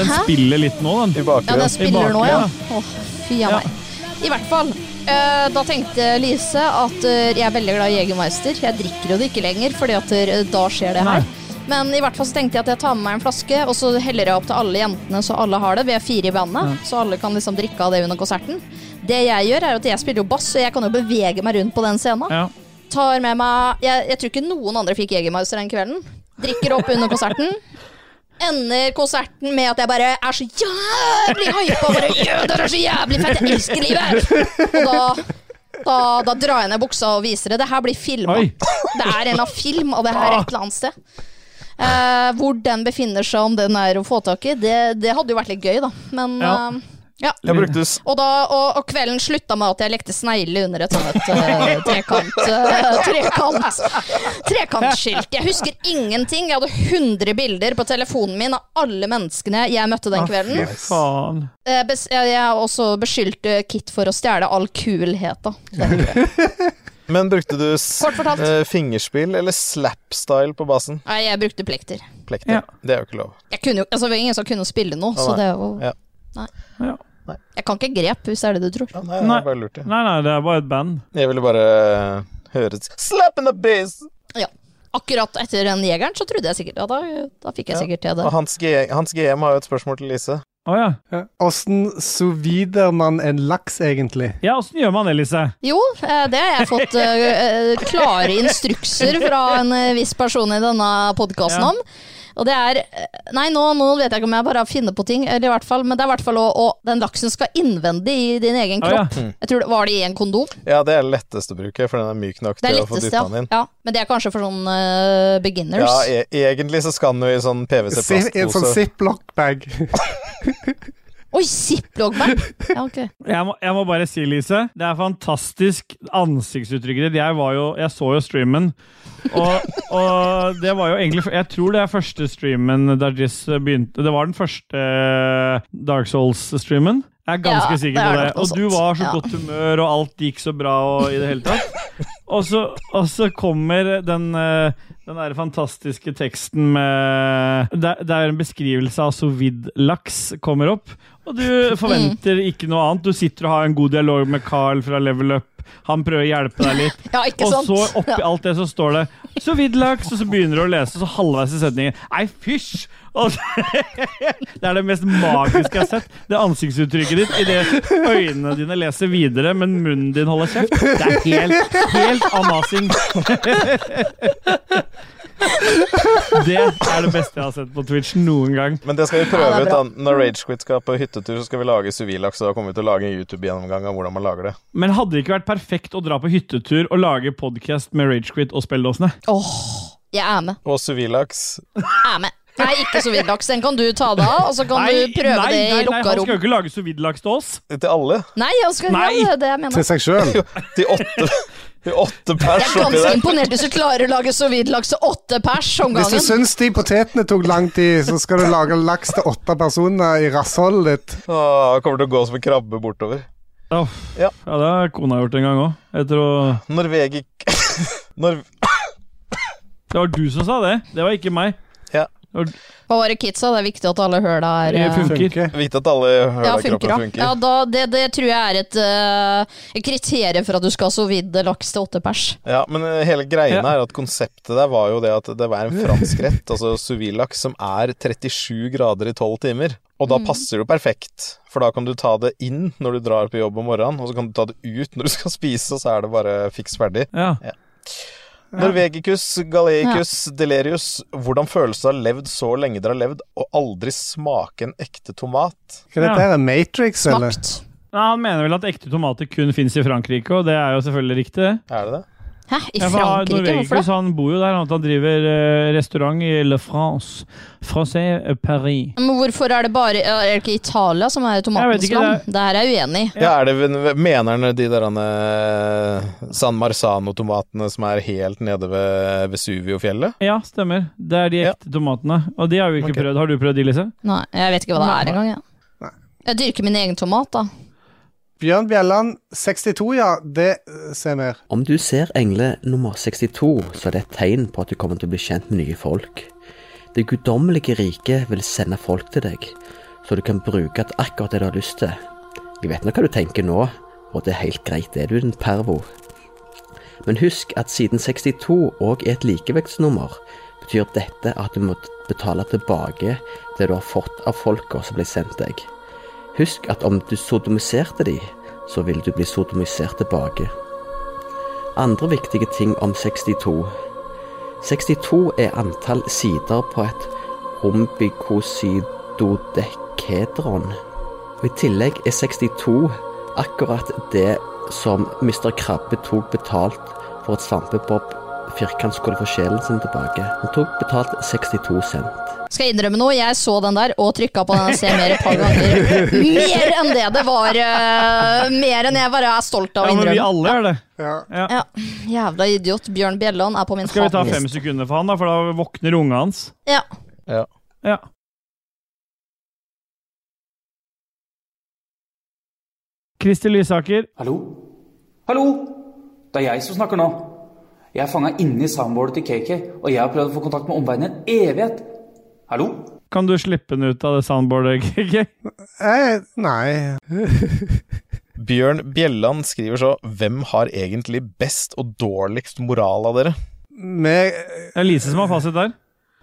Speaker 3: Den spiller litt nå, den. I
Speaker 4: Ja, den spiller nå, ja. Åh, fy a
Speaker 3: Ja.
Speaker 4: meg. I hvert fall. eh, da tenkte Lise at eh, jeg er veldig glad i Jegermeister. Jeg drikker jo det ikke lenger, fordi at eh, da skjer det her. Men i hvert fall så tenkte jeg at jeg tar med meg en flaske, og så heller jeg opp til alle jentene, så alle har det. Vi er fire i bandet, så alle kan liksom drikke av det under konserten. Det jeg gjør, er at jeg spiller jo bass, så jeg kan jo bevege meg rundt på den scenen.
Speaker 3: Ja.
Speaker 4: Tar med meg jeg, jeg tror ikke noen andre fikk Jegermeister den kvelden. Drikker opp under konserten. Ender konserten med at jeg bare er så jævlig hypa. Bare, «Jø, det er så jævlig fett, jeg elsker livet! Og da, da, da drar jeg ned buksa og viser det. Det her blir filma.
Speaker 3: Oi.
Speaker 4: Det er en eller annen film, og det her er et eller annet sted. Eh, hvor den befinner seg, om den er å få tak i, det, det hadde jo vært litt gøy, da. Men
Speaker 3: Ja.
Speaker 4: eh, ja.
Speaker 2: Jeg brukte s-
Speaker 4: Og, da, og, og kvelden slutta med at jeg lekte snegle under et sånt eh, trekant, eh, trekant trekantskilt. Jeg husker ingenting. Jeg hadde 100 bilder på telefonen min av alle menneskene jeg møtte den kvelden.
Speaker 3: Fy faen.
Speaker 4: Eh, bes- Jeg jeg har også beskyldte Kit for å stjele all kulhet, da.
Speaker 2: Men brukte du s
Speaker 4: Kort fortalt.
Speaker 2: eh, fingerspill eller slapstyle på basen?
Speaker 4: Nei, jeg brukte plekter.
Speaker 2: Plekter. Det er jo ikke lov.
Speaker 4: Jeg kunne jo, altså, det var ingen som kunne spille noe, så
Speaker 2: Å, nei.
Speaker 4: det er jo
Speaker 2: Ja.
Speaker 4: Nei.
Speaker 3: Ja.
Speaker 4: Jeg kan ikke grep, hvis det er det du tror.
Speaker 2: Nei,
Speaker 3: Nei.
Speaker 2: Jeg bare lurte.
Speaker 3: Nei, nei, det er bare et band.
Speaker 2: Jeg ville bare eh, høre Slap in the bass!
Speaker 4: Ja. Akkurat etter den jegeren så trodde jeg sikkert Ja, da, da fikk jeg sikkert til det.
Speaker 2: Og Hans, G Hans GM har jo et spørsmål til Lise.
Speaker 3: Å ja.
Speaker 1: Åssen sovider man en laks, egentlig?
Speaker 3: Ja, åssen gjør man det, Lise?
Speaker 4: Jo, eh, det har jeg fått eh, eh, klare instrukser fra en eh, viss person i denne podkasten
Speaker 3: Ja.
Speaker 4: om. Og det er eh, Nei, nå, nå vet jeg ikke om jeg bare finner på ting, eller i hvert fall, men det er i hvert fall å, å Den laksen skal innvendig i din egen
Speaker 3: Å, Ah, ja.
Speaker 4: kropp.
Speaker 2: Mm.
Speaker 4: Jeg tror det Var det i en kondom?
Speaker 2: Ja, det er det letteste å bruke, for den er myk nok
Speaker 4: Det er
Speaker 2: til å få
Speaker 4: lettest,
Speaker 2: dytta
Speaker 4: ja.
Speaker 2: den inn.
Speaker 4: ja. Men det er kanskje for sånn eh, beginners.
Speaker 2: Ja, e egentlig så skal den jo i sånn
Speaker 1: Si, en sånn
Speaker 2: PwC-plastpose.
Speaker 1: ziplock-bag.
Speaker 4: Oi, ziplock-bag! Ja, ok.
Speaker 3: Jeg må, jeg må bare si, Lise, det er fantastisk ansiktsuttrykk ditt. Jeg, var jo, jeg så jo streamen, og, og det var jo egentlig Jeg tror det er første streamen Dajis begynte Det var den første eh, Dark Souls-streamen. Jeg er ganske
Speaker 4: Ja,
Speaker 3: sikker
Speaker 4: det er
Speaker 3: på det.
Speaker 4: nok noe
Speaker 3: Og du
Speaker 4: sånt.
Speaker 3: var så
Speaker 4: Ja.
Speaker 3: godt humør, og alt gikk så bra og i det hele tatt. Og så, og så kommer den, eh, den der fantastiske teksten med Det det er en beskrivelse av sovid-laks kommer opp. Og du forventer ikke noe annet. Du sitter og har en god dialog med Carl fra Level Up. Han prøver å hjelpe deg litt.
Speaker 4: Ja, ikke
Speaker 3: Og
Speaker 4: sant?
Speaker 3: så oppi alt det så står det 'så vidt laks', og så begynner du å lese, og så halvveis i setningen 'ei, fysj'! Og så- [LAUGHS] Det er det mest magiske jeg har sett. Det ansiktsuttrykket ditt idet øynene dine leser videre, men munnen din holder kjeft. Det er helt, helt amazing. [LAUGHS] Det er det beste jeg har sett på Twitch noen gang.
Speaker 2: Men det skal vi
Speaker 4: Ja,
Speaker 2: prøve
Speaker 4: det er
Speaker 2: ut.
Speaker 4: bra.
Speaker 2: da. Når Ragequit skal på hyttetur, så skal vi lage suvilaks. Og da kommer vi til å lage en YouTube-gjennomgang av hvordan man lager det.
Speaker 3: Men hadde det ikke vært perfekt å dra på hyttetur og lage podkast med Ragequit og spilledåsene?
Speaker 4: Åh, jeg er med.
Speaker 2: Og suvilaks
Speaker 4: Jeg er med. Nei, ikke sovidlaks. Den kan du ta deg av, og så kan du prøve
Speaker 3: nei,
Speaker 4: det
Speaker 3: nei,
Speaker 4: i
Speaker 3: nei,
Speaker 4: lukka
Speaker 3: han skal
Speaker 4: rom.
Speaker 3: jo ikke lage sovidlaks til oss.
Speaker 2: til alle.
Speaker 4: Nei, Oskar,
Speaker 3: Nei.
Speaker 4: ja, det er det jeg mener.
Speaker 1: [LAUGHS] Til seg sjøl.
Speaker 2: Til
Speaker 4: [LAUGHS]
Speaker 2: åtte, til åtte
Speaker 4: Jeg
Speaker 2: pers
Speaker 4: er
Speaker 2: oppi
Speaker 4: ganske
Speaker 2: der.
Speaker 4: imponert hvis du klarer å lage sovidlaks til åtte pers om
Speaker 1: Hvis du
Speaker 4: gangen.
Speaker 1: syns de potetene tok lang tid, så skal du lage laks til åtte personer i rassholdet ditt.
Speaker 2: Åh, kommer til å gå som en krabbe bortover.
Speaker 3: Ja.
Speaker 2: Ja.
Speaker 3: ja, det har kona gjort en gang òg. Etter å
Speaker 2: Norvegi... [LAUGHS] Nor
Speaker 3: Det var du som sa det, det var ikke meg.
Speaker 4: Hva var det kidsa? Det er viktig at alle høla er
Speaker 3: Det
Speaker 4: eh,
Speaker 3: funker.
Speaker 2: Viktig at alle hører
Speaker 4: Ja,
Speaker 2: at
Speaker 4: funker,
Speaker 2: kroppen
Speaker 4: da.
Speaker 2: funker.
Speaker 4: Ja, da det, det tror jeg er et eh, kriterium for at du skal ha sovid laks til åtte pers.
Speaker 2: Ja, men eh, hele greia
Speaker 3: Ja.
Speaker 2: er at konseptet der var jo det at det var en fransk
Speaker 3: [LAUGHS]
Speaker 2: rett, altså souvillaks, som er 37 grader i 12 timer. Og
Speaker 3: Mm.
Speaker 2: da passer det jo perfekt, for da kan du ta det inn når du drar på jobb om morgenen, og så kan du ta det ut når du skal spise, og så er det bare fiks ferdig.
Speaker 3: Ja.
Speaker 2: Norvegicus, galeicus, delerius. Hvordan føles det å ha levd så lenge dere har levd, og aldri smake en ekte tomat?
Speaker 1: Hva er dette her, Matrix, eller?
Speaker 3: Nei, han mener vel at ekte tomater kun fins i Frankrike, og det er jo selvfølgelig riktig.
Speaker 2: Er det det?
Speaker 4: Hæ, i
Speaker 3: Ja, for han-
Speaker 4: Frankrike? Hvorfor det?
Speaker 3: Norvegikus, han bor jo der, han han driver eh, restaurant i Le France. Francais Paris.
Speaker 4: Men hvorfor er det bare Er det ikke Italia som er tomatenes
Speaker 3: ikke,
Speaker 4: land? Det her er jeg uenig i.
Speaker 2: Ja, er det, Mener han de der eh, San Marzano-tomatene som er helt nede ved Vesuviofjellet?
Speaker 3: Ja, stemmer. Det er de ekte tomatene. Og de har vi ikke prøvd. Har du prøvd de, Lise?
Speaker 4: Nei, jeg vet ikke hva det er engang. Jeg. jeg dyrker min egen tomat, da.
Speaker 1: Bjørn Bjelland, 62, ja. Det eh, ser mer.
Speaker 12: Om du ser engle nummer 62, så er det et tegn på at du kommer til å bli kjent med nye folk. Det guddommelige riket vil sende folk til deg, så du kan bruke at akkurat det du har lyst til. Jeg vet nå hva du tenker nå, og det er helt greit, det er du en pervo. Men husk at siden 62 òg er et likevektsnummer, betyr dette at du må betale tilbake det du har fått av folka som ble sendt deg. Husk at om du sodomiserte de, så vil du bli sodomisert tilbake. Andre viktige ting om 62. 62 er antall sider på et rombikosidodekadron. Og I tillegg er 62 akkurat det som Mr. Krabbe tok betalt for at svampebob firkantskål for sjelen sin tilbake. Han tok betalt 62 cent.
Speaker 4: Skal jeg innrømme noe? Jeg så den der og trykka på den se mer et par ganger. Mer enn det det var. eh, mer enn jeg bare er stolt av å
Speaker 3: Ja, men vi
Speaker 4: innrømme.
Speaker 3: alle gjør det.
Speaker 4: Ja. Jævla idiot. Bjørn Bjelland er på min
Speaker 3: Skal vi ta
Speaker 4: hatliste.
Speaker 3: fem sekunder for han, da, for da våkner ungen hans?
Speaker 4: Ja.
Speaker 2: Ja.
Speaker 3: Ja. Kristi Lysaker.
Speaker 13: Hallo? Hallo? Det er jeg som snakker nå. Jeg er fanga inni soundboardet til KK, og jeg har prøvd å få kontakt med omverdenen i en evighet. Hallo?
Speaker 3: Kan du slippe den ut av det soundboardet, [LAUGHS] Kiki?
Speaker 1: Eh, nei.
Speaker 2: Bjørn Bjelland skriver så Hvem har egentlig best og dårligst moral av dere?
Speaker 1: Med
Speaker 3: Det er Lise som har fasit der.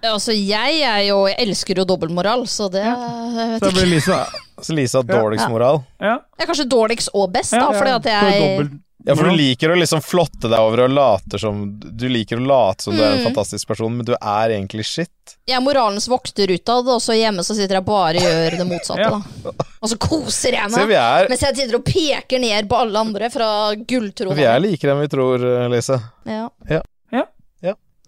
Speaker 4: Altså, jeg er jo Jeg elsker jo dobbeltmoral, så det jeg vet ikke.
Speaker 3: Lisa
Speaker 2: Så Lisa har dårligst
Speaker 4: Ja.
Speaker 2: moral?
Speaker 4: Jeg er kanskje dårligst og best, da, fordi at jeg
Speaker 2: Ja, for du liker å liksom flotte deg over og later som Du liker å late som du er en
Speaker 4: Mm.
Speaker 2: fantastisk person, men du er egentlig shit.
Speaker 4: jeg er moralens vokter utad, og så hjemme så sitter jeg bare og gjør det motsatte. da. Og så koser jeg
Speaker 2: Se,
Speaker 4: meg,
Speaker 2: vi er-
Speaker 4: mens jeg sitter og peker ned på alle andre fra gulltronen.
Speaker 2: Vi er likere enn vi tror, eh, Lise.
Speaker 4: Ja.
Speaker 2: Ja.
Speaker 3: Ja.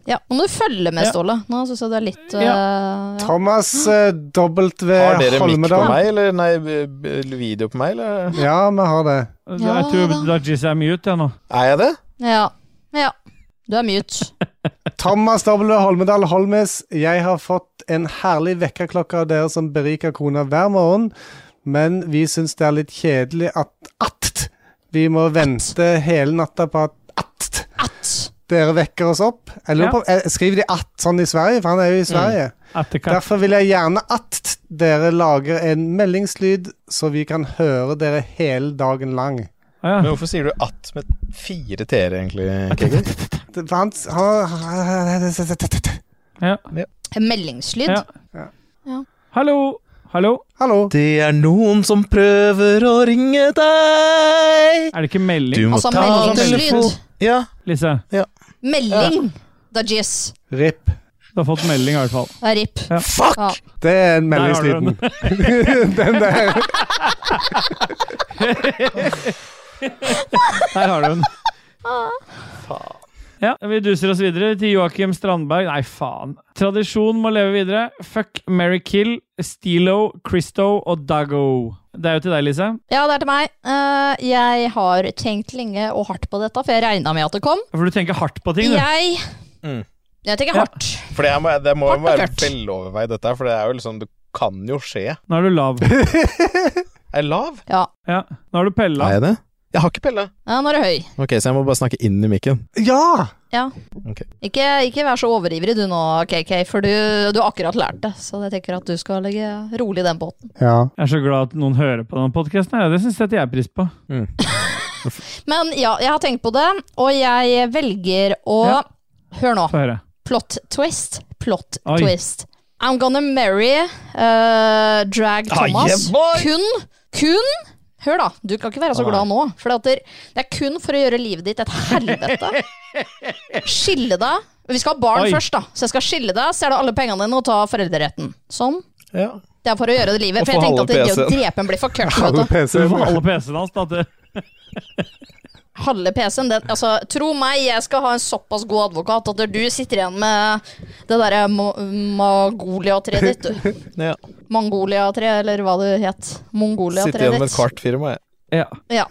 Speaker 2: Ja.
Speaker 4: Nå må du følge med,
Speaker 2: Ja.
Speaker 4: Ståle. Nå syns jeg det er litt eh, ja.
Speaker 1: Thomas eh, W.
Speaker 2: Har dere mikk på
Speaker 1: Holmedal.
Speaker 2: meg, eller nei, b- b- video på meg, eller?
Speaker 1: Ja, vi har det.
Speaker 3: Jeg tror Dajis er mute, jeg nå.
Speaker 2: Er jeg det?
Speaker 4: ja. ja. Du er mute.
Speaker 1: Thomas W. Holmedal Holmes, jeg har fått en herlig vekkerklokke av dere som beriker kona hver morgen, men vi syns det er litt kjedelig at at vi må vente hele natta på at at, dere vekker oss opp. Jeg lurer
Speaker 3: Ja.
Speaker 1: på, eh, Skriver de at sånn i Sverige? For han er jo i Sverige.
Speaker 3: Atterkatt.
Speaker 1: Derfor vil jeg gjerne at dere lager en meldingslyd, så vi kan høre dere hele dagen lang.
Speaker 2: Men hvorfor sier du at med fire t-er, egentlig? Kiki?
Speaker 1: Det- for Han, han,
Speaker 3: Ja.
Speaker 4: Meldingslyd.
Speaker 3: Ja.
Speaker 4: Ja.
Speaker 3: Hallo? Hallo?
Speaker 2: Det er noen som prøver å ringe deg.
Speaker 3: Er det ikke melding? Du
Speaker 2: må
Speaker 4: Altså, ta meldingslyd. telefon-
Speaker 2: Ja.
Speaker 3: Lise,
Speaker 4: Melding, Dajis.
Speaker 1: Rip.
Speaker 3: du har fått melding i hvert fall.
Speaker 4: Det er Rip.
Speaker 3: Fuck!
Speaker 4: Ja.
Speaker 1: Det er en
Speaker 3: Der har du
Speaker 1: meldingsliten. den der.
Speaker 3: Der har du
Speaker 4: [LAUGHS]
Speaker 3: den.
Speaker 4: Ah.
Speaker 3: Ja, Vi duser oss videre til Joakim Strandberg. Nei, faen. Tradisjon må leve videre. Fuck, Mary Kill, Stilo, Christo og Dago. Det er jo til deg, Lise.
Speaker 4: Ja, det er til meg. Eh, jeg har tenkt lenge og hardt på dette, for jeg regna med at det kom.
Speaker 3: For du tenker hardt på ting, du.
Speaker 4: Jeg,
Speaker 2: Mm.
Speaker 4: jeg tenker
Speaker 3: Ja.
Speaker 4: hardt.
Speaker 2: For det, er, må- det må jo
Speaker 4: Hardt og
Speaker 2: være
Speaker 4: tørt.
Speaker 2: veloverveid, dette her, for det er jo liksom Det kan jo skje.
Speaker 3: Nå er du lav.
Speaker 2: Er jeg lav?
Speaker 4: Ja.
Speaker 3: Ja. Nå er du pella.
Speaker 2: Er jeg det? Jeg har ikke pella.
Speaker 4: ja, nå er det høy.
Speaker 2: Ok, så jeg må bare snakke inn i mikken.
Speaker 1: Ja!
Speaker 4: Ja.
Speaker 2: Ok.
Speaker 4: Ikke, ikke vær så overivrig du nå, KK, for du, du har akkurat lært det. Så jeg tenker at du skal legge rolig i den båten.
Speaker 3: Jeg er så glad at noen hører på denne podkasten. Det syns jeg at jeg er pris på.
Speaker 4: Men ja, jeg har tenkt på det, og jeg velger å
Speaker 3: Ja.
Speaker 4: Hør nå.
Speaker 3: Få høre.
Speaker 4: Plot twist. Plot
Speaker 3: Oi.
Speaker 4: twist. I'm gonna marry eh, Drag
Speaker 3: Ah,
Speaker 4: Thomas.
Speaker 3: yeah, boy!
Speaker 4: kun, kun Hør da, du kan ikke være så
Speaker 3: Nei.
Speaker 4: glad nå. For at det det er kun for å gjøre livet ditt et helvete. Skille deg. Vi skal ha barn
Speaker 3: Oi.
Speaker 4: først, da. Så jeg skal skille deg, så er det alle pengene dine og ta foreldreretten. Sånn.
Speaker 9: Ja.
Speaker 4: Det er for å gjøre det livet.
Speaker 3: Og
Speaker 4: For jeg
Speaker 3: få
Speaker 4: tenkte
Speaker 3: halve
Speaker 4: at det, det å
Speaker 3: PC-en.
Speaker 4: drepe en blir for kørt, vet du.
Speaker 3: Du får [LAUGHS] halve PC-en hans, da. til-
Speaker 4: halve PC-en. Den, altså, tro meg, jeg skal ha en såpass god advokat at du sitter igjen med det derre ma- Magolia-treet ditt, du.
Speaker 2: [LAUGHS] Ja.
Speaker 4: Mangolia-tre, eller hva det het.
Speaker 2: Sitte
Speaker 4: Mongolia-treet
Speaker 2: igjen med et
Speaker 4: ditt.
Speaker 2: kvart firma, jeg.
Speaker 4: Ja.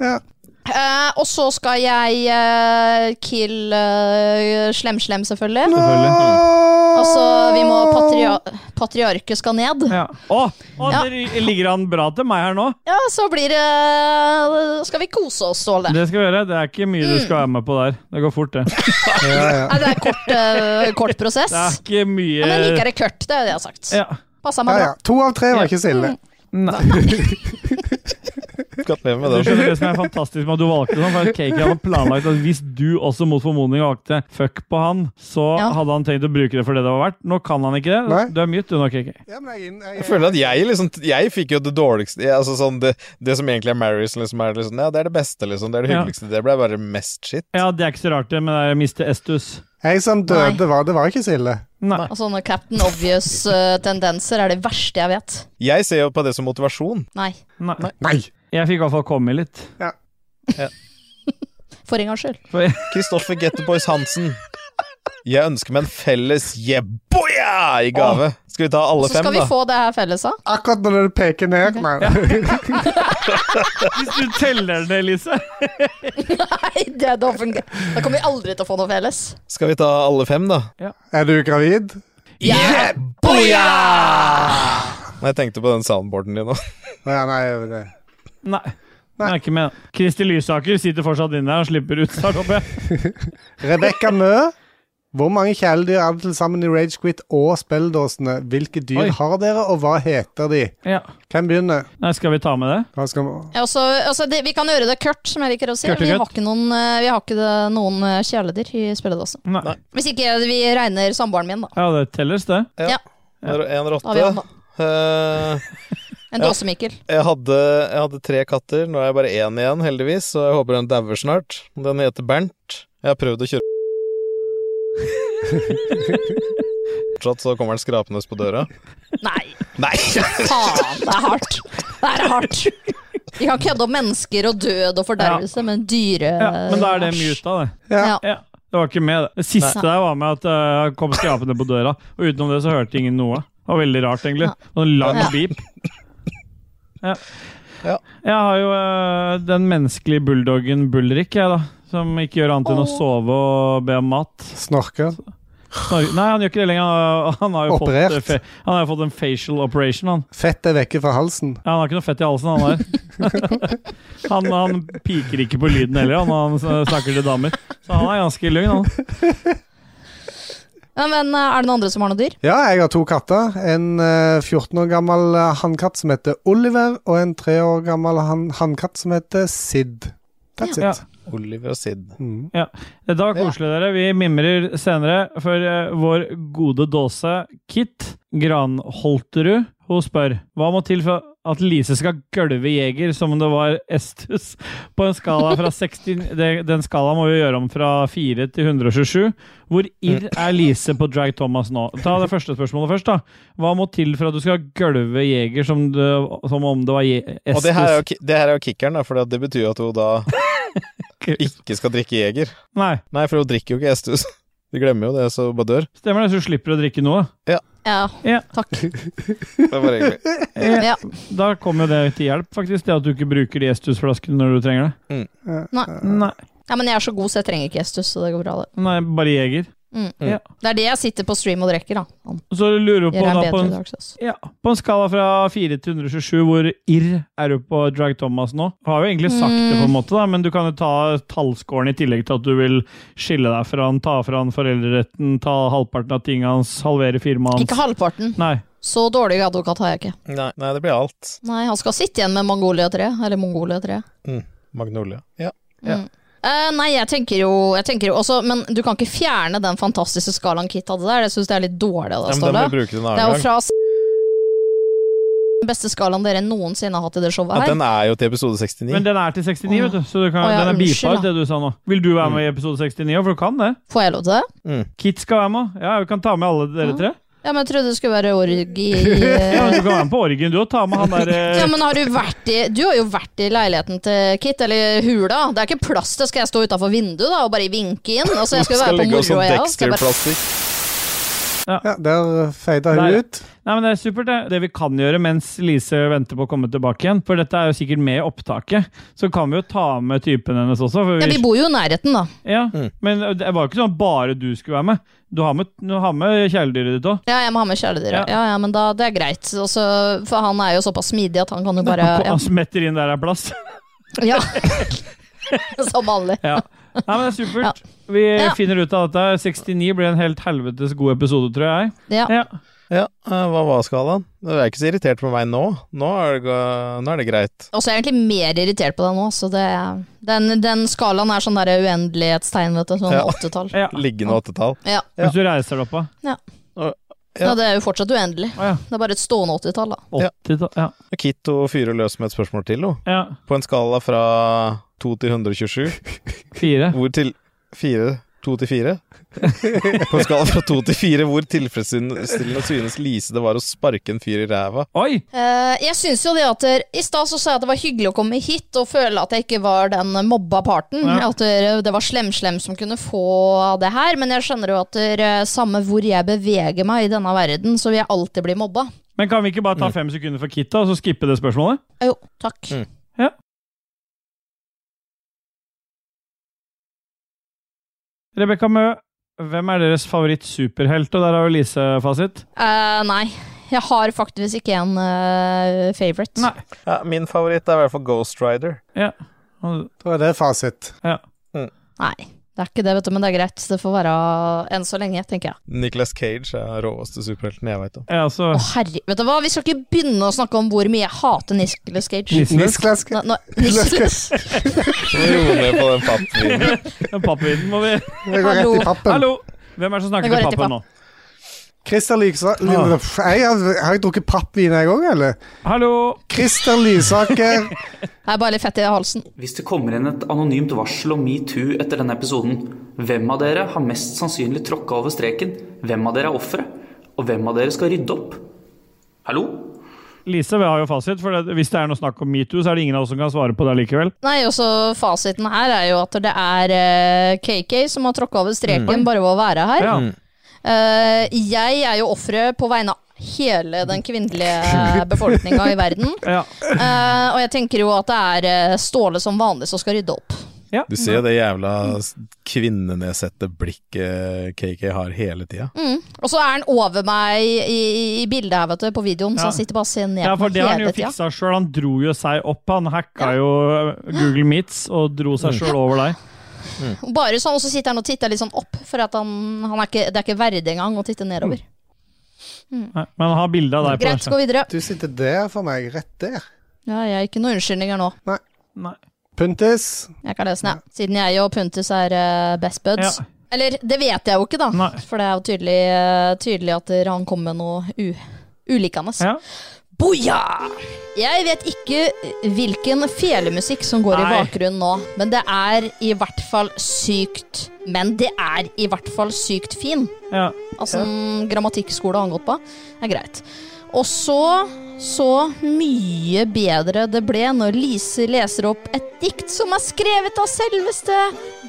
Speaker 4: Eh, og så skal jeg eh, kill eh, Slem-Slem, selvfølgelig.
Speaker 3: Ah!
Speaker 4: Altså, vi må patria Patriarket skal ned.
Speaker 3: Ja. Å, å, det ligger han bra til meg her nå?
Speaker 4: Ja, så blir det Skal vi kose oss, Ståle?
Speaker 3: Det skal vi gjøre. Det er ikke mye du skal være med på der. Det går fort, det.
Speaker 4: Nei, det er kort, eh, kort prosess.
Speaker 3: Det er ikke mye
Speaker 4: Ja, men jeg liker det kurt, det er det jeg har sagt.
Speaker 3: Ja.
Speaker 4: Passa
Speaker 1: Ja,
Speaker 4: meg bra.
Speaker 1: ja. To av tre var ikke så ille.
Speaker 2: Gratulerer med
Speaker 3: Du skjønner
Speaker 2: det.
Speaker 3: det som er fantastisk med at du valgte sånn, for at Kaki hadde planlagt at hvis du også mot formodning valgte fuck på han, så hadde han tenkt å bruke det for det det var verdt. Nå kan han ikke det. Du er mute, du nå, Kaki.
Speaker 2: Jeg føler at jeg liksom Jeg fikk jo det dårligste jeg, altså sånn, det, det som egentlig er Marys, liksom, er liksom, ja, det er det beste, liksom. Det er det
Speaker 3: Ja.
Speaker 2: hyggeligste. Det ble bare mest shit.
Speaker 3: Ja, det er ikke så rart det, men jeg mister estus.
Speaker 1: Jeg som døde, var, det var ikke så ille.
Speaker 4: Og sånne Altså, Captain Obvious-tendenser er det verste jeg vet.
Speaker 2: Jeg ser jo på det som motivasjon.
Speaker 4: Nei.
Speaker 3: Nei. Jeg fikk i hvert fall komme litt.
Speaker 4: For en gangs skyld.
Speaker 2: Kristoffer Getterboys Hansen. Jeg ønsker meg en felles jeboja i gave. Skal vi ta alle
Speaker 4: Så
Speaker 2: fem,
Speaker 4: skal vi
Speaker 2: da?
Speaker 4: få det her felles, da.
Speaker 1: Akkurat når du peker ned Nei.
Speaker 3: Hvis du teller det, Lise.
Speaker 4: [LAUGHS] Nei, det er doffen. Da kommer vi aldri til å få noe felles.
Speaker 2: Skal vi ta alle fem, da?
Speaker 1: Er du gravid?
Speaker 2: Nei, Jeg tenkte på den soundboarden din nå.
Speaker 1: Ja, nei, det.
Speaker 3: Nei. Nei. Jeg er ikke med. Kristi Lysaker sitter fortsatt inne her og slipper ut snart, håper jeg.
Speaker 1: Rebekka Mø, hvor mange kjæledyr er det til sammen i Ragequit og spilledåsene? Hvilke dyr
Speaker 3: Oi.
Speaker 1: har dere, og hva heter de?
Speaker 3: Ja.
Speaker 1: Hvem begynner?
Speaker 3: Nei, skal vi ta med det?
Speaker 1: Hva skal vi...
Speaker 4: Ja, også, altså, det, vi kan gjøre det kurt, som jeg liker å si.
Speaker 3: Kurt og
Speaker 4: Vi har
Speaker 3: kurt.
Speaker 4: ikke noen, eh, vi har ikke det, noen eh, kjæledyr i spilledåsen.
Speaker 3: Nei.
Speaker 4: Hvis ikke vi regner samboeren min, da.
Speaker 3: Ja, det telles, det.
Speaker 4: Ja.
Speaker 2: En
Speaker 4: Da har vi han,
Speaker 2: rotte.
Speaker 4: da.
Speaker 2: Eh,
Speaker 4: En
Speaker 2: Ja.
Speaker 4: dåsemikkel.
Speaker 2: jeg, hadde, jeg hadde tre katter. Nå er jeg bare én igjen, heldigvis, så jeg håper den dauer snart. Den heter Bernt. Jeg har prøvd å
Speaker 4: [LAUGHS]
Speaker 2: kjøre Fortsatt så kommer den skrapende på døra.
Speaker 4: Nei,
Speaker 2: Nei!
Speaker 4: faen, det er hardt. Det er hardt. Vi kan kødde om mennesker og død og fordervelse, men dyre
Speaker 3: Ja, men da er det muta, det.
Speaker 4: Ja.
Speaker 3: Ja, det var ikke med, det. Det siste
Speaker 4: Nei.
Speaker 3: der var med at eh, jeg kom skrapende på døra, og utenom det så hørte ingen noe. Det var veldig rart, egentlig. Og en lang
Speaker 2: Ja.
Speaker 3: beep. Ja. Jeg har jo eh, den menneskelige bulldoggen Bulrik, jeg, da. Som ikke gjør annet enn å sove og be om mat.
Speaker 1: Snorker.
Speaker 3: Snork- Nei, han gjør ikke det lenger. [LAUGHS] Han har- Han har jo fått,
Speaker 1: Operert.
Speaker 3: eh, fe- han har jo fått en facial operation, han.
Speaker 1: Fett er vekke fra halsen.
Speaker 3: Ja, han har ikke noe fett i halsen, han der. [LAUGHS] han, han piker ikke på lyden heller, han, han snakker til damer. Så han er ganske lugn, han.
Speaker 4: Ja, men eh, er det noen andre som har noe dyr?
Speaker 1: Ja, jeg har to katter. En eh, 14 år gammel eh, hannkatt som heter Oliver, og en 3 år gammel hann- hannkatt som heter Sid. That's
Speaker 3: Ja.
Speaker 1: it.
Speaker 2: Oliver og Sid.
Speaker 3: Ja. Det var koselig, dere. Vi mimrer senere, for eh, vår gode dåse Kit Granholterud hun spør hva må til for at Lise skal gølve Jeger som om det var Estus på en skala
Speaker 2: [LAUGHS]
Speaker 3: fra 60 det- Den skalaen må vi gjøre om fra 4 til 127. Hvor irr er Lise på Drag Thomas nå? Ta det første spørsmålet først, da. Hva må til for at du skal gølve Jeger som, det- som om det var Je Estus?
Speaker 2: Og det her er jo, ki- det her er jo kickeren, da, for det betyr jo at hun da
Speaker 4: [LAUGHS]
Speaker 2: ikke skal drikke Jeger.
Speaker 3: Nei.
Speaker 2: Nei, for hun drikker jo ikke Estus. De glemmer jo det, så hun bare dør.
Speaker 3: Stemmer det, så du slipper å drikke noe?
Speaker 2: Ja.
Speaker 4: Ja, takk.
Speaker 2: Det var egentlig
Speaker 4: Ja.
Speaker 3: Da kommer jo det til hjelp, faktisk. Det at du ikke bruker de estusflaskene når du trenger det.
Speaker 4: Nei.
Speaker 3: Nei.
Speaker 4: Ja, men jeg er så god, så jeg trenger ikke estus, så det går bra, det.
Speaker 3: Nei, bare jeger.
Speaker 4: Mm.
Speaker 3: Ja.
Speaker 4: Det er det jeg sitter på stream og drikker, da.
Speaker 3: Så du lurer på,
Speaker 4: Gjør en
Speaker 3: da, på,
Speaker 4: bedre
Speaker 3: en,
Speaker 4: Dark Souls.
Speaker 3: ja, på en skala fra 4 til 127, hvor irr er du på Drag Thomas nå? Du har jo egentlig sagt det,
Speaker 4: Mm.
Speaker 3: på en måte, da, men du kan jo ta tallskåren i tillegg til at du vil skille deg fra han, ta fra han foreldreretten, ta halvparten av tingene hans, halvere firmaet hans.
Speaker 4: Ikke halvparten.
Speaker 3: Nei.
Speaker 4: Så dårlig advokat har jeg ikke.
Speaker 2: Nei, nei, det blir alt.
Speaker 4: Nei, han skal sitte igjen med Mongolia 3, eller Mongolia 3.
Speaker 2: Mm. Magnolia. Ja.
Speaker 4: Mm. Eh, nei, jeg tenker jo, jeg tenker jo også, Men du kan ikke fjerne den fantastiske skalaen Kit hadde der. Jeg syns det er litt dårlig.
Speaker 2: Ja, men den
Speaker 4: Sånn Da, Ståle.
Speaker 2: må vi bruke en annen
Speaker 4: det er jo
Speaker 2: gang.
Speaker 4: fra s- beste skalaen dere noensinne har hatt i det showet
Speaker 2: Ja,
Speaker 4: her.
Speaker 2: den er jo til episode 69.
Speaker 3: Men den er til 69, vet du, så du kan,
Speaker 4: Å, ja,
Speaker 3: den er
Speaker 4: unnskyld,
Speaker 3: bifalt,
Speaker 4: da.
Speaker 3: det du sa nå. Vil du være med i episode 69 òg, for du kan det?
Speaker 4: Får jeg lov til det?
Speaker 3: Kit skal være med òg. Ja, vi kan ta med alle dere tre.
Speaker 4: Ja, men jeg trodde det skulle være orgi
Speaker 3: Ja, men du kan være med på orgen, du òg. Ta med han der eh,
Speaker 4: Ja, men har du vært i Du har jo vært i leiligheten til Kit, eller hula. Det er ikke plass til skal jeg stå utafor vinduet da og bare vinke inn. Altså, jeg skal jo være på
Speaker 2: legge oss
Speaker 4: moro,
Speaker 2: sånn
Speaker 4: jeg også. Skal jeg bare-
Speaker 2: Dexter-plastikk.
Speaker 1: Ja, der feida
Speaker 3: Nei.
Speaker 1: hun ut.
Speaker 3: Nei, men Det er supert, det. Det vi kan gjøre mens Lise venter på å komme tilbake igjen, for dette er jo sikkert med i opptaket, så kan vi jo ta med typen hennes også. For
Speaker 4: Ja, vi bor jo i nærheten, da.
Speaker 3: Ja, Men det var jo ikke sånn at bare du skulle være med. Du har med, du har med kjæledyret ditt òg.
Speaker 4: Ja, jeg må ha med kjæledyret. Ja. ja, men da, det er greit. Og så- for han er jo såpass smidig at han kan jo bare ja.
Speaker 3: Han smetter inn der det er plass.
Speaker 4: [LAUGHS] ja. [LAUGHS] Som vanlig.
Speaker 3: Ja. Nei, men det er supert. Vi
Speaker 4: Ja.
Speaker 3: finner ut av dette. 69 blir en helt helvetes god episode, tror jeg.
Speaker 4: Ja.
Speaker 2: Ja, eh, hva var skalaen? Du er ikke så irritert på meg nå. Nå er det, ga- nå er det greit.
Speaker 4: Og så er jeg egentlig mer irritert på deg nå, så det er- den, den skalaen er sånn der uendelighetstegn, vet du. Sånn
Speaker 2: Ja.
Speaker 4: åttetall.
Speaker 2: Liggende åttetall.
Speaker 4: Ja.
Speaker 3: Hvis du reiser deg opp, da.
Speaker 4: Ja.
Speaker 2: Og-
Speaker 4: ja, det er jo fortsatt uendelig.
Speaker 3: ja.
Speaker 4: Det er bare et stående åttitall, da.
Speaker 2: Ja.
Speaker 3: ja.
Speaker 2: Kitto fyrer løs med et spørsmål til, jo.
Speaker 3: Ja.
Speaker 2: På en skala fra 2 til [LAUGHS] 127
Speaker 3: Fire.
Speaker 2: Hvor til Fire? To til [LAUGHS] fire? På en skala fra to til fire, hvor tilfredsstillende synes Lise det var å sparke en fyr i ræva?
Speaker 3: Oi!
Speaker 4: Eh, jeg syns jo det at der, I stad så sa jeg at det var hyggelig å komme hit og føle at jeg ikke var den mobba parten.
Speaker 11: Ja.
Speaker 4: At der, det var slem-slem som kunne få det her. Men jeg skjønner jo at der, samme hvor jeg beveger meg i denne verden, så vil jeg alltid bli mobba.
Speaker 3: Men kan vi ikke bare ta fem sekunder for Kit, da, og så skippe det spørsmålet?
Speaker 4: Jo, takk.
Speaker 3: Ja. Rebekka Mø, hvem er deres favoritt-superhelt? Og der har jo Lise fasit.
Speaker 4: Eh, nei, jeg har faktisk ikke en eh, favorite.
Speaker 2: Ja, min favoritt er i hvert fall Ghost Rider.
Speaker 3: Ja.
Speaker 1: Da er det fasit.
Speaker 3: Ja.
Speaker 4: Nei, det er ikke det, vet du, men det er greit. Det får være enn så lenge, tenker jeg.
Speaker 2: Nicolas Cage er den råeste superhelten jeg veit om.
Speaker 3: Ja, altså
Speaker 4: Å, herre, vet du hva, Vi skal ikke begynne å snakke om hvor mye jeg hater Nicolas Cage.
Speaker 2: Nicolas
Speaker 4: Nå- nå- Nicolas. [LAUGHS]
Speaker 2: Ro ned på den pappvinen.
Speaker 3: [LAUGHS] Den pappvinen må vi
Speaker 1: Det går rett i pappen.
Speaker 3: Hallo! Hvem er det som
Speaker 4: Det
Speaker 3: snakker
Speaker 4: går
Speaker 3: til
Speaker 4: rett i
Speaker 3: pappen nå?
Speaker 1: Christer Lysaker jeg har, har jeg drukket pappvin, jeg òg, eller?
Speaker 3: Hallo!
Speaker 1: Christer
Speaker 3: [LAUGHS]
Speaker 1: Lysaker.
Speaker 4: Det er bare litt fett i halsen.
Speaker 13: Hvis det kommer inn et anonymt varsel om metoo etter denne episoden, hvem av dere har mest sannsynlig tråkka over streken? Hvem av dere er offeret? Og hvem av dere skal rydde opp? Hallo?
Speaker 3: Lise vi har jo fasit, for det, hvis det er noe snakk om metoo, så er det ingen av oss som kan svare på det likevel.
Speaker 4: Nei, også Fasiten her er jo at det er eh, KK som har tråkka over streken
Speaker 3: Mm.
Speaker 4: bare ved å være her.
Speaker 3: Ja. Mm.
Speaker 4: Eh, jeg er jo offeret på vegne av hele den
Speaker 3: [LAUGHS]
Speaker 4: kvinnelige befolkninga i verden.
Speaker 3: Ja.
Speaker 4: Eh, og jeg tenker jo at det er eh, Ståle som vanlig som skal rydde opp.
Speaker 2: Du ser jo det jævla s- kvinnenedsatte blikket KK har hele tida.
Speaker 4: Mm. Og så er han over meg i, i bildet her, vet du, på videoen, så
Speaker 3: Ja.
Speaker 4: han sitter bare og ser ned
Speaker 3: Ja,
Speaker 4: på
Speaker 3: for det har han
Speaker 4: meg
Speaker 3: jo
Speaker 4: hele tida.
Speaker 3: fiksa sjøl. Han dro jo seg opp. Han hacka jo eh, Google Meets og dro seg sjøl over deg.
Speaker 4: Bare sånn, og så sitter han og titter litt sånn opp, for at han, han er ikke, det er ikke verdig engang å titte nedover.
Speaker 3: Nei, men han har bilde av deg Mm. på
Speaker 4: Greit, gå videre.
Speaker 1: Du sitter der for meg, rett der.
Speaker 4: Ja, jeg har ikke noen unnskyldninger nå.
Speaker 1: Nei.
Speaker 3: Nei.
Speaker 1: Puntis.
Speaker 4: Jeg kan løse den, jeg. Siden jeg og Puntus er eh, best buds.
Speaker 1: Ja.
Speaker 4: Eller, det vet jeg jo ikke, da. For det er jo tydelig, eh, tydelig at han kom med noe u ulikende. Boja! Jeg vet ikke hvilken felemusikk som går i
Speaker 11: Nei.
Speaker 4: bakgrunnen nå, men det er i hvert fall sykt Men det er i hvert fall sykt fin.
Speaker 3: Ja.
Speaker 4: Altså en grammatikkskole har han gått på. Det er greit. Og så så mye bedre det ble når Lise leser opp et dikt som er skrevet av selveste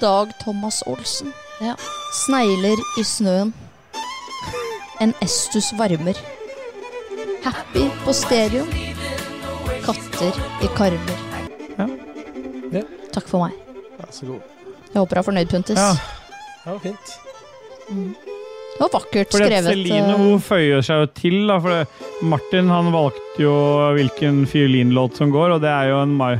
Speaker 4: Dag Thomas Olsen. Ja. Snegler i snøen. En estus varmer. Happy på stereo. Katter i karmer. Takk for meg.
Speaker 2: Vær så god.
Speaker 4: Jeg håper du er fornøyd, Puntis.
Speaker 3: Ja.
Speaker 2: Ja, fint.
Speaker 4: Det var vakkert
Speaker 3: Fordi at
Speaker 4: skrevet.
Speaker 3: Celine
Speaker 4: eh,
Speaker 3: hun føyer seg jo til, da, for det, Martin han valgte jo hvilken fiolinlåt som går, og det er jo en Ma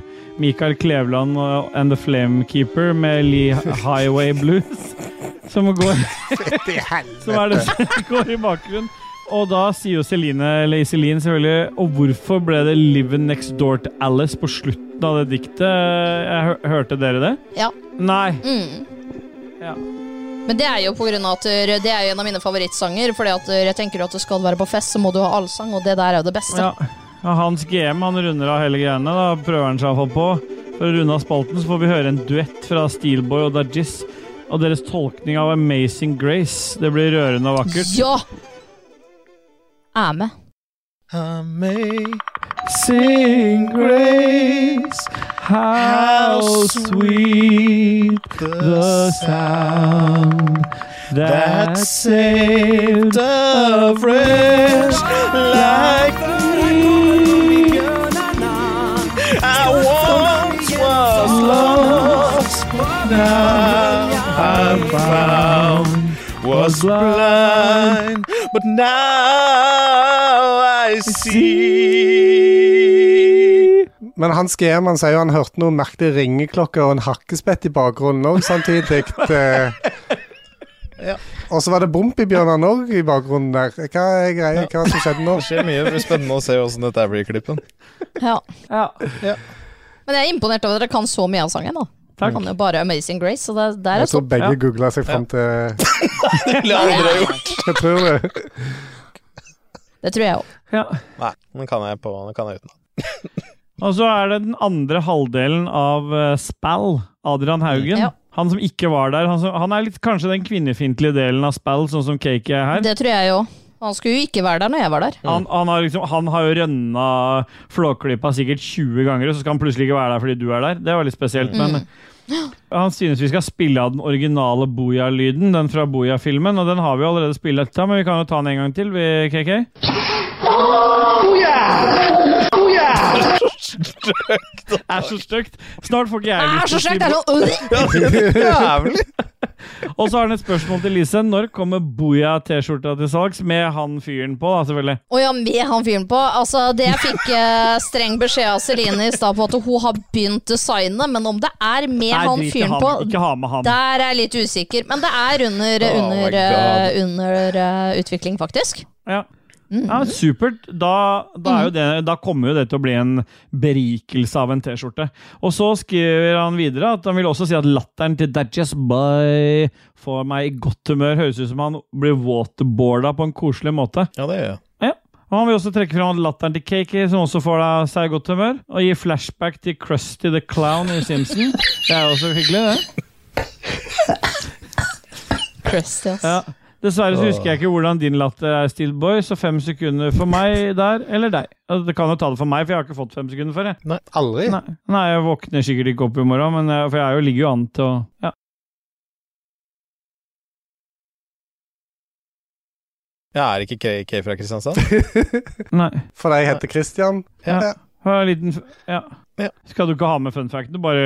Speaker 3: Mikael Kleveland og- and The Flamekeeper med Lee Highway Blues [LAUGHS] som går [LAUGHS] Som er det som går i bakgrunnen. Og da sier jo Celine, eller Iselin selvfølgelig, og hvorfor ble det 'Livin' Next Door to Alice' på slutten av det diktet? Jeg hø- hørte dere det?
Speaker 4: Ja.
Speaker 3: Nei.
Speaker 4: Mm. Men det er jo på grunn av at uh, det eh, er jo en av mine favorittsanger. Fordi at uh, jeg tenker at du skal være på fest, så må du ha allsang, og det der er jo det beste.
Speaker 3: Ja. Ja, Hans GM han runder av hele greiene. da Prøver han seg iallfall på. For å runde av spalten så får vi høre en duett fra Steelboy og Dajis. Og deres tolkning av Amazing Grace. Det blir rørende og vakkert.
Speaker 4: Ja! Er med.
Speaker 3: Amazing grace, how sweet the sound that saved a wretch like me. I once was lost, now I'm found. Was blind, but now I see.
Speaker 1: Men Hans GM han sier jo han hørte noen merkelige ringeklokker og en hakkespett i bakgrunnen òg samtidig. eh. Og så var det Bompibjørnene òg i bakgrunnen der. Hva er greia? Hva som skjedde nå?
Speaker 2: Det skjer mye. Det blir spennende å se åssen dette blir i klippen.
Speaker 4: Ja.
Speaker 9: Ja.
Speaker 4: Men jeg er imponert over at dere kan så mye av sangen. da
Speaker 1: Takk.
Speaker 4: Dere kan jo bare Amazing Grace, så det, der
Speaker 1: Jeg
Speaker 4: er
Speaker 1: tror
Speaker 4: topp.
Speaker 1: begge googlet googla seg fram til [LAUGHS] Jeg tror det.
Speaker 4: Det tror jeg òg.
Speaker 2: Nei, den kan jeg, på, den kan jeg utenat.
Speaker 3: Og så er det den andre halvdelen av eh, Spall, Adrian Haugen. Han som ikke var der. Han, som, han er litt, kanskje den kvinnefiendtlige delen av Spall, sånn som Cake er her.
Speaker 4: Det tror jeg jo. Han skulle jo ikke være der når jeg var der.
Speaker 3: Han, han, har liksom, han har jo rønna Flåklypa sikkert 20 ganger, og så skal han plutselig ikke være der fordi du er der. Det var litt spesielt, men han synes vi skal spille av den originale Boja-lyden, den fra Boja-filmen, og den har vi allerede spilt av, men vi kan jo ta den en gang til, vi, KK. er så stygt. Snart får ikke
Speaker 4: Ah,
Speaker 3: jeg
Speaker 11: Er
Speaker 3: lyst
Speaker 11: så stygt,
Speaker 3: til å si
Speaker 4: øh?
Speaker 11: er sånn- Jævlig.
Speaker 3: Og så har han et spørsmål til Lise. Når kommer Boja-T-skjorta til salgs? Med han fyren på, da, selvfølgelig.
Speaker 4: Å ja, med han fyren på. Altså, det jeg fikk eh, streng beskjed av Celine i stad på at hun har begynt designet, men om det er med
Speaker 3: Nei,
Speaker 4: han
Speaker 3: drit i
Speaker 4: fyren
Speaker 3: han.
Speaker 4: på
Speaker 3: Ikke ha med han.
Speaker 4: Der er jeg litt usikker. Men det er under,
Speaker 3: Oh my
Speaker 4: under,
Speaker 3: God.
Speaker 4: eh, under eh, utvikling, faktisk.
Speaker 3: Ja. Ja, supert. Da, da, er jo det, da kommer jo det til å bli en berikelse av en T-skjorte. Og så skriver han videre at han vil også si at latteren til Dadges Bye får meg i godt humør. Høres ut som han blir waterboarda på en koselig måte.
Speaker 2: Ja, det gjør jeg.
Speaker 3: Og Han vil også trekke fram latteren til Kaki, som også får deg seg i godt humør. Og gi flashback til Krusty the Clown i Simpson. Det er jo også hyggelig, det.
Speaker 4: Krusty, ass.
Speaker 3: Ja. Dessverre så husker jeg ikke hvordan din latter er, Steelboy, så fem sekunder for meg der, eller deg. Altså, Det kan jo ta det for meg, for jeg har ikke fått fem sekunder før, jeg.
Speaker 2: Nei,
Speaker 1: aldri.
Speaker 3: Nei, jeg våkner sikkert ikke opp i morgen, men jeg, for jeg er jo, ligger jo an til å ja.
Speaker 2: Jeg er ikke KK fra Kristiansand.
Speaker 3: [LAUGHS]
Speaker 2: [LAUGHS]
Speaker 3: Nei.
Speaker 1: For jeg heter Christian.
Speaker 3: Ja. Ha en liten f- ja. Skal du ikke ha med fun facten? Du bare,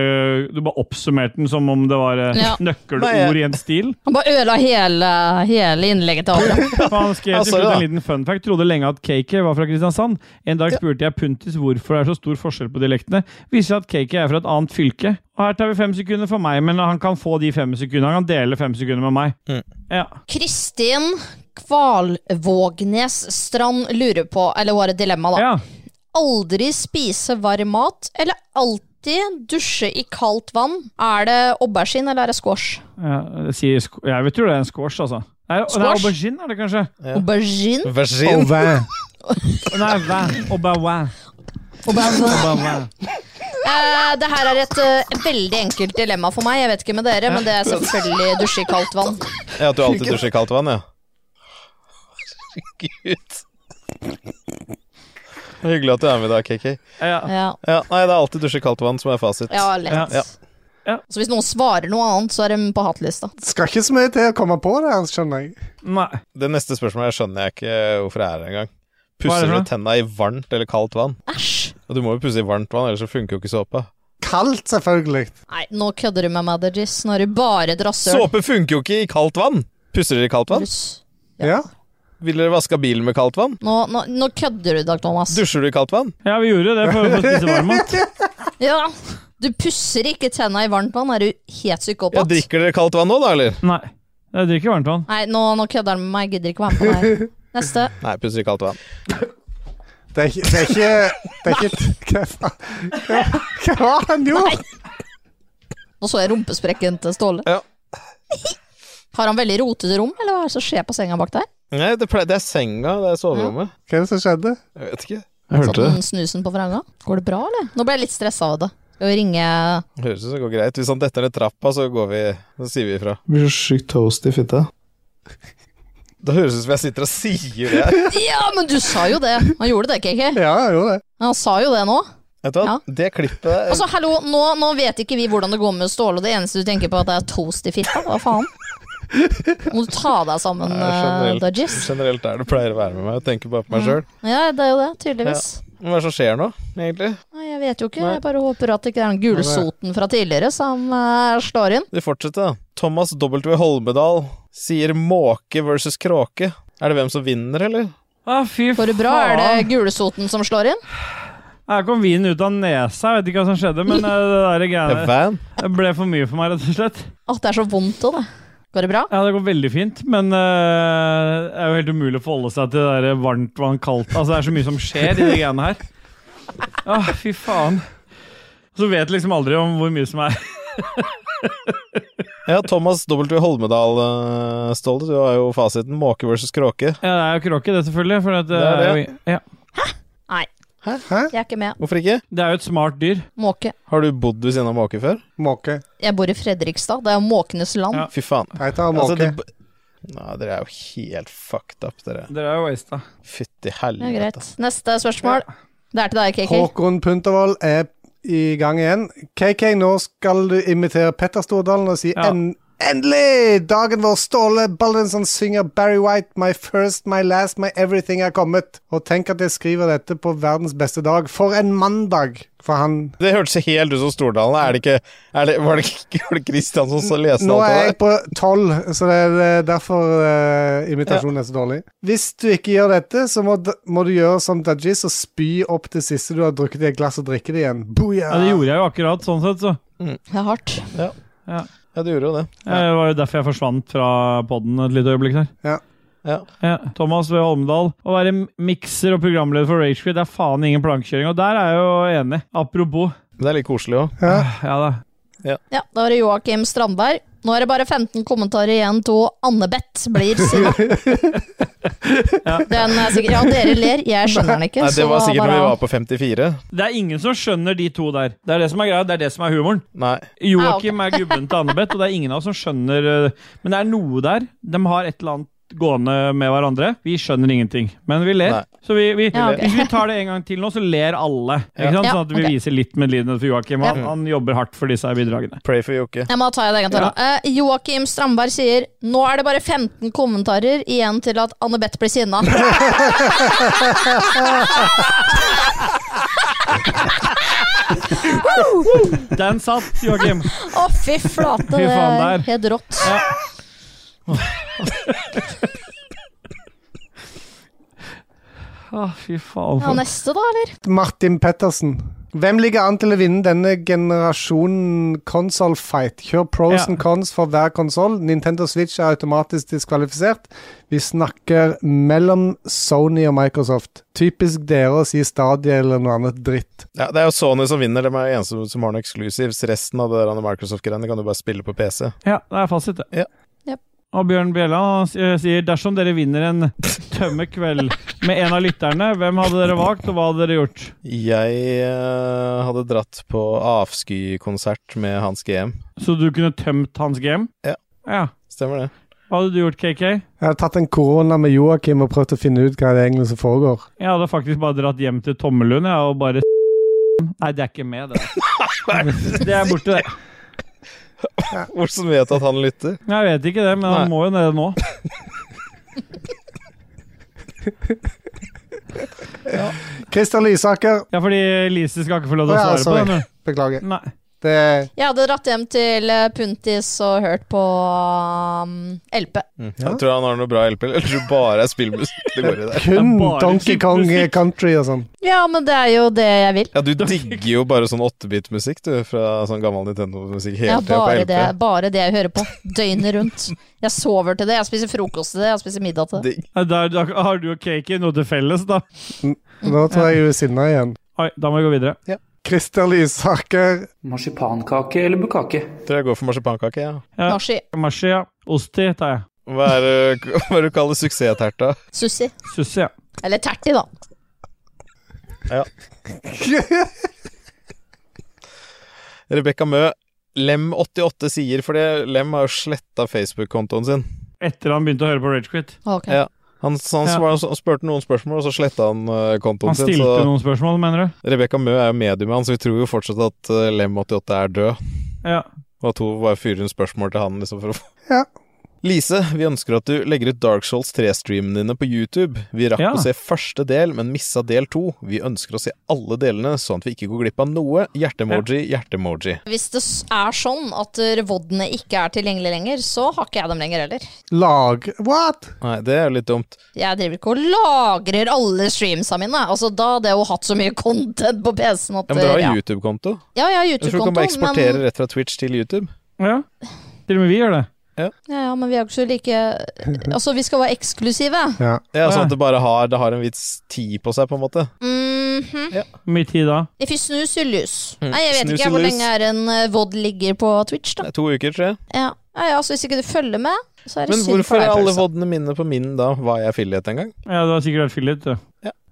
Speaker 3: du bare oppsummerte den som om det var eh,
Speaker 4: Ja.
Speaker 2: Nei, jeg-
Speaker 3: [LAUGHS] nøkkelord i en stil?
Speaker 4: Han bare ødela hele, hele innlegget
Speaker 3: [LAUGHS]
Speaker 4: til Adrian.
Speaker 3: For han skrev
Speaker 4: Ja,
Speaker 3: til
Speaker 4: sorry,
Speaker 3: slutt
Speaker 4: da.
Speaker 3: en liten fun fact. Trodde lenge at KK var fra Kristiansand. En dag spurte jeg Puntis hvorfor det er så stor forskjell på dialektene. Viser seg at KK er fra et annet fylke. Og her tar vi fem sekunder for meg, men han kan få de fem sekundene. Han kan dele fem sekunder med meg.
Speaker 4: Mm.
Speaker 3: Ja.
Speaker 4: Kristin Kvalvågnes Strand lurer på, eller hun har et dilemma, da. Aldri spise varm mat, eller alltid dusje i kaldt vann. Er det aubergine, eller er det squash?
Speaker 3: Ja, det sier sk- jeg vet jo det er en squash, altså. Nei, det er
Speaker 4: Squash?
Speaker 3: aubergine, er det kanskje?
Speaker 4: Aubergine?
Speaker 2: Aubergine.
Speaker 3: Nei, vin. Aubergine. Aubergine.
Speaker 4: Eh, det her er et eh, veldig enkelt dilemma for meg. Jeg vet ikke med dere, men det er selvfølgelig dusje i kaldt
Speaker 3: [LAUGHS]
Speaker 4: vann.
Speaker 2: Ja, at du alltid dusjer i kaldt vann, ja. Herregud. Det er Hyggelig at du er med i dag, KK.
Speaker 3: Ja.
Speaker 2: Nei, det er alltid dusje i kaldt vann som er fasit.
Speaker 4: Ja, lett.
Speaker 2: Ja.
Speaker 4: Så hvis noen svarer noe annet, så er de på hatlista.
Speaker 1: Skal ikke så mye til å komme på det, her, skjønner jeg.
Speaker 3: Nei.
Speaker 2: Det neste spørsmålet skjønner jeg ikke eh, hvorfor jeg er her engang.
Speaker 1: Hva er
Speaker 2: Pusser
Speaker 1: det for
Speaker 2: du
Speaker 1: noe?
Speaker 2: tenna i varmt eller kaldt vann?
Speaker 4: Æsj!
Speaker 2: Og du må jo pusse i varmt vann, ellers så funker jo ikke såpa.
Speaker 1: Kaldt, selvfølgelig.
Speaker 4: Nei, nå kødder du med meg, Dajis. Nå er du bare drassøl.
Speaker 2: Såpe funker jo ikke i kaldt vann! Pusser dere i kaldt vann?
Speaker 1: Ja.
Speaker 2: Ville dere vaska bilen med kaldt vann?
Speaker 4: Nå, nå, nå kødder du, Dag Thomas.
Speaker 2: Dusjer du i kaldt vann?
Speaker 3: Ja, vi gjorde det for å få spise varmmat.
Speaker 4: [LAUGHS] Ja. Du pusser ikke tenna i varmt vann, er du helt
Speaker 2: Ja,
Speaker 4: psykopat?
Speaker 2: drikker dere kaldt vann nå, da, eller?
Speaker 3: Nei. Jeg drikker varmt vann.
Speaker 4: Nei, nå, nå kødder han med meg. Jeg gidder ikke være med på [LAUGHS] det her. Neste.
Speaker 2: Nei, pusser i kaldt vann.
Speaker 1: Det er ikke Det er ikke, det er ikke Hva faen? Hva- Hva var det han gjorde?
Speaker 4: Nå så jeg rumpesprekken til Ståle. Har han veldig rotete rom, eller hva er det som skjer på senga bak der?
Speaker 2: Nei, det, pleier, det er senga, det er soverommet.
Speaker 1: Hva er det som skjedde?
Speaker 2: Jeg vet ikke. Jeg hørte
Speaker 4: den
Speaker 2: det.
Speaker 4: Sånn snusen på vranga. Går det bra, eller? Nå ble jeg litt stressa av det. Skal vi ringe
Speaker 2: Høres ut som det går greit. Hvis han detter ned trappa, så går vi Så sier vi ifra.
Speaker 14: Blir så sykt toast i fitta.
Speaker 2: Det høres ut som jeg sitter og sier det.
Speaker 4: Ja, men du sa jo det. Han gjorde det, KK.
Speaker 1: Ja, han gjorde det.
Speaker 4: Han sa jo det nå.
Speaker 2: Vet du hva, det klippet
Speaker 4: Altså, hallo, nå, nå vet ikke vi hvordan det går med Ståle, og det eneste du tenker på er at det er toast i fitta. Hva
Speaker 2: [LAUGHS]
Speaker 4: faen? Må du ta deg sammen,
Speaker 2: er
Speaker 4: eh, Dodges?
Speaker 2: generelt, generelt der det pleier å være med meg. Jeg tenker bare på meg sjøl.
Speaker 4: Ja, det er jo det, tydeligvis.
Speaker 2: Men Hva er det som skjer nå, egentlig?
Speaker 4: Nei, jeg vet jo ikke. Jeg bare håper at det ikke er den gulsoten fra tidligere som eh, slår inn.
Speaker 2: Vi fortsetter, da. Thomas W. Holmedal sier måke versus kråke. Er det hvem som vinner, eller?
Speaker 3: Å, fy faen.
Speaker 4: Går det bra? Er det gulsoten som slår inn?
Speaker 3: Her kom vinen ut av nesa. Jeg vet ikke hva som skjedde, men eh, det der
Speaker 2: Ja,
Speaker 3: greiene
Speaker 2: van.
Speaker 3: Det ble for mye for meg, rett og slett.
Speaker 4: At det er så vondt òg, det. Går det bra?
Speaker 3: Ja, det går veldig fint, men eh, det er jo helt umulig å forholde seg til det der varmt vann, kaldt Altså, det er så mye som skjer i de greiene her. Å, fy faen. Så vet liksom aldri om hvor mye som er
Speaker 2: Ja, Thomas W. Holmedal, eh, Ståle, du har jo fasiten. Måke versus kråke.
Speaker 3: Ja, det er jo kråke, det, selvfølgelig. For at,
Speaker 2: Det er
Speaker 3: eh,
Speaker 2: det.
Speaker 3: Ja.
Speaker 4: Nei.
Speaker 2: Hæ?
Speaker 4: Jeg er ikke med.
Speaker 2: Hvorfor ikke?
Speaker 3: Det er jo et smart dyr.
Speaker 4: Måke.
Speaker 2: Har du bodd ved siden av måke før?
Speaker 1: Måke.
Speaker 4: Jeg bor i Fredrikstad. Det er jo måkenes land.
Speaker 2: Fy faen.
Speaker 1: Nei, ta måke.
Speaker 2: Altså, det- Nei, dere er jo helt fucked up, dere.
Speaker 3: Dere er jo wasta.
Speaker 2: Fytti
Speaker 4: Det er
Speaker 2: helvete.
Speaker 4: greit. Neste spørsmål. Det er til deg, KK.
Speaker 1: Håkon Puntervold er i gang igjen. KK, nå skal du imitere Petter Stordalen og si en endelig! Dagen hvor Ståle Baldensson synger Barry White, My First, My Last, My Everything er kommet. Og tenk at jeg skriver dette på verdens beste dag. For en mandag! For han
Speaker 2: Det hørtes helt ut som Stordalen. Er det ikke, er det, var, det ikke, var det Christian som så leste
Speaker 1: Nå
Speaker 2: alt
Speaker 1: er
Speaker 2: av
Speaker 1: jeg
Speaker 2: det?
Speaker 1: på tolv, så det er eh, derfor eh, imitasjonen er så dårlig. Hvis du ikke gjør dette, så må, d- må du gjøre som Dajis og spy opp det siste du har drukket i et glass, og drikke det igjen. Booyah!
Speaker 3: Ja, det gjorde jeg jo akkurat, sånn sett, så.
Speaker 4: Det er hardt.
Speaker 2: Ja.
Speaker 3: Ja.
Speaker 2: du gjorde jo det.
Speaker 3: Ja, Eh, Det var jo derfor jeg forsvant fra poden et lite øyeblikk der.
Speaker 1: Ja.
Speaker 2: Ja.
Speaker 3: Thomas V. Holmedal. Å være mikser og programleder for Ragequid er faen ingen plankekjøring. Og der er jeg jo enig. Apropos.
Speaker 2: Det er litt koselig òg.
Speaker 1: Ja.
Speaker 3: da.
Speaker 4: Ja, da var det Joakim Strandberg. Nå er det bare 15 kommentarer igjen til Annebeth blir
Speaker 2: [LAUGHS]
Speaker 4: sinna. Den er sikkert Ja, dere ler. Jeg skjønner den ikke.
Speaker 2: Nei, det
Speaker 4: så
Speaker 2: var
Speaker 4: da
Speaker 2: sikkert
Speaker 4: bare-
Speaker 2: når vi var på 54.
Speaker 3: Det er ingen som skjønner de to der. Det er det som er greia, det er det som er humoren.
Speaker 2: Nei.
Speaker 3: Joakim er gubben til Annebeth, og det er ingen av oss som skjønner eh, Men det er noe der. De har et eller annet gående med hverandre. Vi skjønner ingenting, men vi ler.
Speaker 2: Nei.
Speaker 3: Så vi, vi,
Speaker 2: Ja, ok.
Speaker 3: Hvis vi tar det en gang til nå, så ler alle. Ikke sant?
Speaker 4: Ja,
Speaker 3: Sånn at vi
Speaker 4: ok.
Speaker 3: viser litt medlidenhet for Joakim. Han,
Speaker 4: Ja.
Speaker 3: han jobber hardt for disse her bidragene.
Speaker 2: Pray for Joke.
Speaker 4: Jeg må ta det en gang til. da. Eh, Joakim Strandberg sier Nå er det bare 15 kommentarer igjen til at Annebeth blir
Speaker 2: [LAUGHS]
Speaker 4: sinna.
Speaker 3: Den satt, Joakim.
Speaker 4: Å, fy flate.
Speaker 3: Fy
Speaker 4: Det
Speaker 3: faen,
Speaker 4: er
Speaker 3: der.
Speaker 4: helt rått.
Speaker 3: Å, fy faen.
Speaker 4: Ja, neste, da, eller?
Speaker 1: Martin Pettersen. Hvem ligger an til å vinne denne generasjonen console fight? Kjør pros
Speaker 3: Ja.
Speaker 1: and cons for hver konsoll. Nintendo Switch er automatisk diskvalifisert. Vi snakker mellom Sony og Microsoft. Typisk dere å si Stadia eller noe annet dritt.
Speaker 2: Ja, det er jo Sony som vinner. De er de eneste som har noe exclusives. Resten av det der andre Microsoft-greiene kan du bare spille på PC.
Speaker 3: Ja, det er fasit, det. Og Bjørn Bjella han s- eh, sier dersom dere vinner en tømme kveld med en av lytterne, hvem hadde dere valgt, og hva hadde dere gjort?
Speaker 2: Jeg eh, hadde dratt på Avsky-konsert med Hans GM.
Speaker 3: Så du kunne tømt hans game?
Speaker 2: Ja. Stemmer det.
Speaker 3: Hva hadde du gjort,
Speaker 1: Jeg
Speaker 3: KK?
Speaker 1: har tatt en korona med Joakim og prøvd å finne ut hva det egentlig som foregår.
Speaker 3: Jeg hadde faktisk bare dratt hjem til Tommelund jeg, og bare Nei, det er ikke med, det. Det er borte, det.
Speaker 2: Hvordan vet du at han lytter?
Speaker 3: Nei, Jeg vet ikke det, men han
Speaker 2: Nei.
Speaker 3: må jo ned nå.
Speaker 1: Christer Lysaker.
Speaker 3: Ja, fordi Lise skal ikke få lov til å
Speaker 1: Å ja,
Speaker 3: svare på
Speaker 1: sorry.
Speaker 3: det. men-
Speaker 1: Beklager.
Speaker 3: Nei.
Speaker 1: Det
Speaker 4: Jeg hadde dratt hjem til eh, Puntis og hørt på um, LP.
Speaker 2: Mm. Jeg tror han har noe bra LP, eller tror du bare er spillmusikk det går i der?
Speaker 1: kun Donkey Kong Country og sånn.
Speaker 4: Ja, men det er jo det jeg vil.
Speaker 2: Ja, du [LAUGHS] digger jo bare sånn 8-bit-musikk, du, fra sånn gammel Nintendo-musikk hele
Speaker 4: Ja,
Speaker 2: tida på
Speaker 4: bare
Speaker 2: LP.
Speaker 4: det, bare det jeg hører på. Døgnet rundt. Jeg sover til det, jeg spiser frokost til det, jeg spiser middag til det.
Speaker 3: Ja, Der, da har du og KK noe til felles, da.
Speaker 1: Nå tror jeg hun er sinna igjen.
Speaker 3: Oi, da må vi gå videre.
Speaker 1: Christer Lysaker.
Speaker 13: Marsipankake eller bukkake?
Speaker 2: Tror jeg går for marsipankake, ja.
Speaker 3: Ja.
Speaker 4: Mashi.
Speaker 3: Mashi, ja. Osti tar jeg.
Speaker 2: Hva er [LAUGHS] det hva er det du kaller suksessterta?
Speaker 4: Sussi.
Speaker 3: Sussi, ja.
Speaker 4: Eller terti, da.
Speaker 2: Ja. Rebekka Mø, Lem88 sier, for det Lem har jo sletta Facebook-kontoen sin.
Speaker 3: Etter han begynte å høre på Ragequit.
Speaker 2: Ja. Han, så han
Speaker 3: Ja.
Speaker 2: svar- så spurte noen spørsmål, og så sletta han eh, kontoen
Speaker 3: Han
Speaker 2: sin.
Speaker 3: stilte noen spørsmål, mener du?
Speaker 2: Rebekka Mø er jo mediumet hans, så vi tror jo fortsatt at eh, Lem88 er død.
Speaker 3: Ja.
Speaker 2: Og at hun bare fyrer inn spørsmål til han, liksom, for å
Speaker 1: Ja.
Speaker 2: Lise, vi ønsker at du legger ut Dark Souls 3-streamene dine på YouTube. Vi rakk
Speaker 3: Ja.
Speaker 2: å se første del, men missa del to. Vi ønsker å se alle delene, sånn at vi ikke går glipp av noe. Hjerte-emoji, hjerte-emoji.
Speaker 4: Hvis det s- er sånn at vodene ikke er tilgjengelig lenger, så har ikke jeg dem lenger heller.
Speaker 1: Lag What?!
Speaker 2: Nei, det er jo litt dumt.
Speaker 4: Jeg driver ikke og lagrer alle streamsa mine. Altså, da hadde jeg jo hatt så mye content på PC-en at
Speaker 2: Ja,
Speaker 4: eh,
Speaker 2: men du har
Speaker 4: ja.
Speaker 2: jo YouTube-konto.
Speaker 4: Ja, jeg har
Speaker 2: Jeg tror du kan bare
Speaker 4: YouTube-konto,
Speaker 2: eksportere
Speaker 4: men
Speaker 2: rett fra Twitch til YouTube.
Speaker 3: Ja. Til og med vi gjør det.
Speaker 4: ja, ja, men vi er jo ikke så like Altså, vi skal være eksklusive.
Speaker 1: Ja.
Speaker 2: sånn at det bare har, det har en vits tid på seg, på en måte.
Speaker 4: Mhm.
Speaker 3: Mye tid da.
Speaker 4: If you snus, you lose.
Speaker 2: Mm.
Speaker 4: Nei, jeg vet
Speaker 2: Snus
Speaker 4: ikke
Speaker 2: you
Speaker 4: hvor
Speaker 2: lose.
Speaker 4: lenge er en eh, vod ligger på Twitch, da.
Speaker 2: Det er to uker, tror jeg.
Speaker 4: Ja. Nei, altså, hvis ikke du følger med, så er det
Speaker 2: Men
Speaker 4: synd
Speaker 2: hvorfor
Speaker 4: for deg.
Speaker 2: er alle
Speaker 4: Pølse.
Speaker 2: voddene mine på min da? Var jeg affiliate en gang?
Speaker 3: Ja, du har sikkert vært fillet, du.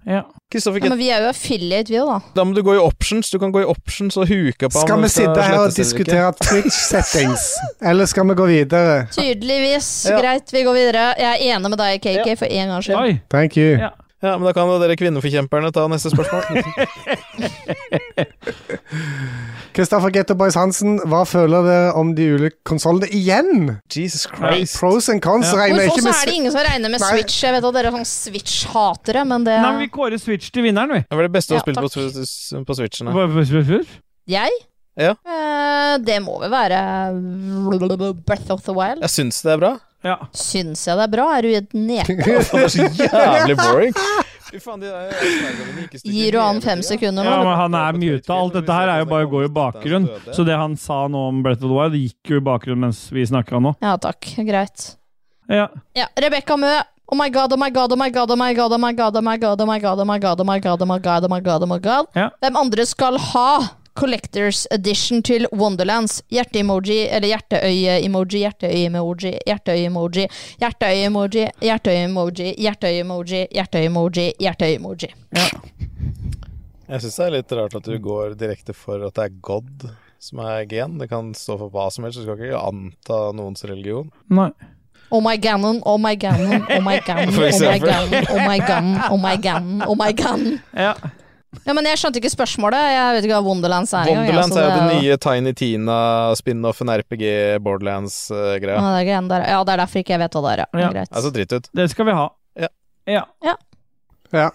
Speaker 3: Ja.
Speaker 2: Kristoffer
Speaker 4: ja,
Speaker 2: Kett,
Speaker 4: Men vi er jo affiliate, vi òg, da.
Speaker 2: da må du gå i options. Du kan gå i options og huke på
Speaker 1: Skal
Speaker 2: om
Speaker 1: vi
Speaker 2: det
Speaker 1: sitte her og
Speaker 2: slettes eller ikke.
Speaker 1: diskutere Twitch-settings, eller skal vi gå videre?
Speaker 4: Tydeligvis. Greit, vi går videre. Jeg er enig med deg, KK, for én gangs skyld.
Speaker 1: Thank you.
Speaker 3: Ja.
Speaker 2: Ja, men da kan jo dere kvinneforkjemperne ta neste spørsmål.
Speaker 1: Kristoffer Getto Boys Hansen, hva føler dere om de ulike konsollene igjen?
Speaker 2: Jesus
Speaker 1: Christ. Pros and cons
Speaker 3: Ja.
Speaker 1: regner jeg
Speaker 4: Hvorfor
Speaker 1: ikke
Speaker 4: så
Speaker 1: med
Speaker 4: er det ingen som regner med
Speaker 1: Nei.
Speaker 4: Switch? Jeg vet at dere er sånn Switch-hatere, men det
Speaker 3: Nei, men vi kårer Switch til vinneren, vi.
Speaker 2: Det var det beste å
Speaker 4: Ja,
Speaker 2: spille på, Swi- på Switchen. da.
Speaker 3: Hva- hva- hva- hva-
Speaker 4: Jeg?
Speaker 2: Ja.
Speaker 4: Eh, det må vel være Breath of the Wild.
Speaker 2: Jeg syns det er bra.
Speaker 3: Ja.
Speaker 4: Syns jeg det er bra? Er du i et nete?
Speaker 2: Det er så jævlig boring. Fy faen, de der Asperger-ene gikk i stykker
Speaker 4: Gir du han
Speaker 2: hele
Speaker 4: fem
Speaker 2: tiden.
Speaker 4: sekunder
Speaker 3: Ja,
Speaker 4: nå?
Speaker 3: men han er muta. Alt dette her er jo bare å gå i bakgrunn. Så det han sa nå om Brett of the Wild, gikk jo i bakgrunn mens vi snakka nå.
Speaker 4: Ja takk, greit.
Speaker 3: Ja.
Speaker 4: Ja, Rebekka Mø. Oh my god, oh my god, oh my god, oh my god, oh my god, oh my god, oh my god, oh my god, oh my god, oh my god, oh my god, oh my god.
Speaker 3: Ja.
Speaker 4: Hvem andre skal ha Collectors Edition til Wonderlands? Hjerte-emoji, eller hjerteøye-emoji, hjerteøye-emoji, hjerteøye-emoji, hjerteøye-emoji, hjerteøye-emoji, hjerteøye-emoji, hjerteøye-emoji, hjerteøye-emoji.
Speaker 2: Jeg syns det er litt rart at du går direkte for at det er God som er gen. Det kan stå for hva som helst, du skal ikke anta noens religion.
Speaker 3: Nei.
Speaker 4: Oh my gannon, oh my gannon, oh my gannon,
Speaker 2: [LAUGHS] For
Speaker 4: oh my
Speaker 2: eksempel.
Speaker 4: gannon, oh my gannon, oh my gannon, oh my gannon.
Speaker 3: Ja.
Speaker 4: Ja, men jeg skjønte ikke spørsmålet. Jeg vet ikke hva Wonderlands er engang. jeg,
Speaker 2: Wonderlands
Speaker 4: så
Speaker 2: er jo
Speaker 4: det-
Speaker 2: den nye Tiny Tina-spin-offen RPG Borderlands-greia.
Speaker 4: Ja, det er greiene der. Ja, det er derfor ikke jeg vet hva det er. Ja.
Speaker 2: Ja.
Speaker 4: Greit.
Speaker 2: Altså dritt ut.
Speaker 3: Det skal vi ha.
Speaker 2: Ja.
Speaker 3: Ja.
Speaker 1: Ja.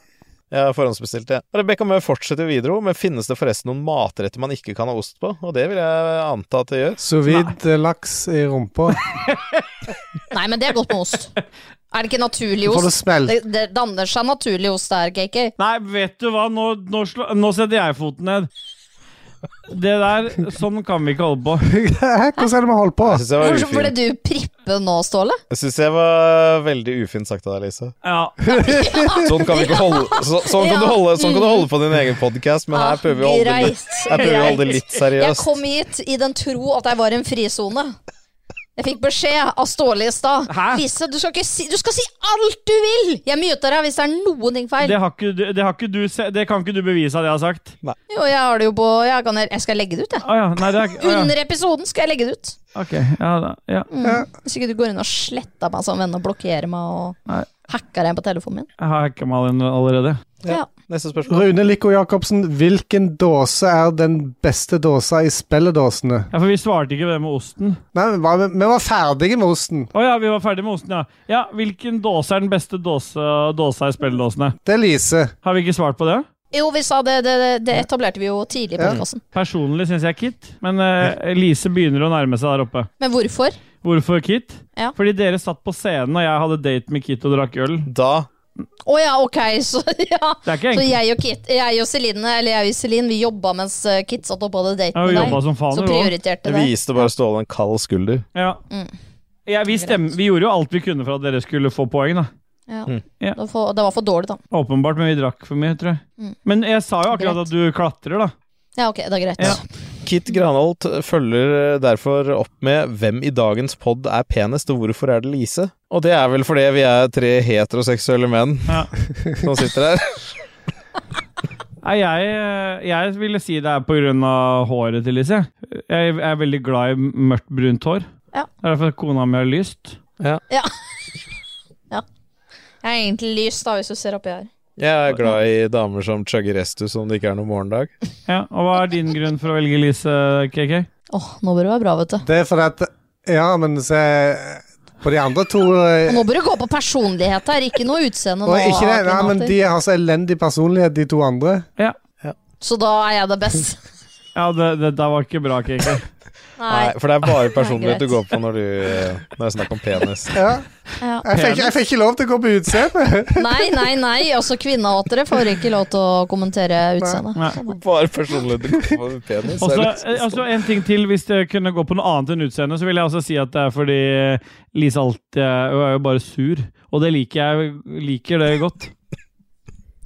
Speaker 2: Jeg har forhåndsbestilt det. Rebekka Mø fortsetter videre, men finnes det forresten noen matretter man ikke kan ha ost på? Og det vil jeg anta at det gjør.
Speaker 1: Sous vide laks i
Speaker 3: [LAUGHS]
Speaker 1: rumpa.
Speaker 4: Nei, men det er godt med
Speaker 2: [LAUGHS]
Speaker 4: ost. Er det ikke naturlig
Speaker 1: Får
Speaker 4: ost?
Speaker 1: det smelt.
Speaker 4: det, det danner seg naturlig ost der, KK.
Speaker 3: Nei, vet du hva, nå, nå, slå, nå setter jeg foten ned. Det der Sånn kan vi ikke holde på. [LAUGHS]
Speaker 1: Hæ, Hvordan er det vi holder på?
Speaker 2: Jeg syns jeg var
Speaker 4: Hvorfor ble
Speaker 2: ufin.
Speaker 4: du prippe nå, Ståle?
Speaker 2: Jeg synes jeg var veldig ufin sagt av deg, Lise.
Speaker 3: Ja.
Speaker 2: Sånn kan vi ikke holde så, Sånn kan du
Speaker 4: Ja. Mm. Ah,
Speaker 2: holde, sånn kan du holde på din egen podkast, men her prøver vi å holde det litt, [LAUGHS] her prøver vi å holde det litt
Speaker 4: Jeg
Speaker 2: seriøst.
Speaker 4: kom hit i den tro at jeg var i en frisone. Jeg fikk beskjed av Ståle i stad.
Speaker 3: Hæ?
Speaker 4: Lise, du skal, ikke si, du skal si alt du vil! Jeg muter deg hvis det er noen ting feil.
Speaker 3: Det, har ikke, du- det, har ikke du, se- det kan ikke du bevise at jeg har sagt.
Speaker 4: Jo, jeg har det jo på Jeg, kan, jeg skal legge det ut, jeg.
Speaker 3: Å ja. Nei, det er ikke å, ja.
Speaker 4: Under episoden skal jeg legge det ut.
Speaker 3: Ok. Ja, da, ja.
Speaker 4: Mm. Hvis ikke du går inn og sletter meg som venn og blokkerer meg og
Speaker 3: Nei.
Speaker 4: hacker deg på telefonen min.
Speaker 3: Jeg har hacka meg all- allerede.
Speaker 4: Ja.
Speaker 2: Neste spørsmål.
Speaker 1: Rune Lico Jacobsen, hvilken dåse er den beste dåsa i spilledåsene?
Speaker 3: Ja, For vi svarte ikke på det med osten.
Speaker 1: Nei, vi var, vi var ferdige med osten.
Speaker 3: Å ja, vi var ferdig med osten, ja. Ja, Hvilken dåse er den beste dåse, dåsa i spilledåsene?
Speaker 1: Det er Lise.
Speaker 3: Har vi ikke svart på det?
Speaker 4: Jo, vi sa det, det, det- det etablerte vi jo tidlig i
Speaker 3: Ja.
Speaker 4: podkasten.
Speaker 3: Personlig syns jeg Kit, men eh, Lise begynner å nærme seg der oppe.
Speaker 4: Men hvorfor?
Speaker 3: Hvorfor Kit?
Speaker 4: Ja.
Speaker 3: Fordi dere satt på scenen, og jeg hadde date med Kit og drakk øl.
Speaker 2: Da
Speaker 4: Å ja, ok, [LAUGHS] så ja.
Speaker 3: Det er ikke enkelt.
Speaker 4: Så jeg og, Kit, jeg og Celine, eller jeg og Celine, vi jobba mens eh, Kit satt oppe og hadde date
Speaker 3: Ja, vi
Speaker 4: med
Speaker 3: jobba
Speaker 4: deg.
Speaker 3: som faen,
Speaker 4: så
Speaker 3: vi også.
Speaker 4: prioriterte
Speaker 2: Det
Speaker 4: det.
Speaker 2: viste bare Ståle en kald skulder.
Speaker 3: Ja.
Speaker 4: Mm.
Speaker 3: Ja, vi, stem, vi gjorde jo alt vi kunne for at dere skulle få poeng, da.
Speaker 4: Ja.
Speaker 2: Mm.
Speaker 3: Ja.
Speaker 4: Det, var for, det var for dårlig, da.
Speaker 3: Åpenbart, men vi drakk for mye, tror jeg.
Speaker 4: Mm.
Speaker 3: Men jeg sa jo akkurat
Speaker 4: Greit.
Speaker 3: at du klatrer, da.
Speaker 4: Ja, ok, det er greit.
Speaker 3: Ja.
Speaker 2: Kit Granholt følger derfor opp med 'Hvem i dagens pod er penest, og hvorfor er det Lise?' Og det er vel fordi vi er tre heteroseksuelle menn
Speaker 3: Ja.
Speaker 2: som sitter her.
Speaker 3: Nei, jeg, jeg ville si det er på grunn av håret til Lise. Jeg er veldig glad i mørkt, brunt hår.
Speaker 4: Ja.
Speaker 3: Det er derfor kona mi har lyst.
Speaker 4: Ja. ja. Jeg er egentlig lys, da, hvis du ser oppi her.
Speaker 2: Jeg er glad i damer som chugger restus om det ikke er noen morgendag.
Speaker 3: Ja, og hva er din grunn for å velge Lise, KK?
Speaker 4: Nå bør du være bra, vet du.
Speaker 1: Det er fordi at Ja, men se På de andre to eh,
Speaker 4: Og nå bør du gå på personlighet her, ikke noe utseende.
Speaker 1: og
Speaker 4: nå,
Speaker 1: ikke det, nei, men
Speaker 4: Akinator.
Speaker 1: De har så elendig personlighet, de to andre.
Speaker 3: Ja.
Speaker 4: Så da er jeg det best.
Speaker 3: Ja, det, det der var ikke bra, KK.
Speaker 4: [LAUGHS] Nei.
Speaker 2: Nei, for det er bare
Speaker 4: greit.
Speaker 2: personlighet du går på når, du, eh, når det er snakk om
Speaker 4: [LAUGHS]
Speaker 2: penis.
Speaker 1: Ja. Jeg fikk, jeg fikk ikke lov til å gå på utseende.
Speaker 4: Nei, nei, nei. Også kvinnehatere får ikke lov til å kommentere utseendet.
Speaker 2: Bare personlighet du går på med penis.
Speaker 3: Også,
Speaker 2: er det-
Speaker 3: eh, altså en ting til, Hvis det kunne gå på noe annet enn utseende, så vil jeg også si at det er fordi eh, Lise alltid er hun er jo bare sur. Og det liker jeg liker det godt.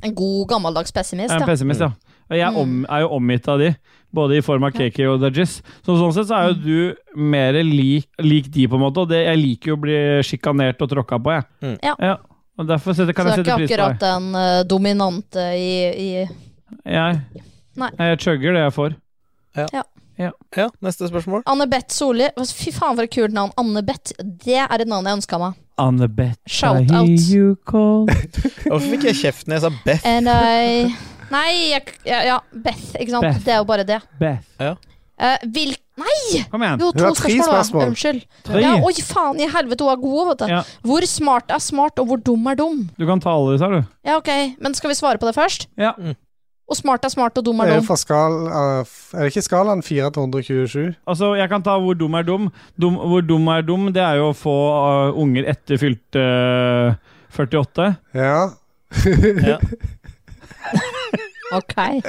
Speaker 4: En god, gammeldags pessimist,
Speaker 3: Jeg er en pessimist, ja. Og jeg er om,
Speaker 4: Mm.
Speaker 3: er jo omgitt av de, både i form av KK og Dudgies. Så sånn sett så er jo
Speaker 4: Mm.
Speaker 3: du mer lik, lik de, på en måte. Og det, jeg liker jo å bli sjikanert og tråkka på, jeg.
Speaker 2: Mm.
Speaker 4: Ja.
Speaker 3: Og derfor setter, kan
Speaker 4: så
Speaker 3: jeg
Speaker 4: det
Speaker 3: sette
Speaker 4: er
Speaker 3: pris
Speaker 4: ikke
Speaker 3: på
Speaker 4: akkurat
Speaker 3: det.
Speaker 4: den eh, dominante i, i
Speaker 3: Jeg,
Speaker 4: Nei.
Speaker 3: jeg chugger det jeg får.
Speaker 4: Ja.
Speaker 2: Ja, neste spørsmål.
Speaker 4: Anne-Beth Solli. Fy faen, for et kult navn. Anne-Beth. Det er et navn jeg ønska meg.
Speaker 3: Annabeth,
Speaker 4: Shout
Speaker 3: I
Speaker 4: out.
Speaker 3: hear you call.
Speaker 2: Hvorfor fikk jeg kjeft når jeg sa Beth?
Speaker 3: [LAUGHS]
Speaker 4: And I Nei, jeg, ja, ja, Beth, ikke sant.
Speaker 2: Beth.
Speaker 4: Det er jo bare det.
Speaker 3: Beth.
Speaker 2: Ja.
Speaker 4: Eh, hvil... Nei!
Speaker 3: Kom igjen.
Speaker 4: Jo,
Speaker 2: Du
Speaker 4: to
Speaker 2: har tre
Speaker 4: spørsmål, da.
Speaker 2: spørsmål.
Speaker 4: Unnskyld.
Speaker 3: Tre.
Speaker 4: Ja, oi, faen i helvete, hun er god, vet du.
Speaker 3: Ja.
Speaker 4: Hvor smart er smart, og hvor dum er dum?
Speaker 3: Du kan ta alle disse, her, du.
Speaker 4: Ja, ok, men skal vi svare på det først?
Speaker 3: Ja.
Speaker 4: Og smart er smart, og dum
Speaker 1: Det
Speaker 4: er
Speaker 1: er jo
Speaker 4: dum.
Speaker 1: fra skal, eh, f- er det ikke skalaen 4 til 127?
Speaker 3: Altså, jeg kan ta hvor dum er dum. dum hvor dum er dum, det er jo å få uh, unger etter fylte uh, 48.
Speaker 1: Ja.
Speaker 3: ja.
Speaker 4: Ok. Ja.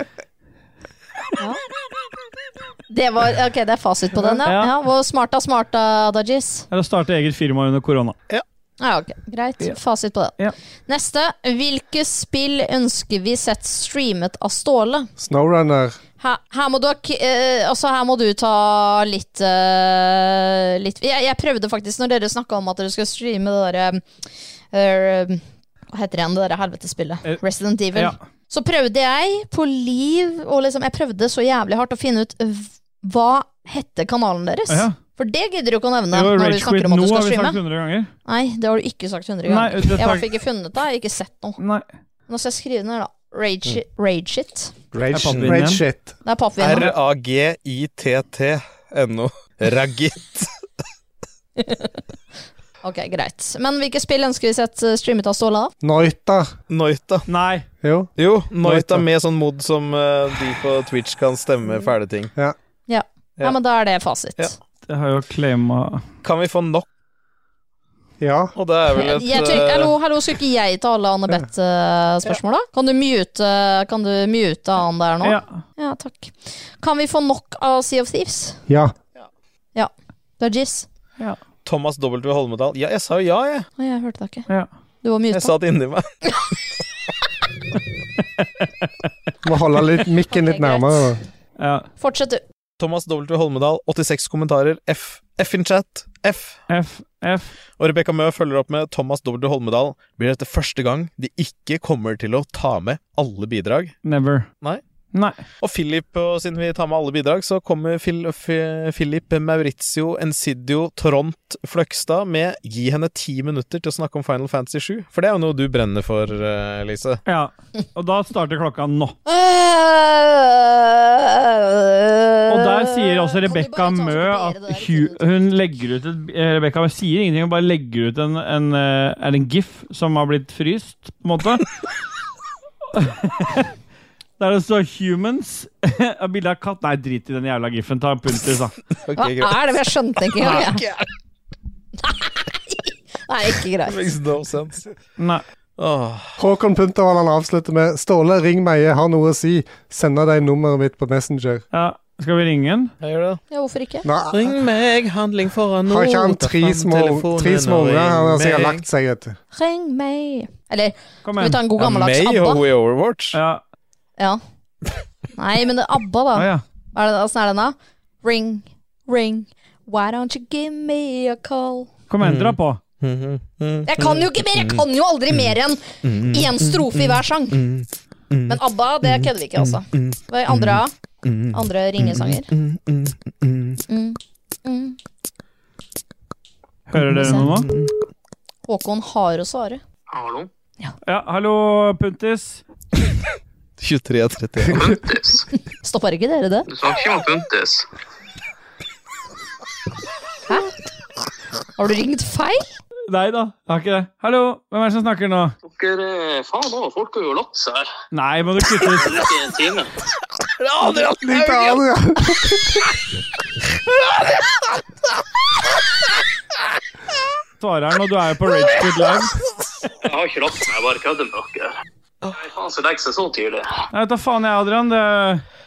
Speaker 4: Det var Ok, det er fasit på den, ja.
Speaker 3: Ja.
Speaker 4: ja hvor smart er smart, da, Dajis?
Speaker 3: Eller starte eget firma under korona.
Speaker 4: Ja, ok, greit. Fasit på den. Neste. Hvilke spill ønsker vi sett streamet av Ståle?
Speaker 1: Snowrunner.
Speaker 4: Her, her, må du, ha k- eh, altså her må du ta litt, eh, litt jeg, jeg prøvde faktisk, når dere snakka om at dere skulle streame det derre eh, Hva heter det igjen, det derre helvetespillet? Resident Evil.
Speaker 11: ja.
Speaker 4: Så prøvde jeg på liv, og liksom, jeg prøvde så jævlig hardt å finne ut v- hva hette kanalen deres.
Speaker 3: Ja.
Speaker 4: For det gidder du ikke å nevne
Speaker 3: Jo,
Speaker 4: når
Speaker 3: Rage
Speaker 4: du snakker
Speaker 3: Quit
Speaker 4: om at
Speaker 3: nå
Speaker 4: du
Speaker 3: har
Speaker 4: skal
Speaker 3: vi sagt
Speaker 4: streame.
Speaker 3: 100 ganger.
Speaker 4: Nei, det har du ikke sagt 100
Speaker 3: Nei,
Speaker 4: ganger.
Speaker 3: det
Speaker 4: jeg har i
Speaker 3: tar-
Speaker 4: hvert fall ikke funnet det, jeg har ikke sett noe. Nå skal jeg skrive ned, da. Rage,
Speaker 2: Mm.
Speaker 4: rage it.
Speaker 1: Det
Speaker 2: Rage,
Speaker 1: er pappvinen. Rage shit.
Speaker 4: Det er pappvinen.
Speaker 2: R-A-G-I-T-T-N-O. Ragit.
Speaker 4: Ok, greit. Men hvilke spill ønsker vi sett eh, streamet av Ståle? da?
Speaker 1: Noita.
Speaker 2: Noita.
Speaker 3: Nei.
Speaker 1: Jo.
Speaker 2: Jo, Noita med sånn mod som eh, de på Twitch kan stemme fæle ting.
Speaker 4: Ja.
Speaker 2: Ja.
Speaker 4: ja, men da er det fasit.
Speaker 3: Det har jo claima
Speaker 2: Kan vi få nok?
Speaker 1: Ja.
Speaker 2: Og det er vel et
Speaker 4: Jeg tror,
Speaker 2: eh,
Speaker 4: hallo, hallo, skulle ikke jeg ta alle Anne-Beth-spørsmål, da? Kan du mute Kan du mute han der nå?
Speaker 1: Ja.
Speaker 4: Ja, takk. Kan vi få nok av Sea of Thieves?
Speaker 1: Ja.
Speaker 4: Ja. Det er Jizz.
Speaker 2: Thomas W. Holmedal. Ja, jeg sa jo ja, jeg.
Speaker 4: Å, jeg hørte deg ikke.
Speaker 3: Ja.
Speaker 4: Du var muta.
Speaker 2: Jeg sa det inni meg.
Speaker 1: Må holde litt, mikken litt nærmere. da.
Speaker 3: Ja.
Speaker 4: Fortsett, du.
Speaker 2: Thomas W. Holmedal, 86 kommentarer. F. F in chat. F.
Speaker 3: F. F.
Speaker 2: Og Rebekka Mø følger opp med Thomas W. Holmedal. Blir dette første gang de ikke kommer til å ta med alle bidrag?
Speaker 3: Never.
Speaker 2: Nei.
Speaker 3: Nei.
Speaker 2: Og Philip, og siden vi tar med alle bidrag, så kommer Phil, F- Philip Maurizio Encidio Tront Fløgstad med 'Gi henne ti minutter til å snakke om Final Fantasy 7'. For det er jo noe du brenner for, eh, Lise.
Speaker 3: Ja. Og da starter klokka nå. Og
Speaker 4: Eh,
Speaker 3: der sier også Rebekka Mø at hu- hun legger ut et eh, Rebekka Mø sier ingenting, hun bare legger ut en, en eh, Er det en gif som har blitt fryst, på en måte? [LAUGHS] Der det står 'Humans'. [LAUGHS] Et bilde av katt. Nei, drit i den jævla gifen. Ta en pultis, da.
Speaker 1: Ah,
Speaker 4: Hva er det? Jeg skjønte ikke engang. jeg. [LAUGHS] Nei, ikke greit.
Speaker 2: Makes no sense.
Speaker 3: Nei.
Speaker 1: Håkon Puntervallan avslutter med Ståle, ring meg, jeg har noe å si. Sender deg nummeret mitt på Messenger.
Speaker 3: Ja, skal vi ringe den?
Speaker 2: Jeg gjør det.
Speaker 4: Ja, hvorfor ikke?
Speaker 1: Nei.
Speaker 9: Ring meg, handling foran nå.
Speaker 1: Har ikke han
Speaker 9: ta
Speaker 1: tre
Speaker 9: fram
Speaker 1: små,
Speaker 9: telefonen
Speaker 1: tre små
Speaker 9: og
Speaker 1: unger? Han har
Speaker 9: ring
Speaker 1: sikkert
Speaker 9: meg.
Speaker 1: lagt seg, vet du.
Speaker 4: Ring meg. Eller, skal
Speaker 2: igjen.
Speaker 4: vi ta en god
Speaker 2: Ja,
Speaker 4: gammeldags
Speaker 2: meg og
Speaker 4: ABBA?
Speaker 2: Way Overwatch.
Speaker 3: Ja.
Speaker 4: Ja. Nei, men det er ABBA,
Speaker 3: [LAUGHS]
Speaker 4: da.
Speaker 2: Ah, ja.
Speaker 4: Hva er det, åssen er den, da? Ring, ring, why don't you give me a call?
Speaker 3: Kom igjen, dra på.
Speaker 2: Mhm,
Speaker 4: Jeg kan jo ikke mer! Jeg kan jo aldri mer enn én strofe i hver sang. Men ABBA, det kødder vi ikke, altså. Hva er andre, andre ringesanger? Mm. Mm.
Speaker 3: Hører dere noe nå?
Speaker 4: Håkon har å svare.
Speaker 14: Hallo?
Speaker 3: Ja, hallo, Puntis.
Speaker 2: 23.31.
Speaker 4: Stopper ikke dere det?
Speaker 14: Du snakker ikke om Puntis.
Speaker 4: Har du ringt feil?
Speaker 3: Nei da, jeg har ikke det. Hallo, hvem er det som snakker nå?
Speaker 14: Dere, eh, faen nå, folk har jo latt seg her.
Speaker 3: Nei, må du
Speaker 14: [LAUGHS]
Speaker 3: kutte
Speaker 14: Det
Speaker 3: ut.
Speaker 14: er ikke en time.
Speaker 3: Adrian Svarer han, og du er jo på Ragequid Live.
Speaker 14: Jeg har ikke latt meg, jeg bare kødder med dere. Nei, faen, så legger seg så tidlig.
Speaker 3: Nei, vet da faen jeg, Adrian. Det...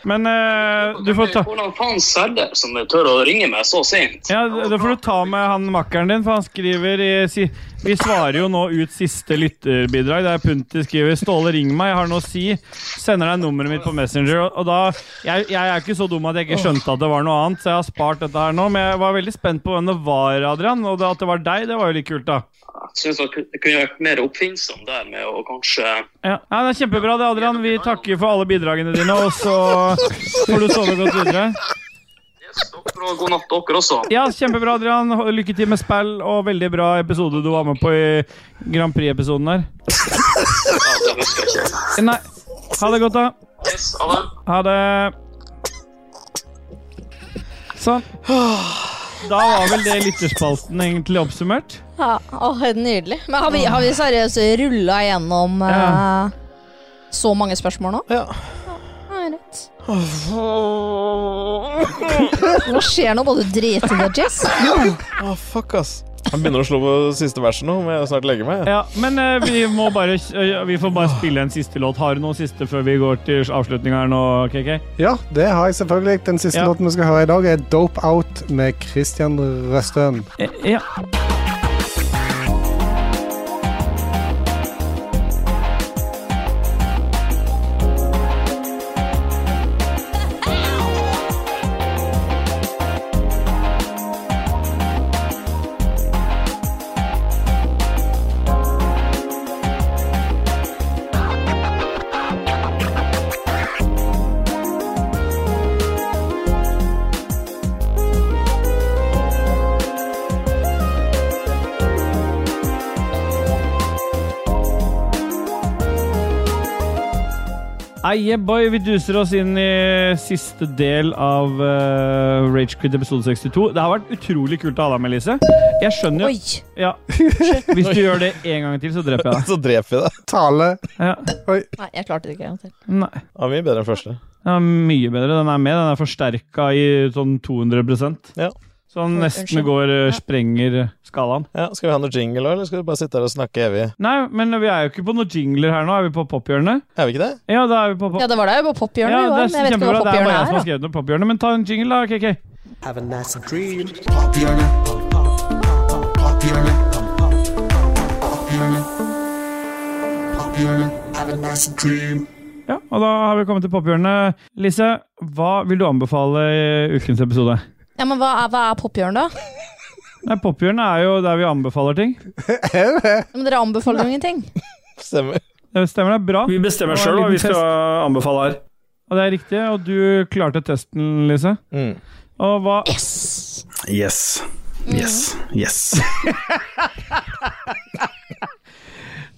Speaker 3: Men eh, du får ta
Speaker 14: Hvordan faen selger som du tør å ringe meg så sent?
Speaker 3: ja, Da får du ta med han makkeren din, for han skriver i si, Vi svarer jo nå ut siste lytterbidrag. Der Punti skriver 'Ståle, ring meg, jeg har noe å si'. Sender deg nummeret mitt på Messenger. Og, og da jeg, jeg er ikke så dum at jeg ikke skjønte at det var noe annet, så jeg har spart dette her nå. Men jeg var veldig spent på hvem det var, Adrian. Og det, at det var deg, det var jo litt kult, da.
Speaker 14: Jeg synes dere kunne vært mer oppfinnsom der med å kanskje
Speaker 3: Ja. Nei, det er kjempebra det, Adrian. Vi takker for alle bidragene dine, og så får du sove godt videre.
Speaker 14: Dere har God natt, dere også.
Speaker 3: Ja, kjempebra, Adrian. Lykke til med spill, og veldig bra episode du var med på i Grand Prix-episoden der.
Speaker 14: Ja, det husker jeg ikke.
Speaker 3: Nei. Ha det godt, da.
Speaker 14: Yes, ha det.
Speaker 3: Ha det. Sånn. Da var vel det lytterspalten egentlig oppsummert.
Speaker 4: Ja, åh, Nydelig. Men har vi, har vi seriøst rulla gjennom eh,
Speaker 3: Ja.
Speaker 4: så mange spørsmål nå?
Speaker 9: Ja.
Speaker 4: ja rett. Hva skjer nå? Må du drite i det,
Speaker 3: [LAUGHS]
Speaker 4: Jess?
Speaker 2: Å, fuck, ass. Han begynner å slå på siste verset nå, må jeg snart legge meg.
Speaker 3: Ja, men eh, vi må bare eh, Vi får bare spille en siste låt. Har du noen siste før vi går til avslutninga her nå, KK?
Speaker 1: Ja, det har jeg selvfølgelig. Den siste
Speaker 3: Ja.
Speaker 1: låten vi skal høre i dag, er Dope Out med Christian Røstøen.
Speaker 3: Ja. Eie boy, vi duser oss inn i siste del av uh, Ragequid episode 62. Det har vært utrolig kult å ha deg med, Lise. Jeg skjønner jo ja. Hvis du gjør det en gang til, så dreper jeg deg.
Speaker 2: Så dreper vi deg.
Speaker 1: Tale.
Speaker 3: Ja.
Speaker 4: Nei, jeg klarte det ikke. en gang til.
Speaker 3: Nei.
Speaker 2: Ja, mye bedre enn første.
Speaker 3: Den er mye bedre. Den er med. Den er forsterka i sånn 200
Speaker 2: Ja.
Speaker 3: Så den
Speaker 2: Oi,
Speaker 3: nesten
Speaker 2: unnskyld.
Speaker 3: går eh, Sprenger skalaen.
Speaker 2: Ja, Skal vi ha noe jingle òg, eller skal vi bare sitte her og snakke evig?
Speaker 3: Nei, men vi er jo ikke på noen jingler her nå. Er vi på pophjørnet?
Speaker 2: Er vi ikke det?
Speaker 3: Ja, da er vi på pop
Speaker 4: Ja, det var det jo på pophjørnet vi
Speaker 3: Ja,
Speaker 4: var.
Speaker 3: det
Speaker 4: men Jeg
Speaker 3: er
Speaker 4: vet ikke hva
Speaker 3: kjempebra. Det er bare jeg som
Speaker 4: pophjørnet
Speaker 3: har
Speaker 4: er. da.
Speaker 3: skrevet noe pophjørnet, men ta en jingle, da, KK.
Speaker 5: Have a nice dream. Pophjørnet. Pophjørnet. Pophjørnet. Pophjørnet. Have a nice dream.
Speaker 3: Ja, og da har vi kommet til pophjørnet. Lise, hva vil du anbefale i ukens episode?
Speaker 4: Ja, men hva er, hva er pophjørnet, da?
Speaker 3: Nei, Pophjørnet er jo der vi anbefaler ting.
Speaker 4: Men dere anbefaler jo ingenting.
Speaker 2: Stemmer.
Speaker 3: Det stemmer, det er bra.
Speaker 10: Vi bestemmer
Speaker 3: Det var en
Speaker 10: selv hva
Speaker 3: liten
Speaker 10: vi skal
Speaker 3: test.
Speaker 10: anbefale her.
Speaker 3: Og det er riktig, og du klarte testen, Lise.
Speaker 10: Mm.
Speaker 3: Og hva
Speaker 15: Yes. Yes. Yes.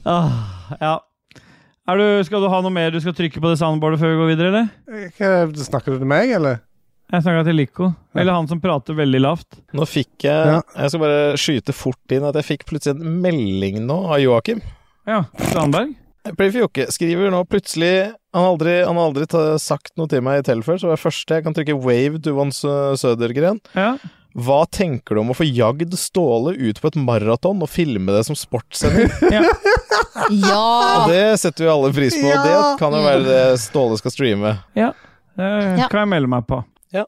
Speaker 3: Ah, ja. Er du, skal du ha noe mer du skal trykke på det soundboardet før vi går videre, eller?
Speaker 1: Hva- Snakker du til meg, eller?
Speaker 3: Jeg snakka til Lico. Eller han som prater veldig lavt.
Speaker 2: Nå fikk jeg Jeg skal bare skyte fort inn at jeg fikk plutselig en melding nå av Joakim.
Speaker 3: Ja, Strandberg?
Speaker 2: Play for Jokke skriver nå plutselig Han har aldri, han har aldri ta, sagt noe til meg i tell før, så det er første jeg kan trykke wave to one sø- Sødergren. Hva tenker du om å få jagd Ståle ut på et maraton og filme det som sportssending?
Speaker 4: Ja!
Speaker 3: [LAUGHS]
Speaker 2: Og det setter vi alle pris på. og Det
Speaker 4: Ah. Ja. Mm.
Speaker 2: kan jo være det Ståle skal streame.
Speaker 3: Ja, det kan jeg melde meg på.
Speaker 2: Ja.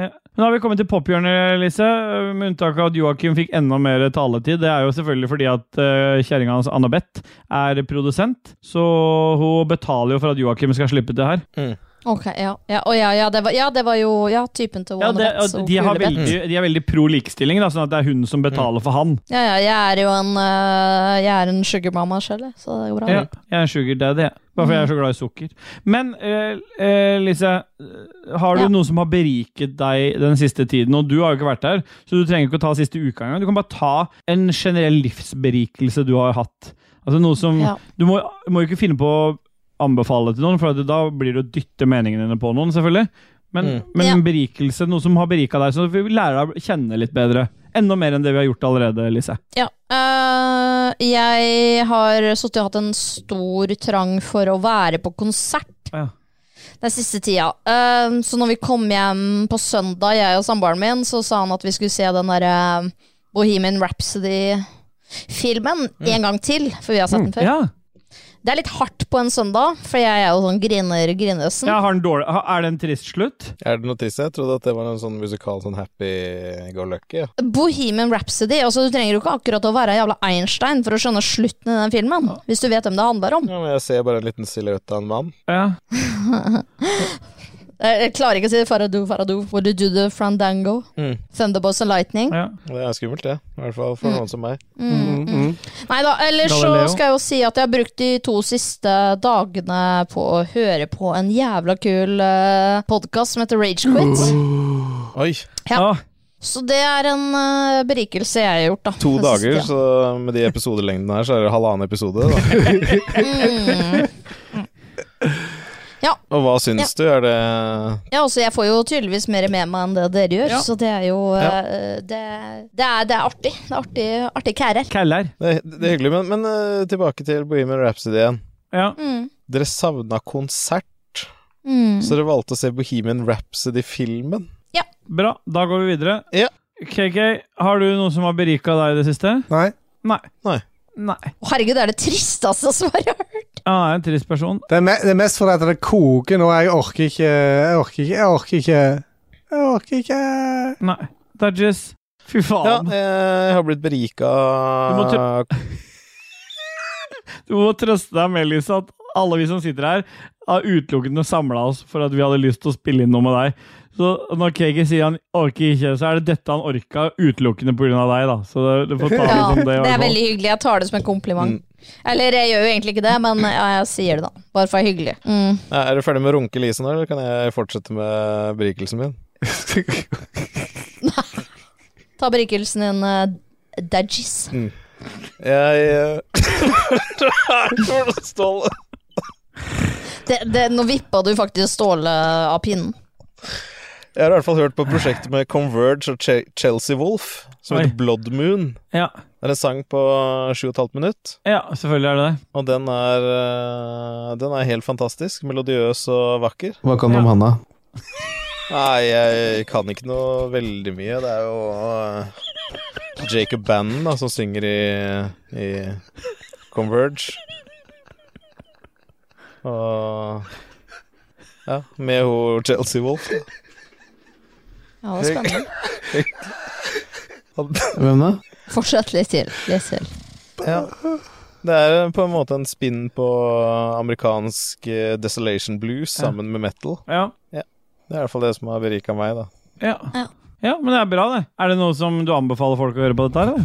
Speaker 3: Men da har vi kommet til pophjørnet, Lise. Med unntak av at Joakim fikk enda mer taletid. Det er jo selvfølgelig fordi at eh, kjerringa hans, Annabeth, er produsent. Så hun betaler jo for at Joakim skal slippe det her.
Speaker 4: Ok, ja. Ja, å, ja, ja, det var, ja, det var jo ja, typen til
Speaker 3: Ja, det,
Speaker 4: Wanabets
Speaker 3: og
Speaker 4: og
Speaker 3: de, har
Speaker 4: Kulebett.
Speaker 3: veldig, de er veldig pro likestilling, da, sånn at det er hun som betaler for han.
Speaker 4: Ja, ja, jeg er jo en, uh, jeg er en sugarmama sjøl, så det går bra.
Speaker 3: Ja, jeg er sugar daddy, jeg. Bare fordi jeg er så glad i sukker. Men eh, eh, Lise, eh, har du
Speaker 4: Ja.
Speaker 3: noe som har beriket deg den siste tiden? Og du har jo ikke vært der, så du trenger ikke å ta siste uka engang. Du kan bare ta en generell livsberikelse du har hatt. Altså noe som
Speaker 4: Ja.
Speaker 3: Du må må jo ikke finne på å anbefale til noen, for at da blir det å dytte meningene dine på noen, selvfølgelig. Men, men
Speaker 4: Ja.
Speaker 3: berikelse, noe som har berika deg, så vi lærer deg å kjenne litt bedre. Enda mer enn det vi har gjort allerede, Lise.
Speaker 4: Ja. eh, jeg har sittet og hatt en stor trang for å være på konsert
Speaker 3: Ja.
Speaker 4: den siste tida. Eh, så når vi kom hjem på søndag, jeg og samboeren min, så sa han at vi skulle se den derre Bohemian Rhapsody-filmen en gang til, for vi har
Speaker 3: Mm.
Speaker 4: sett den før. Mm. Det er litt hardt på en søndag, for jeg er jo sånn griner grinøsen.
Speaker 3: Ja, har den dårlig, ha- er det en trist slutt?
Speaker 2: Er det noe trist? Jeg trodde at det var en sånn musikal sånn happy go lucky. Ja.
Speaker 4: Bohemian Rhapsody. Altså, du trenger jo ikke akkurat å være jævla Einstein for å skjønne slutten i den filmen, hvis du vet hvem det handler om.
Speaker 2: Ja, men jeg ser bare en liten silhuett av en mann.
Speaker 4: Jeg jeg klarer ikke å si Faradu, Faradu, Would you do the Frandango?
Speaker 2: Mm.
Speaker 4: Thunderbolts and Lightning.
Speaker 2: Det er skummelt, det. I hvert fall for
Speaker 4: Mm.
Speaker 2: noen som meg.
Speaker 4: Mm, mm. Nei da, ellers så
Speaker 2: Galileo.
Speaker 4: skal jeg jo si at jeg har brukt de to siste dagene på å høre på en jævla kul uh, podkast som heter Ragequit.
Speaker 2: Oi.
Speaker 4: Ja. Så det er en eh, berikelse jeg har gjort, da.
Speaker 2: To
Speaker 4: den siste
Speaker 2: dager,
Speaker 4: tida.
Speaker 2: så med de episodelengdene her, så er det halvannen episode.
Speaker 4: [LAUGHS]
Speaker 2: Da.
Speaker 4: Mm. Ja.
Speaker 2: Og hva syns du? Er det
Speaker 4: Ja, altså Jeg får jo tydeligvis mer med meg enn det dere gjør,
Speaker 2: Ja.
Speaker 4: så det er jo
Speaker 2: Ja.
Speaker 4: eh, det, det, er, det er artig. Det er artig, artig kærer.
Speaker 2: Det, det er hyggelig, men, men eh, tilbake til Bohemian Rhapsody igjen.
Speaker 4: Mm.
Speaker 2: Dere savna konsert,
Speaker 4: Mm.
Speaker 2: så dere valgte å se Bohemian Rhapsody-filmen.
Speaker 3: Bra, da går vi videre. KK, har du noe som har berika deg i det siste?
Speaker 1: Nei.
Speaker 3: Nei.
Speaker 2: Nei.
Speaker 4: Å, Herregud, det er det tristeste svaret jeg har hørt.
Speaker 3: Ah, jeg er en trist person.
Speaker 1: Det er, me det er mest fordi at det koker nå. Jeg orker ikke Jeg orker ikke. Jeg orker ikke. Jeg orker ikke.
Speaker 3: Nei. Dodges. Fy
Speaker 2: Ja,
Speaker 3: faen.
Speaker 2: eh, jeg har blitt berika
Speaker 3: Du må tro- [LAUGHS] Du må trøste deg med, Lise, at alle vi som sitter her, har utelukkende samla oss for at vi hadde lyst til å spille inn noe med deg. Så når KK sier han orker ikke, så er det dette han orka utelukkende pga. deg, da. Så det, du får ta det
Speaker 4: Ja,
Speaker 3: som det.
Speaker 4: det
Speaker 3: i hvert
Speaker 4: er
Speaker 3: fall. Mm.
Speaker 4: veldig hyggelig. Jeg tar det som en kompliment. Eller jeg gjør jo egentlig ikke det, men ja, jeg sier det, da. Bare for å være hyggelig. Mm.
Speaker 2: Nei, Er du ferdig med å runke Lise nå, eller kan jeg fortsette med berikelsen min?
Speaker 4: Ta berikelsen din, uh, Dajis.
Speaker 2: Mm. Jeg eh, Ståle.
Speaker 4: Det, det, nå vippa du faktisk Ståle av pinnen.
Speaker 2: Jeg har i hvert fall hørt på prosjektet med Converge og Che- Chelsea Wolf, som
Speaker 3: Oi.
Speaker 2: heter Blood Moon.
Speaker 3: Ja.
Speaker 2: Det er en sang på sju og et halvt minutt,
Speaker 3: Ja, selvfølgelig er det det.
Speaker 2: og den er, eh, den er helt fantastisk. Melodiøs og vakker.
Speaker 15: Hva kan du om Hanna?
Speaker 2: Nei, jeg kan ikke noe veldig mye. Det er jo eh, Jacob Bannon da, som synger i, i Converge. Og Ja, med ho Chelsea Wolf.
Speaker 4: Ja, det er spennende.
Speaker 3: [LAUGHS]
Speaker 2: Hvem da?
Speaker 4: Fortsett litt til. Litt til.
Speaker 2: Ja. Det er eh, på en måte en spinn på amerikansk eh, desolation blues
Speaker 3: Ja.
Speaker 2: sammen med metal.
Speaker 3: Ja.
Speaker 2: Det er i hvert fall det som har berika meg, da.
Speaker 3: Ja. ja, men det er bra, det. Er det noe som du anbefaler folk å høre på dette her, eller?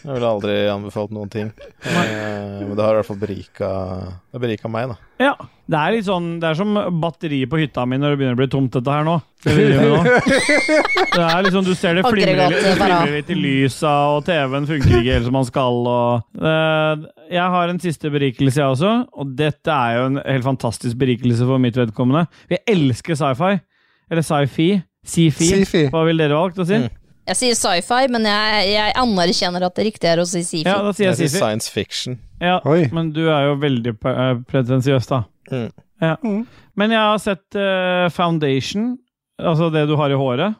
Speaker 2: Jeg ville aldri anbefalt noen ting. Eh, Men det har i hvert fall berika, det har berika meg, da.
Speaker 3: Ja. Det er litt sånn, det er som batteriet på hytta mi når det begynner å bli tomt, dette her nå. Det, vi driver med nå.
Speaker 4: [LAUGHS]
Speaker 3: det er liksom, Du ser det flimrer,
Speaker 10: Aggregatet
Speaker 3: litt- det
Speaker 10: bare.
Speaker 3: flimrer litt i lysa, og TV-en funker ikke helt som man skal. Og, Eh, jeg har en siste berikelse, jeg også. Og dette er jo en helt fantastisk berikelse for mitt vedkommende. Vi elsker sci-fi. Eller sci-fi. Sci-fi. Hva ville dere valgt å si?
Speaker 4: Jeg sier sci-fi, men jeg, jeg anerkjenner at det riktige er å si sifi.
Speaker 3: Ja, da sier jeg
Speaker 2: sier
Speaker 3: sci-fi.
Speaker 2: science fiction.
Speaker 3: Ja, men du er jo veldig pe- eh, pretensiøs, da.
Speaker 2: Mm.
Speaker 3: Ja. Men jeg har sett eh, foundation, altså det du har i håret.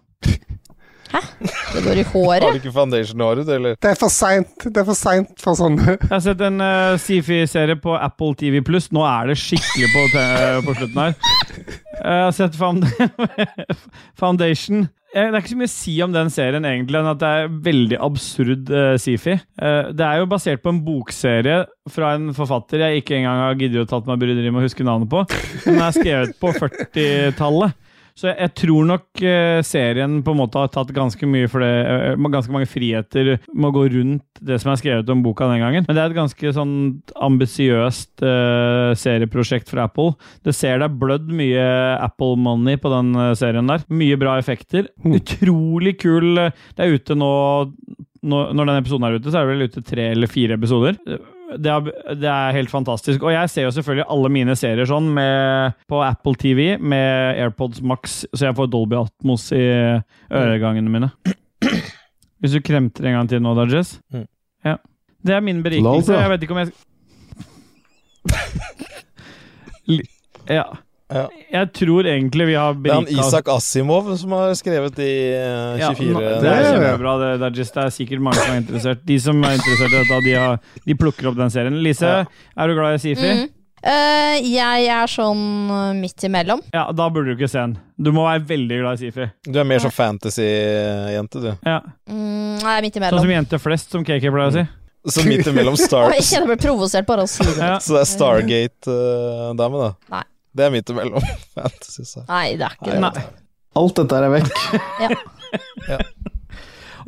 Speaker 4: Det går i
Speaker 2: Har
Speaker 4: håret?
Speaker 2: du ikke foundation-håret, du, eller?
Speaker 1: Det er for seint. Det er for seint for sånne. [LAUGHS]
Speaker 3: Jeg har sett en uh, Sifi-serie på Apple TV+. Nå er det skikkelig på, te- på slutten her. Eh, Jeg har sett found [LAUGHS] Foundation. eh, det er ikke så mye å si om den serien, egentlig, enn at det er veldig absurd eh, sci-fi. Eh, det er jo basert på en bokserie fra en forfatter jeg ikke engang har giddet å tatt meg bryderiet med å huske navnet på. Den er skrevet på 40-tallet. Så jeg, jeg tror nok eh, serien på en måte har tatt ganske mye for det, eh, ganske mange friheter med å gå rundt det som er skrevet om boka den gangen. Men det er et ganske sånn ambisiøst eh, serieprosjekt fra Apple. Det ser deg blødd mye Apple money på den eh, serien der. Mye bra effekter. Utrolig kul. eh, Det er ute nå, nå Når den episoden er ute, så er det vel ute tre eller fire episoder. Det er, det er helt fantastisk. Og jeg ser jo selvfølgelig alle mine serier sånn med, på Apple TV med AirPods Max, så jeg får Dolby Atmos i øregangene mine. Hvis du kremter en gang til nå, da, Jess.
Speaker 2: Mm.
Speaker 3: Ja. Det er min
Speaker 2: Lol,
Speaker 3: berikelse.
Speaker 2: da.
Speaker 3: Jeg vet ikke om jeg Li- Ja. Jeg tror egentlig vi har
Speaker 2: Det er han
Speaker 3: berika
Speaker 2: Isak Asimov som har skrevet de eh, 24
Speaker 3: nå- det er kjempebra. Det, det, er just, det er sikkert mange som er interessert. De som er interessert i dette, de, har, de plukker opp den serien. Lise, er du glad i Sifi?
Speaker 4: Mm. Eh, jeg er sånn eh, midt imellom.
Speaker 3: Ja, da burde du ikke se den. Du må være veldig glad i Sifi.
Speaker 2: Du er mer sånn fantasy-jente, du.
Speaker 3: Ja.
Speaker 4: Mm, jeg er
Speaker 3: Sånn
Speaker 4: midt
Speaker 3: som
Speaker 4: imellom.
Speaker 3: jenter flest, som KK pleier å si.
Speaker 2: Så midt
Speaker 4: [LAUGHS]
Speaker 2: imellom Star
Speaker 4: Oi, jeg kjenner jeg blir provosert bare av å si
Speaker 3: [LAUGHS]
Speaker 4: det.
Speaker 2: Så det er Stargate-dame, da.
Speaker 4: Nei.
Speaker 2: Det er midt imellom [LAUGHS] fantasy. Så.
Speaker 4: Nei, det er ikke det.
Speaker 15: Alt dette er vekk.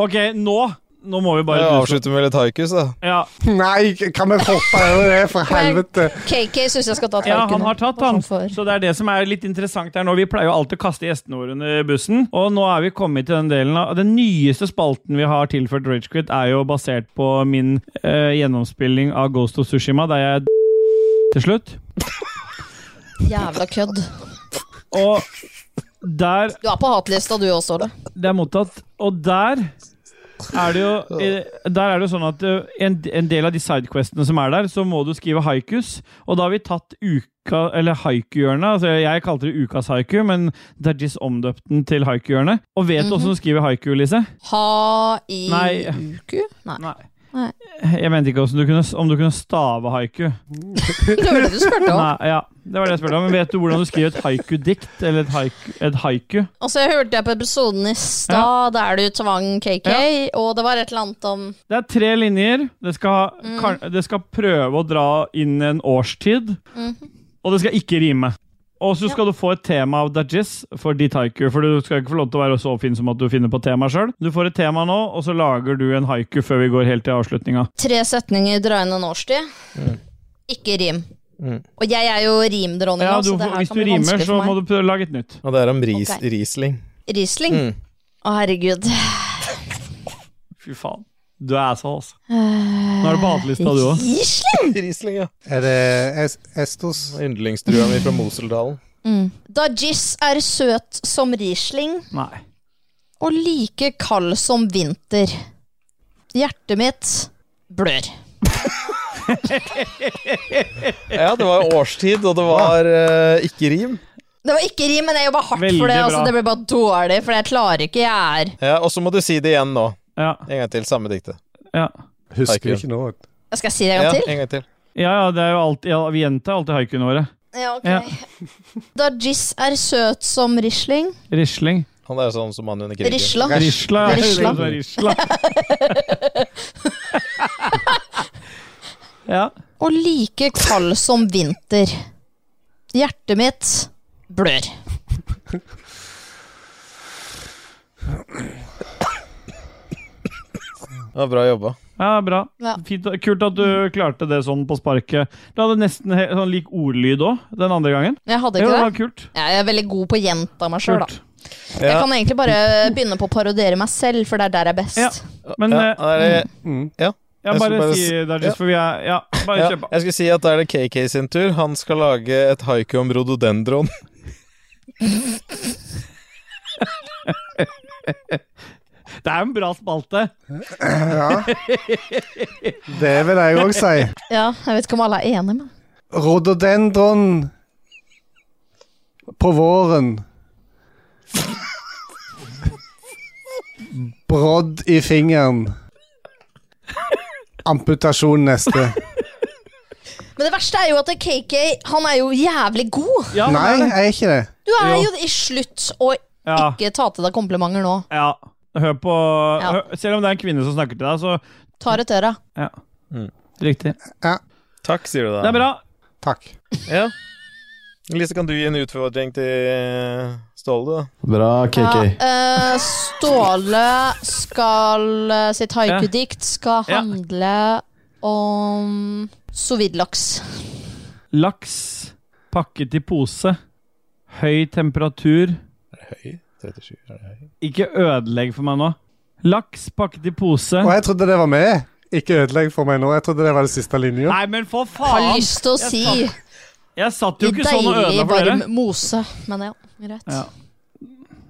Speaker 3: Ok, nå Nå må vi bare
Speaker 2: Jeg avslutter med litt haikus, da.
Speaker 3: Ja.
Speaker 1: Nei, kan vi hoppe over det, for helvete?
Speaker 4: KK syns jeg skal ta
Speaker 3: Ja, han
Speaker 4: nå,
Speaker 3: har tatt,
Speaker 4: bare
Speaker 3: han.
Speaker 4: sånn for-
Speaker 3: Så det er det som er litt interessant her nå. Vi pleier jo alltid å kaste gjestene våre under bussen, og nå er vi kommet til den delen av Den nyeste spalten vi har tilført Ragequit, er jo basert på min eh, gjennomspilling av Ghost of Sushima, der jeg d- til slutt.
Speaker 4: Jævla kødd.
Speaker 3: Og der
Speaker 4: Du er på hatlista, du også, Ole.
Speaker 3: Det er mottatt. Og der er det jo, eh, der er det jo sånn at eh, en, en del av de sidequestene som er der, så må du skrive haikus. Og da har vi tatt uka, eller haiku-hjørnet. Altså jeg kalte det ukas haiku, men Dajis omdøpte den til haiku-hjørnet. Og vet du åssen du skriver haiku, Lise? Nei.
Speaker 4: Ha-i-uku? Nei. Nei.
Speaker 3: Jeg mente ikke åssen du kunne, om du kunne stave haiku.
Speaker 4: Det var det du spurte om.
Speaker 3: [LAUGHS] Nei, ja, det var det jeg spurte om. Men vet du hvordan du skriver et haiku-dikt? Eller et haiku? Et haiku?
Speaker 4: Og så hørte jeg på episoden i stad der du tvang KK, og det var et eller annet om
Speaker 3: Det er tre linjer. Det skal,
Speaker 4: Mm.
Speaker 3: kan, det skal prøve å dra inn en årstid.
Speaker 4: Mhm.
Speaker 3: Og det skal ikke rime. Og så skal du få et tema av Dajis for ditt haiku. For du skal ikke få lov til å være så fin som at du finner på tema sjøl. Du får et tema nå, og så lager du en haiku før vi går helt til avslutninga.
Speaker 4: tre setninger dra inn en årstid.
Speaker 2: Mm.
Speaker 4: Ikke rim. Og jeg er jo rimdronninga,
Speaker 3: Ja, du,
Speaker 4: så det her
Speaker 3: hvis
Speaker 4: kan
Speaker 3: du
Speaker 4: bli
Speaker 3: rimer,
Speaker 4: vanskelig
Speaker 3: så
Speaker 4: for
Speaker 3: må
Speaker 4: meg.
Speaker 3: du prøve å lage et nytt.
Speaker 2: Og det er om ris,
Speaker 4: Ok.
Speaker 2: Riesling.
Speaker 4: Riesling?
Speaker 2: Mm.
Speaker 4: Å, herregud.
Speaker 3: Fy faen. Du er asshole, altså.
Speaker 4: Eh,
Speaker 3: Nå er du på hatlista, du òg.
Speaker 4: Riesling?
Speaker 2: Riesling, ja.
Speaker 1: Er det es Estos?
Speaker 2: Yndlingsdrua mi fra [LAUGHS] Moseldalen.
Speaker 4: Mm. Da Giss er søt som Riesling
Speaker 3: Nei.
Speaker 4: og like kald som vinter. Hjertet mitt blør.
Speaker 2: Ja, det var jo årstid, og det var eh, ikke rim.
Speaker 4: Det var ikke rim, men jeg jobba hardt
Speaker 2: Veldig
Speaker 4: for det.
Speaker 2: bra.
Speaker 4: Altså, det ble bare dårlig, for jeg klarer ikke. Jeg er
Speaker 2: Ja, Og så må du si det igjen nå.
Speaker 3: En
Speaker 2: gang til. Samme diktet.
Speaker 3: Ja.
Speaker 1: Husker
Speaker 2: Haiku.
Speaker 1: ikke nå.
Speaker 4: Skal jeg si det en gang
Speaker 2: Ja,
Speaker 4: til?
Speaker 2: en gang til.
Speaker 3: Ja, ja, det er jo alltid, ja, vi gjentar alltid haikuene våre.
Speaker 4: Ja, ok.
Speaker 3: Ja.
Speaker 4: Da Giss er søt som Riesling
Speaker 3: Risling.
Speaker 2: Han er sånn som han under krigen.
Speaker 4: Risla.
Speaker 3: Risla. ja.
Speaker 4: Risla.
Speaker 3: Det er Risla. [LAUGHS] Ja.
Speaker 4: og like kald som vinter. Hjertet mitt blør.
Speaker 2: Ja, bra jobba.
Speaker 3: Ja, bra. Fint, kult at du klarte det sånn på sparket. Du hadde nesten he sånn lik ordlyd òg den andre gangen.
Speaker 4: Jeg hadde ikke
Speaker 3: jo,
Speaker 4: det.
Speaker 3: var kult.
Speaker 4: Jeg er veldig god på å gjenta meg sjøl, da.
Speaker 2: Ja.
Speaker 4: Jeg kan egentlig bare begynne på å parodiere meg selv, for det er der jeg er best.
Speaker 3: Men
Speaker 2: ja,
Speaker 3: eh,
Speaker 2: da er det, ja.
Speaker 3: ja,
Speaker 2: Jeg
Speaker 3: bare,
Speaker 2: skulle bare
Speaker 3: si
Speaker 2: s-
Speaker 3: det, Dajis,
Speaker 2: ja.
Speaker 3: for vi er Ja, bare
Speaker 2: Ja,
Speaker 3: kjør på.
Speaker 2: jeg skulle si at da er det KK sin tur. Han skal lage et haiku om [LAUGHS] rododendron.
Speaker 3: Det er en bra spalte.
Speaker 1: Ja. Det vil jeg òg si.
Speaker 4: Ja, jeg vet ikke om alle er enige, men
Speaker 1: Rododendron på våren. Brodd i fingeren. Amputasjon neste.
Speaker 4: Men det verste er jo at KK, han er jo jævlig god.
Speaker 1: Nei, jeg er ikke det.
Speaker 4: Du er jo i slutt og
Speaker 3: Ja.
Speaker 4: Ikke ta til deg komplimenter nå.
Speaker 3: Ja. Hør på hør, Selv om det er en kvinne som snakker til deg, så
Speaker 4: Ta det til deg.
Speaker 3: Ja. Riktig.
Speaker 2: Takk, sier du da.
Speaker 3: Det er bra.
Speaker 1: Takk.
Speaker 2: Ja. Lise, kan du gi en utfordring til eh, Ståle, da?
Speaker 16: Bra,
Speaker 4: Ja,
Speaker 16: KK.
Speaker 4: eh, Ståle skal eh, Sitt haikudikt skal
Speaker 3: Ja.
Speaker 4: handle om sovidlaks.
Speaker 3: Laks pakket i pose. Høy temperatur.
Speaker 2: Høy? 37? Er det høy?
Speaker 3: Ikke ødelegg for meg nå. Laks pakket i pose.
Speaker 1: Og jeg trodde det var med. Ikke ødelegg for meg nå. Jeg trodde det var det siste linja.
Speaker 3: Nei, men for faen!
Speaker 4: Har lyst til å
Speaker 3: Jeg
Speaker 4: si
Speaker 3: satt- Jeg satt jo
Speaker 4: i
Speaker 3: ikke sånn og
Speaker 4: deilig,
Speaker 3: ødela for
Speaker 4: varm
Speaker 3: dere.
Speaker 4: mose. Men ja, greit.
Speaker 3: Ja.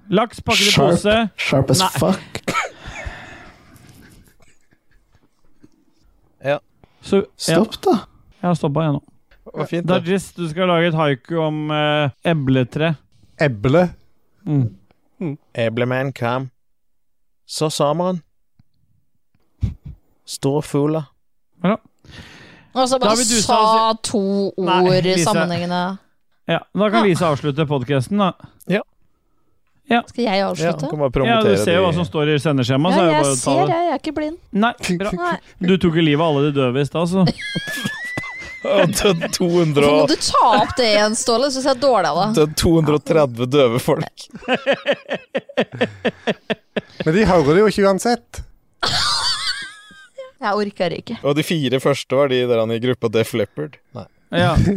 Speaker 3: Laks pakket i
Speaker 16: Sharp.
Speaker 3: pose.
Speaker 16: Sharp as
Speaker 3: Nei.
Speaker 16: fuck.
Speaker 2: Ja.
Speaker 3: Så,
Speaker 16: Stopp, da.
Speaker 3: Jeg har stoppa, jeg nå.
Speaker 2: Var fint, det.
Speaker 3: Dajis, du skal lage et haiku om eh, ebletre.
Speaker 1: Eble?
Speaker 3: Mm.
Speaker 2: Ebleman kam. Så sommeren. Storfugler.
Speaker 4: Og så
Speaker 3: Da
Speaker 4: bare
Speaker 3: vil du
Speaker 4: sa to ord
Speaker 3: Lise.
Speaker 4: sammenhengende.
Speaker 3: Ja, da kan Lise avslutte podkasten, da. Ja.
Speaker 4: Skal jeg
Speaker 2: Ja,
Speaker 4: avslutte?
Speaker 2: kan bare
Speaker 3: ja,
Speaker 2: promotere
Speaker 3: du ser jo
Speaker 2: de-
Speaker 3: hva som står i sendeskjemaet. så
Speaker 4: Ja,
Speaker 3: er det
Speaker 4: jeg
Speaker 3: bare å ta
Speaker 4: ser
Speaker 3: det.
Speaker 4: det, jeg er ikke blind.
Speaker 3: Nei, bra. Du tok jo livet av alle de døve i stad, så.
Speaker 2: [LAUGHS] Død 200
Speaker 4: Hvorfor må
Speaker 2: og
Speaker 4: du ta opp det igjen, Ståle? Syns jeg er dårlig av deg.
Speaker 2: død 230 døve folk.
Speaker 1: Men de hører det jo ikke uansett.
Speaker 4: Jeg orker ikke.
Speaker 2: Og de fire første var de der han i gruppa Def Leppard. Nei.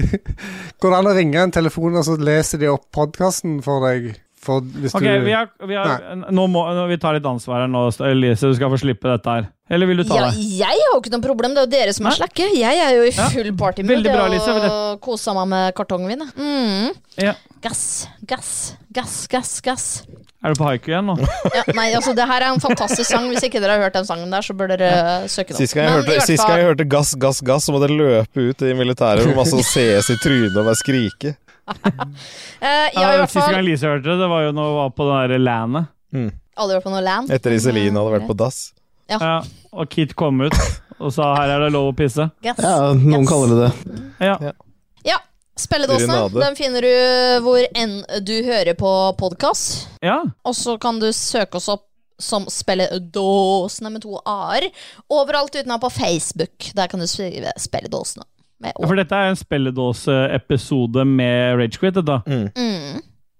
Speaker 3: [LAUGHS]
Speaker 1: Går det an å ringe en telefon, og så leser de opp podkasten for deg? For hvis
Speaker 3: Ok,
Speaker 1: du
Speaker 3: vi, har, vi, har, nå må, nå, vi tar litt ansvar her nå, Elise. Du skal få slippe dette her. Eller vil du ta
Speaker 4: Ja,
Speaker 3: det?
Speaker 4: jeg har jo ikke noe problem, det er jo dere som er slakke. Jeg er jo i full partymood
Speaker 3: Veldig bra, Lise,
Speaker 4: og
Speaker 3: veldig-
Speaker 4: koser meg med kartongen min. jeg. Mm.
Speaker 3: Ja.
Speaker 4: Gass, gass, gass, gass, gass.
Speaker 3: Er du på haiku igjen nå?
Speaker 4: Ja, nei, altså Det her er en fantastisk sang. Hvis ikke dere har hørt den sangen der, så bør dere eh, søke den opp.
Speaker 2: Sist gang, jeg
Speaker 4: Men i
Speaker 2: hørte,
Speaker 4: hvert
Speaker 2: sist
Speaker 4: fall-
Speaker 2: gang jeg hørte gass, gass, gass, så måtte jeg løpe ut i militæret hvor masse CS i trynet og bare skrike.
Speaker 4: Eh, ja, i hvert
Speaker 3: Sist
Speaker 4: fall
Speaker 3: gang Lise hørte det, det var jo når hun var på det der landet.
Speaker 4: Alle vært på noe land. Mm,
Speaker 2: Etter Iselin hadde vært på dass.
Speaker 4: Ja.
Speaker 3: Og Kit kom ut og sa 'her er det lov å pisse'.
Speaker 4: Gass.
Speaker 16: Ja, noen kaller det det.
Speaker 3: Ja.
Speaker 4: Ja, spilledåsene.
Speaker 16: Urinade.
Speaker 4: Den finner du eh, hvor enn du hører på podkast.
Speaker 3: Ja.
Speaker 4: Og så kan du søke oss opp som Spelledåsene med to a-er. Overalt utenom på Facebook. Der kan du skrive Spelledåsene. Med
Speaker 3: Ja, For dette er en spelledåseepisode med Ragequit, dette.
Speaker 4: Mm.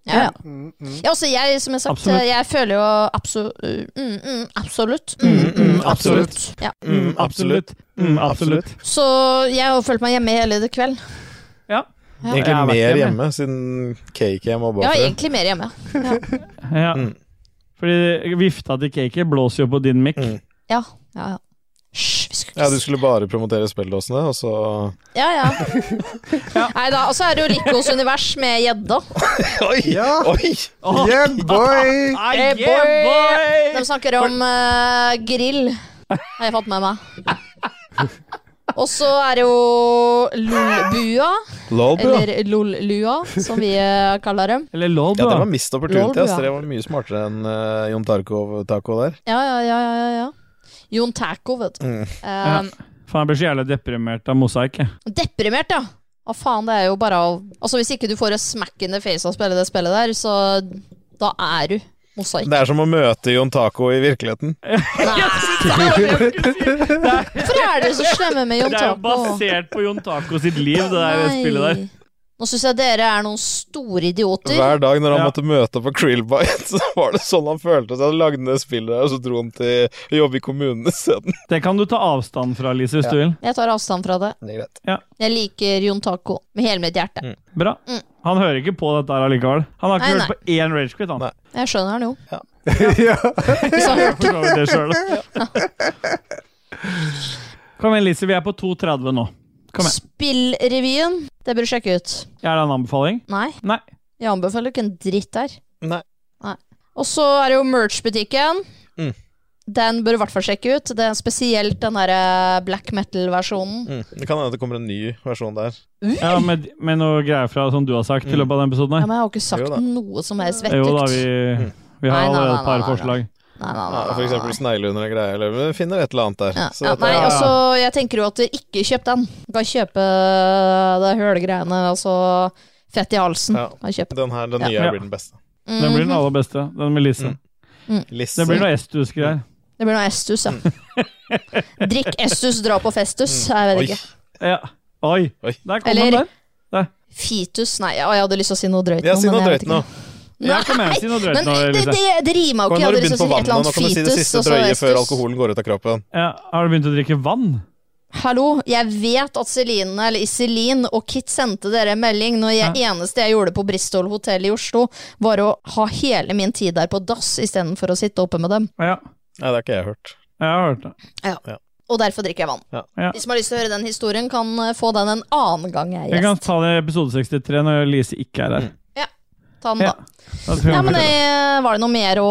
Speaker 4: Ja, ja.
Speaker 2: Mm,
Speaker 4: ja, også jeg, som jeg har sagt, eh,
Speaker 3: Absolutt.
Speaker 4: jeg føler jo abso mm, mm, absolutt. Mm, mm,
Speaker 3: absolutt.
Speaker 4: Ja.
Speaker 3: Mm, absolutt. Mm, absolutt.
Speaker 4: Så jeg har følt meg hjemme hele det kveld. Ja.
Speaker 2: Egentlig
Speaker 4: Jeg har vært
Speaker 2: mer hjemme,
Speaker 4: hjemme.
Speaker 2: siden Cakehjem var
Speaker 4: Ja,
Speaker 2: bakre.
Speaker 4: egentlig mer hjemme. Ja.
Speaker 3: Ja.
Speaker 2: Mm.
Speaker 3: Fordi vifta til cake blåser jo på din mic.
Speaker 2: Mm.
Speaker 4: Ja, ja, ja.
Speaker 2: Ja, du skulle bare promotere spilledåsene, og så
Speaker 4: ja,
Speaker 2: [LAUGHS]
Speaker 4: ja. Nei da. Og så er det jo Likos univers med gjedda.
Speaker 2: Oi!
Speaker 1: Ja.
Speaker 2: Oi!
Speaker 1: Yeah, boy!
Speaker 3: [LAUGHS]
Speaker 4: Hey, boy! De snakker om eh, grill, har jeg fått med meg. Og så er det jo lolbua,
Speaker 2: Lolbua?
Speaker 4: eller lollua, som vi eh, kaller dem.
Speaker 3: Eller lol,
Speaker 2: Ja, det var mist opportunity.
Speaker 4: Lol,
Speaker 2: ass.
Speaker 4: ja.
Speaker 2: Det var mye smartere enn eh, Jon Tarkov Taco der.
Speaker 4: Ja, ja, ja, ja, ja, ja. Jon Taco, vet du.
Speaker 2: Mm.
Speaker 3: Ja.
Speaker 4: Um,
Speaker 3: Faen, jeg blir så jævlig deprimert av mosaikk. jeg.
Speaker 4: Deprimert, ja. Å faen, det er jo bare å Altså, hvis ikke du får en smack in the face av å spille det spillet der, så da er du mosaikk.
Speaker 2: Det er som å møte Jon Taco i virkeligheten.
Speaker 4: Hvorfor er dere så slemme med
Speaker 3: [LAUGHS]
Speaker 4: Jon
Speaker 3: Det er jo
Speaker 4: Taco?
Speaker 3: basert på Jon Taco sitt liv, det der
Speaker 4: Nei.
Speaker 3: spillet der.
Speaker 4: Nå syns jeg dere er noen store idioter.
Speaker 2: Hver dag når han måtte møte på Krillbite, [LAUGHS] så var det sånn han følte seg. Han lagde ned spillet der, og så dro han til å jobbe i kommunen [LAUGHS] isteden.
Speaker 3: Det kan du ta avstand fra, Lise, hvis
Speaker 2: Ja.
Speaker 3: du vil.
Speaker 4: Jeg tar avstand fra det.
Speaker 2: Det er greit.
Speaker 3: Ja.
Speaker 4: Jeg liker Jon Taco med hele mitt hjerte.
Speaker 3: Bra. Han hører ikke på dette her allikevel. Han har ikke
Speaker 4: Mm. Nei,
Speaker 3: hørt
Speaker 4: nei.
Speaker 3: på én ragequit, han.
Speaker 4: Jeg
Speaker 3: [LAUGHS]
Speaker 4: skjønner han jo.
Speaker 1: ja.
Speaker 4: Hvis han
Speaker 3: Jeg forstår det
Speaker 4: [LAUGHS]
Speaker 3: selv.
Speaker 4: hørte.
Speaker 3: Kom igjen, Lise. Vi er på 2.30 nå. Kom igjen.
Speaker 4: Spillrevyen, det bør du sjekke ut.
Speaker 3: Er det en anbefaling?
Speaker 4: Nei.
Speaker 3: Nei.
Speaker 4: Jeg anbefaler ikke en dritt der.
Speaker 2: Nei.
Speaker 4: Nei. Og så er det jo merch-butikken.
Speaker 2: Mm.
Speaker 4: Den bør du i hvert fall sjekke ut. Det er spesielt den derre black metal-versjonen.
Speaker 2: Mm. Det kan hende det kommer en ny versjon der.
Speaker 3: Ja, med, med noe greier fra som du har sagt
Speaker 2: Mm.
Speaker 3: i løpet av den episoden
Speaker 4: Ja,
Speaker 3: her.
Speaker 4: men jeg har ikke sagt
Speaker 2: Jo da.
Speaker 4: noe som helst
Speaker 3: Jo da, vi,
Speaker 4: vettugt.
Speaker 3: vi har
Speaker 4: Nei, nei, nei,
Speaker 3: allerede et par
Speaker 4: nei, nei, nei.
Speaker 3: forslag.
Speaker 4: Ah.
Speaker 2: Ja, for eksempel snegle under en greie, eller men finner et eller annet der. Så
Speaker 4: Ja,
Speaker 2: dette-
Speaker 4: nei, altså, jeg tenker jo at du ikke kjøp den. Du kan kjøpe de hølegreiene, altså fett i halsen.
Speaker 2: Ja.
Speaker 4: Kan kjøpe.
Speaker 2: Den her, den
Speaker 4: Ja.
Speaker 2: nye, blir den beste.
Speaker 3: Den blir den
Speaker 4: Mm-hmm.
Speaker 3: aller beste, den med Lise.
Speaker 4: Mm.
Speaker 2: Lisse.
Speaker 3: Det blir noe Estus-greier.
Speaker 4: Det blir noe Estus, ja.
Speaker 2: Mm.
Speaker 4: Drikk Estus, dra på festus. Jeg vet ikke.
Speaker 3: Ja. Oi. Der kom den
Speaker 4: Eller
Speaker 3: der. Der.
Speaker 4: Fitus Nei, ja, jeg hadde lyst til å si noe drøyt
Speaker 2: Ja, si noe
Speaker 4: men jeg
Speaker 2: drøyt
Speaker 4: vet
Speaker 2: nå.
Speaker 4: ikke.
Speaker 3: Ja, kom igjen, si noe drøyt
Speaker 4: men
Speaker 2: nå,
Speaker 4: det,
Speaker 2: Elise.
Speaker 4: det, det
Speaker 2: Kom,
Speaker 4: rimer jo ikke.
Speaker 2: eh, nå
Speaker 4: Jeg
Speaker 2: har du
Speaker 4: hadde lyst
Speaker 2: begynt på
Speaker 4: til å si et
Speaker 2: vannet, nå
Speaker 4: eller annet
Speaker 2: kan du si det
Speaker 4: fitus,
Speaker 2: siste
Speaker 4: og så
Speaker 2: drøye før
Speaker 4: Estus.
Speaker 2: alkoholen går ut av
Speaker 4: [LAUGHS]
Speaker 2: kroppen.
Speaker 3: Ja, har du begynt å drikke vann?
Speaker 4: Hallo, jeg vet at Celine, eller Iselin og Kit sendte dere en melding når jeg eneste jeg gjorde på Bristol hotell i Oslo, var å ha hele min tid der på dass istedenfor å sitte oppe med dem.
Speaker 3: Ja.
Speaker 2: Nei, det har ikke jeg hørt.
Speaker 3: Jeg har hørt det.
Speaker 4: Ja. Og derfor drikker jeg vann.
Speaker 2: Ja.
Speaker 4: De som har lyst til å høre den historien, kan eh, få den en annen gang jeg
Speaker 3: Vi
Speaker 4: er
Speaker 3: kan
Speaker 4: gjest.
Speaker 3: ta det i episode 63 når Lise ikke er her.
Speaker 4: Ta den, da.
Speaker 3: Da
Speaker 4: Ja,
Speaker 3: prøver vi
Speaker 4: men
Speaker 3: det.
Speaker 4: eh, var det noe mer å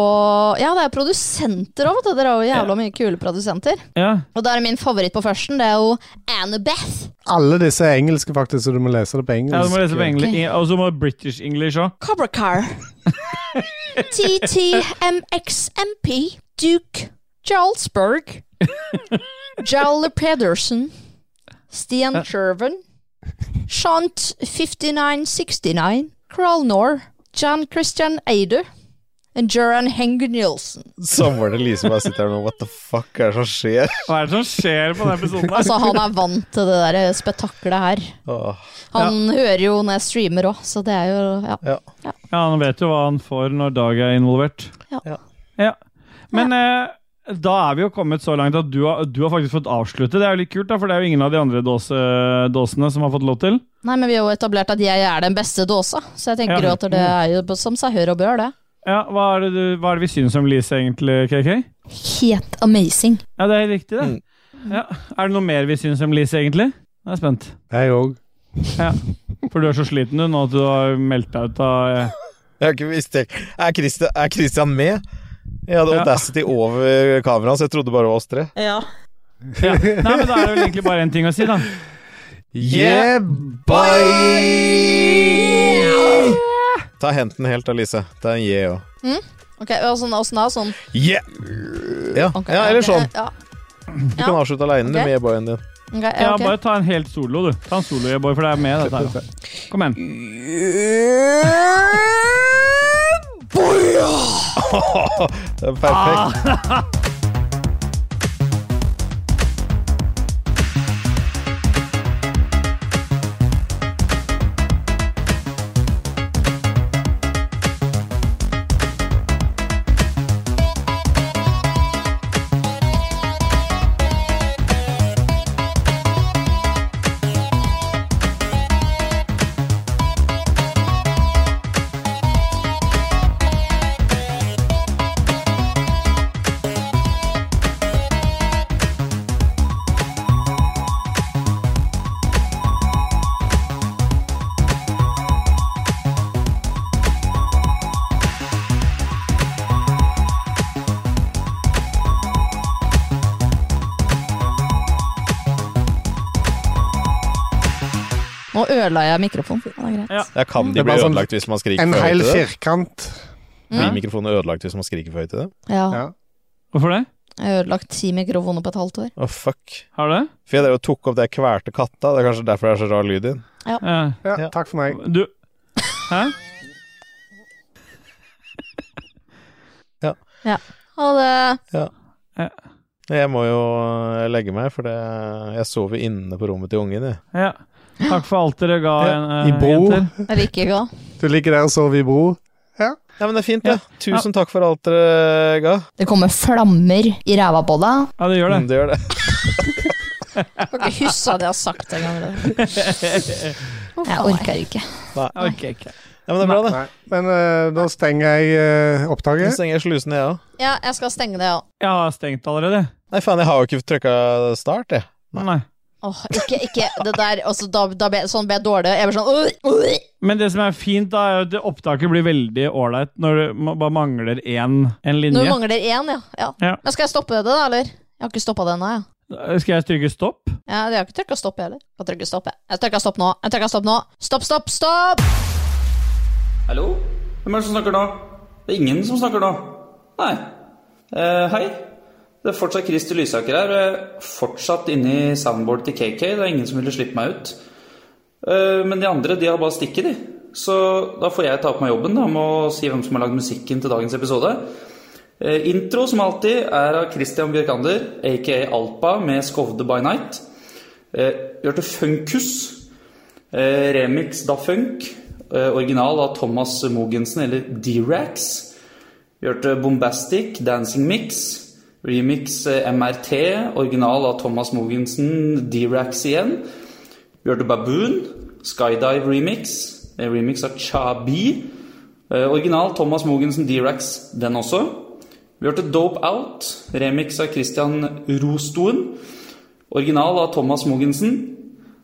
Speaker 4: Ja, det er produsenter òg, vet du. Dere har jo jævla mye kule produsenter.
Speaker 3: Ja.
Speaker 4: Og da er min favoritt på førsten, det er jo Annabeth.
Speaker 1: Alle disse er engelske, faktisk, så du må lese det på engelsk.
Speaker 3: ja, du må lese på engelsk, og så må du British English òg.
Speaker 4: Cobra Car. TTMXMP Duke Jarlsberg. Jarl Pedersen. Stian Shervin. Shant 5969. Kralnor. Jan Christian Eider. And Joran Hengen Nielsen.
Speaker 2: Samboeren til Lise bare sitter her nå, what the fuck er det som skjer? [LAUGHS]
Speaker 3: Hva er det som skjer på den episoden her?
Speaker 4: Altså, han er vant til det der spetakkelet her. Han hører jo når jeg streamer òg, så det er jo ja.
Speaker 3: Ja, han vet jo hva han får når Dag er involvert.
Speaker 4: Ja.
Speaker 3: Ja. Men eh, da er vi jo kommet så langt at du har, du har faktisk fått avslutte. Det er jo litt kult, da, for det er jo ingen av de andre dåse, dåsene som har fått lov til.
Speaker 4: Nei, men vi har jo etablert at jeg er den beste dåsa, så jeg tenker
Speaker 3: Ja.
Speaker 4: jo at det er jo som seg hør og bør, det.
Speaker 3: Ja, hva er, det du, hva er det vi synes om Lise, egentlig, KK?
Speaker 4: Helt amazing.
Speaker 3: Ja, det er helt riktig, det. Ja. Er det noe mer vi synes om Lise, egentlig? Jeg er spent.
Speaker 1: Jeg òg.
Speaker 3: Ja. For du er så sliten du nå at du har meldt deg ut av eh,
Speaker 2: Jeg har ikke visst det. Er Christian, er Christian med? Jeg hadde
Speaker 3: Ja.
Speaker 2: Audacity over kameraet, så jeg trodde bare det var oss tre.
Speaker 3: Ja. Nei, men da er det vel egentlig bare én ting å si, da.
Speaker 2: Yeah, bye! Ta henten helt av Lise. Ta en yeah òg.
Speaker 4: Mm? Ok, åssen åssen da? Sånn?
Speaker 2: Yeah! Ja. ja, eller sånn.
Speaker 4: Ja.
Speaker 2: Du kan avslutte aleine
Speaker 4: Ok.
Speaker 2: med yeah boyen din.
Speaker 4: Ok,
Speaker 3: Ja,
Speaker 4: ok.
Speaker 3: bare ta en helt solo, du. Ta en solo, yeah, boy, for det er med, dette her. Kom
Speaker 2: Det er perfekt.
Speaker 3: igjen.
Speaker 4: Nå ødela jeg mikrofonen. Det er greit.
Speaker 2: Jeg kan
Speaker 1: Det
Speaker 2: de
Speaker 1: er
Speaker 2: bli
Speaker 1: bare sånn
Speaker 2: ødelagt hvis man skriker
Speaker 1: en
Speaker 2: for høyt
Speaker 1: hel
Speaker 2: til det?
Speaker 1: firkant.
Speaker 2: Blir mikrofonen ødelagt hvis man skriker for høyt til det?
Speaker 4: Ja.
Speaker 3: Hvorfor det?
Speaker 4: Jeg har ødelagt ti mikrofoner på et halvt år.
Speaker 2: Å, fuck.
Speaker 3: Har du det?
Speaker 2: For jeg drev og tok opp det jeg kvelte katta. Det er kanskje derfor det er så rar lyd i den.
Speaker 4: Ja.
Speaker 1: Ja, takk for meg.
Speaker 3: Du Hæ?
Speaker 4: Ja. Ha det.
Speaker 2: Ja. Jeg må jo eh, legge meg, for det, jeg sover inne på rommet til ungen, jeg.
Speaker 3: Ja. Takk for alt dere ga, eh,
Speaker 1: I bro.
Speaker 3: jenter.
Speaker 4: Eller ikke ga.
Speaker 1: Du ligger der og sover i bro.
Speaker 2: Ja. men det er fint, det. Tusen takk for alt dere ga.
Speaker 4: Det kommer flammer i ræva på deg.
Speaker 3: Ja, det gjør det.
Speaker 2: Mm, det gjør det.
Speaker 4: Jeg kan ikke huske at jeg har sagt det en gang. Jeg orker ikke.
Speaker 2: Nei.
Speaker 3: Ok, ok.
Speaker 2: Ja, men det er bra, det.
Speaker 1: Nei, men eh, da stenger jeg uh,
Speaker 2: Nå
Speaker 1: opptaket.
Speaker 2: stenger jeg slusene, jeg òg.
Speaker 4: Ja, jeg skal stenge det, ja.
Speaker 3: Jeg har stengt allerede.
Speaker 2: Nei, faen, jeg har jo ikke trykka start, jeg.
Speaker 3: Nei.
Speaker 4: Åh, ikke, ikke det der altså, da, da ble, Sånn ble jeg dårlig. Jeg ble sånn øh, øh.
Speaker 3: Men det som er fint, da, er jo at det opptaket blir veldig ålreit når det ma- bare mangler én en linje.
Speaker 4: Når du mangler én, ja. ja.
Speaker 3: Ja.
Speaker 4: Men skal jeg stoppe det, da, eller? Jeg har ikke stoppa det ennå, jeg.
Speaker 3: Skal jeg trykke stopp?
Speaker 4: Ja, jeg har ikke trykka stopp, jeg heller. Jeg har trykket stopp, jeg. Jeg trykket stopp nå. Jeg trykket stopp nå. Stopp, stopp, stopp!
Speaker 13: Hallo? Hvem er det som snakker nå? Det er ingen som snakker nå. Nei. Eh, hei. Det er fortsatt Christer Lysaker her. eh, Fortsatt inne i soundboardet til KK. Det er ingen som ville slippe meg ut. Eh, men de andre, de har bare stikket, de. Så da får jeg ta på meg jobben da, med å si hvem som har lagd musikken til dagens episode. Eh, intro, som alltid, er av Christian Bjørkander, aka Alpa, med Skovde by Night. Eh, Gjør til Funkus. Eh, remix Da Funk. Eh, original av Thomas Mogensen, eller D-Rax. Vi hørte Bombastic, Dancing Mix, remix eh, MRT, original av Thomas Mogensen, D-Rax igjen. Vi hørte Baboon, Skydive remix, eh, remix av Chabi. Eh, original Thomas Mogensen, D-Rax, den også. Vi hørte Dope Out, remix av Christian Rostoen. Original av Thomas Mogensen.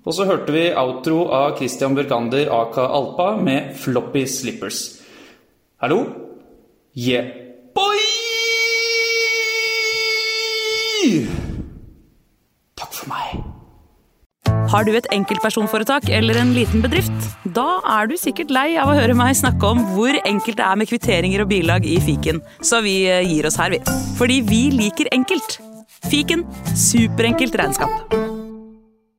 Speaker 13: Og så hørte vi outro av Christian Børgander, aka Alpa, med Floppy Slippers. Hallo? Yeah.
Speaker 16: Har du et enkeltpersonforetak eller en liten bedrift? Da er du sikkert lei av å høre meg snakke om hvor enkelt det er med kvitteringer og bilag i fiken, så vi eh, gir oss her, vi. Fordi vi liker enkelt. Fiken superenkelt regnskap.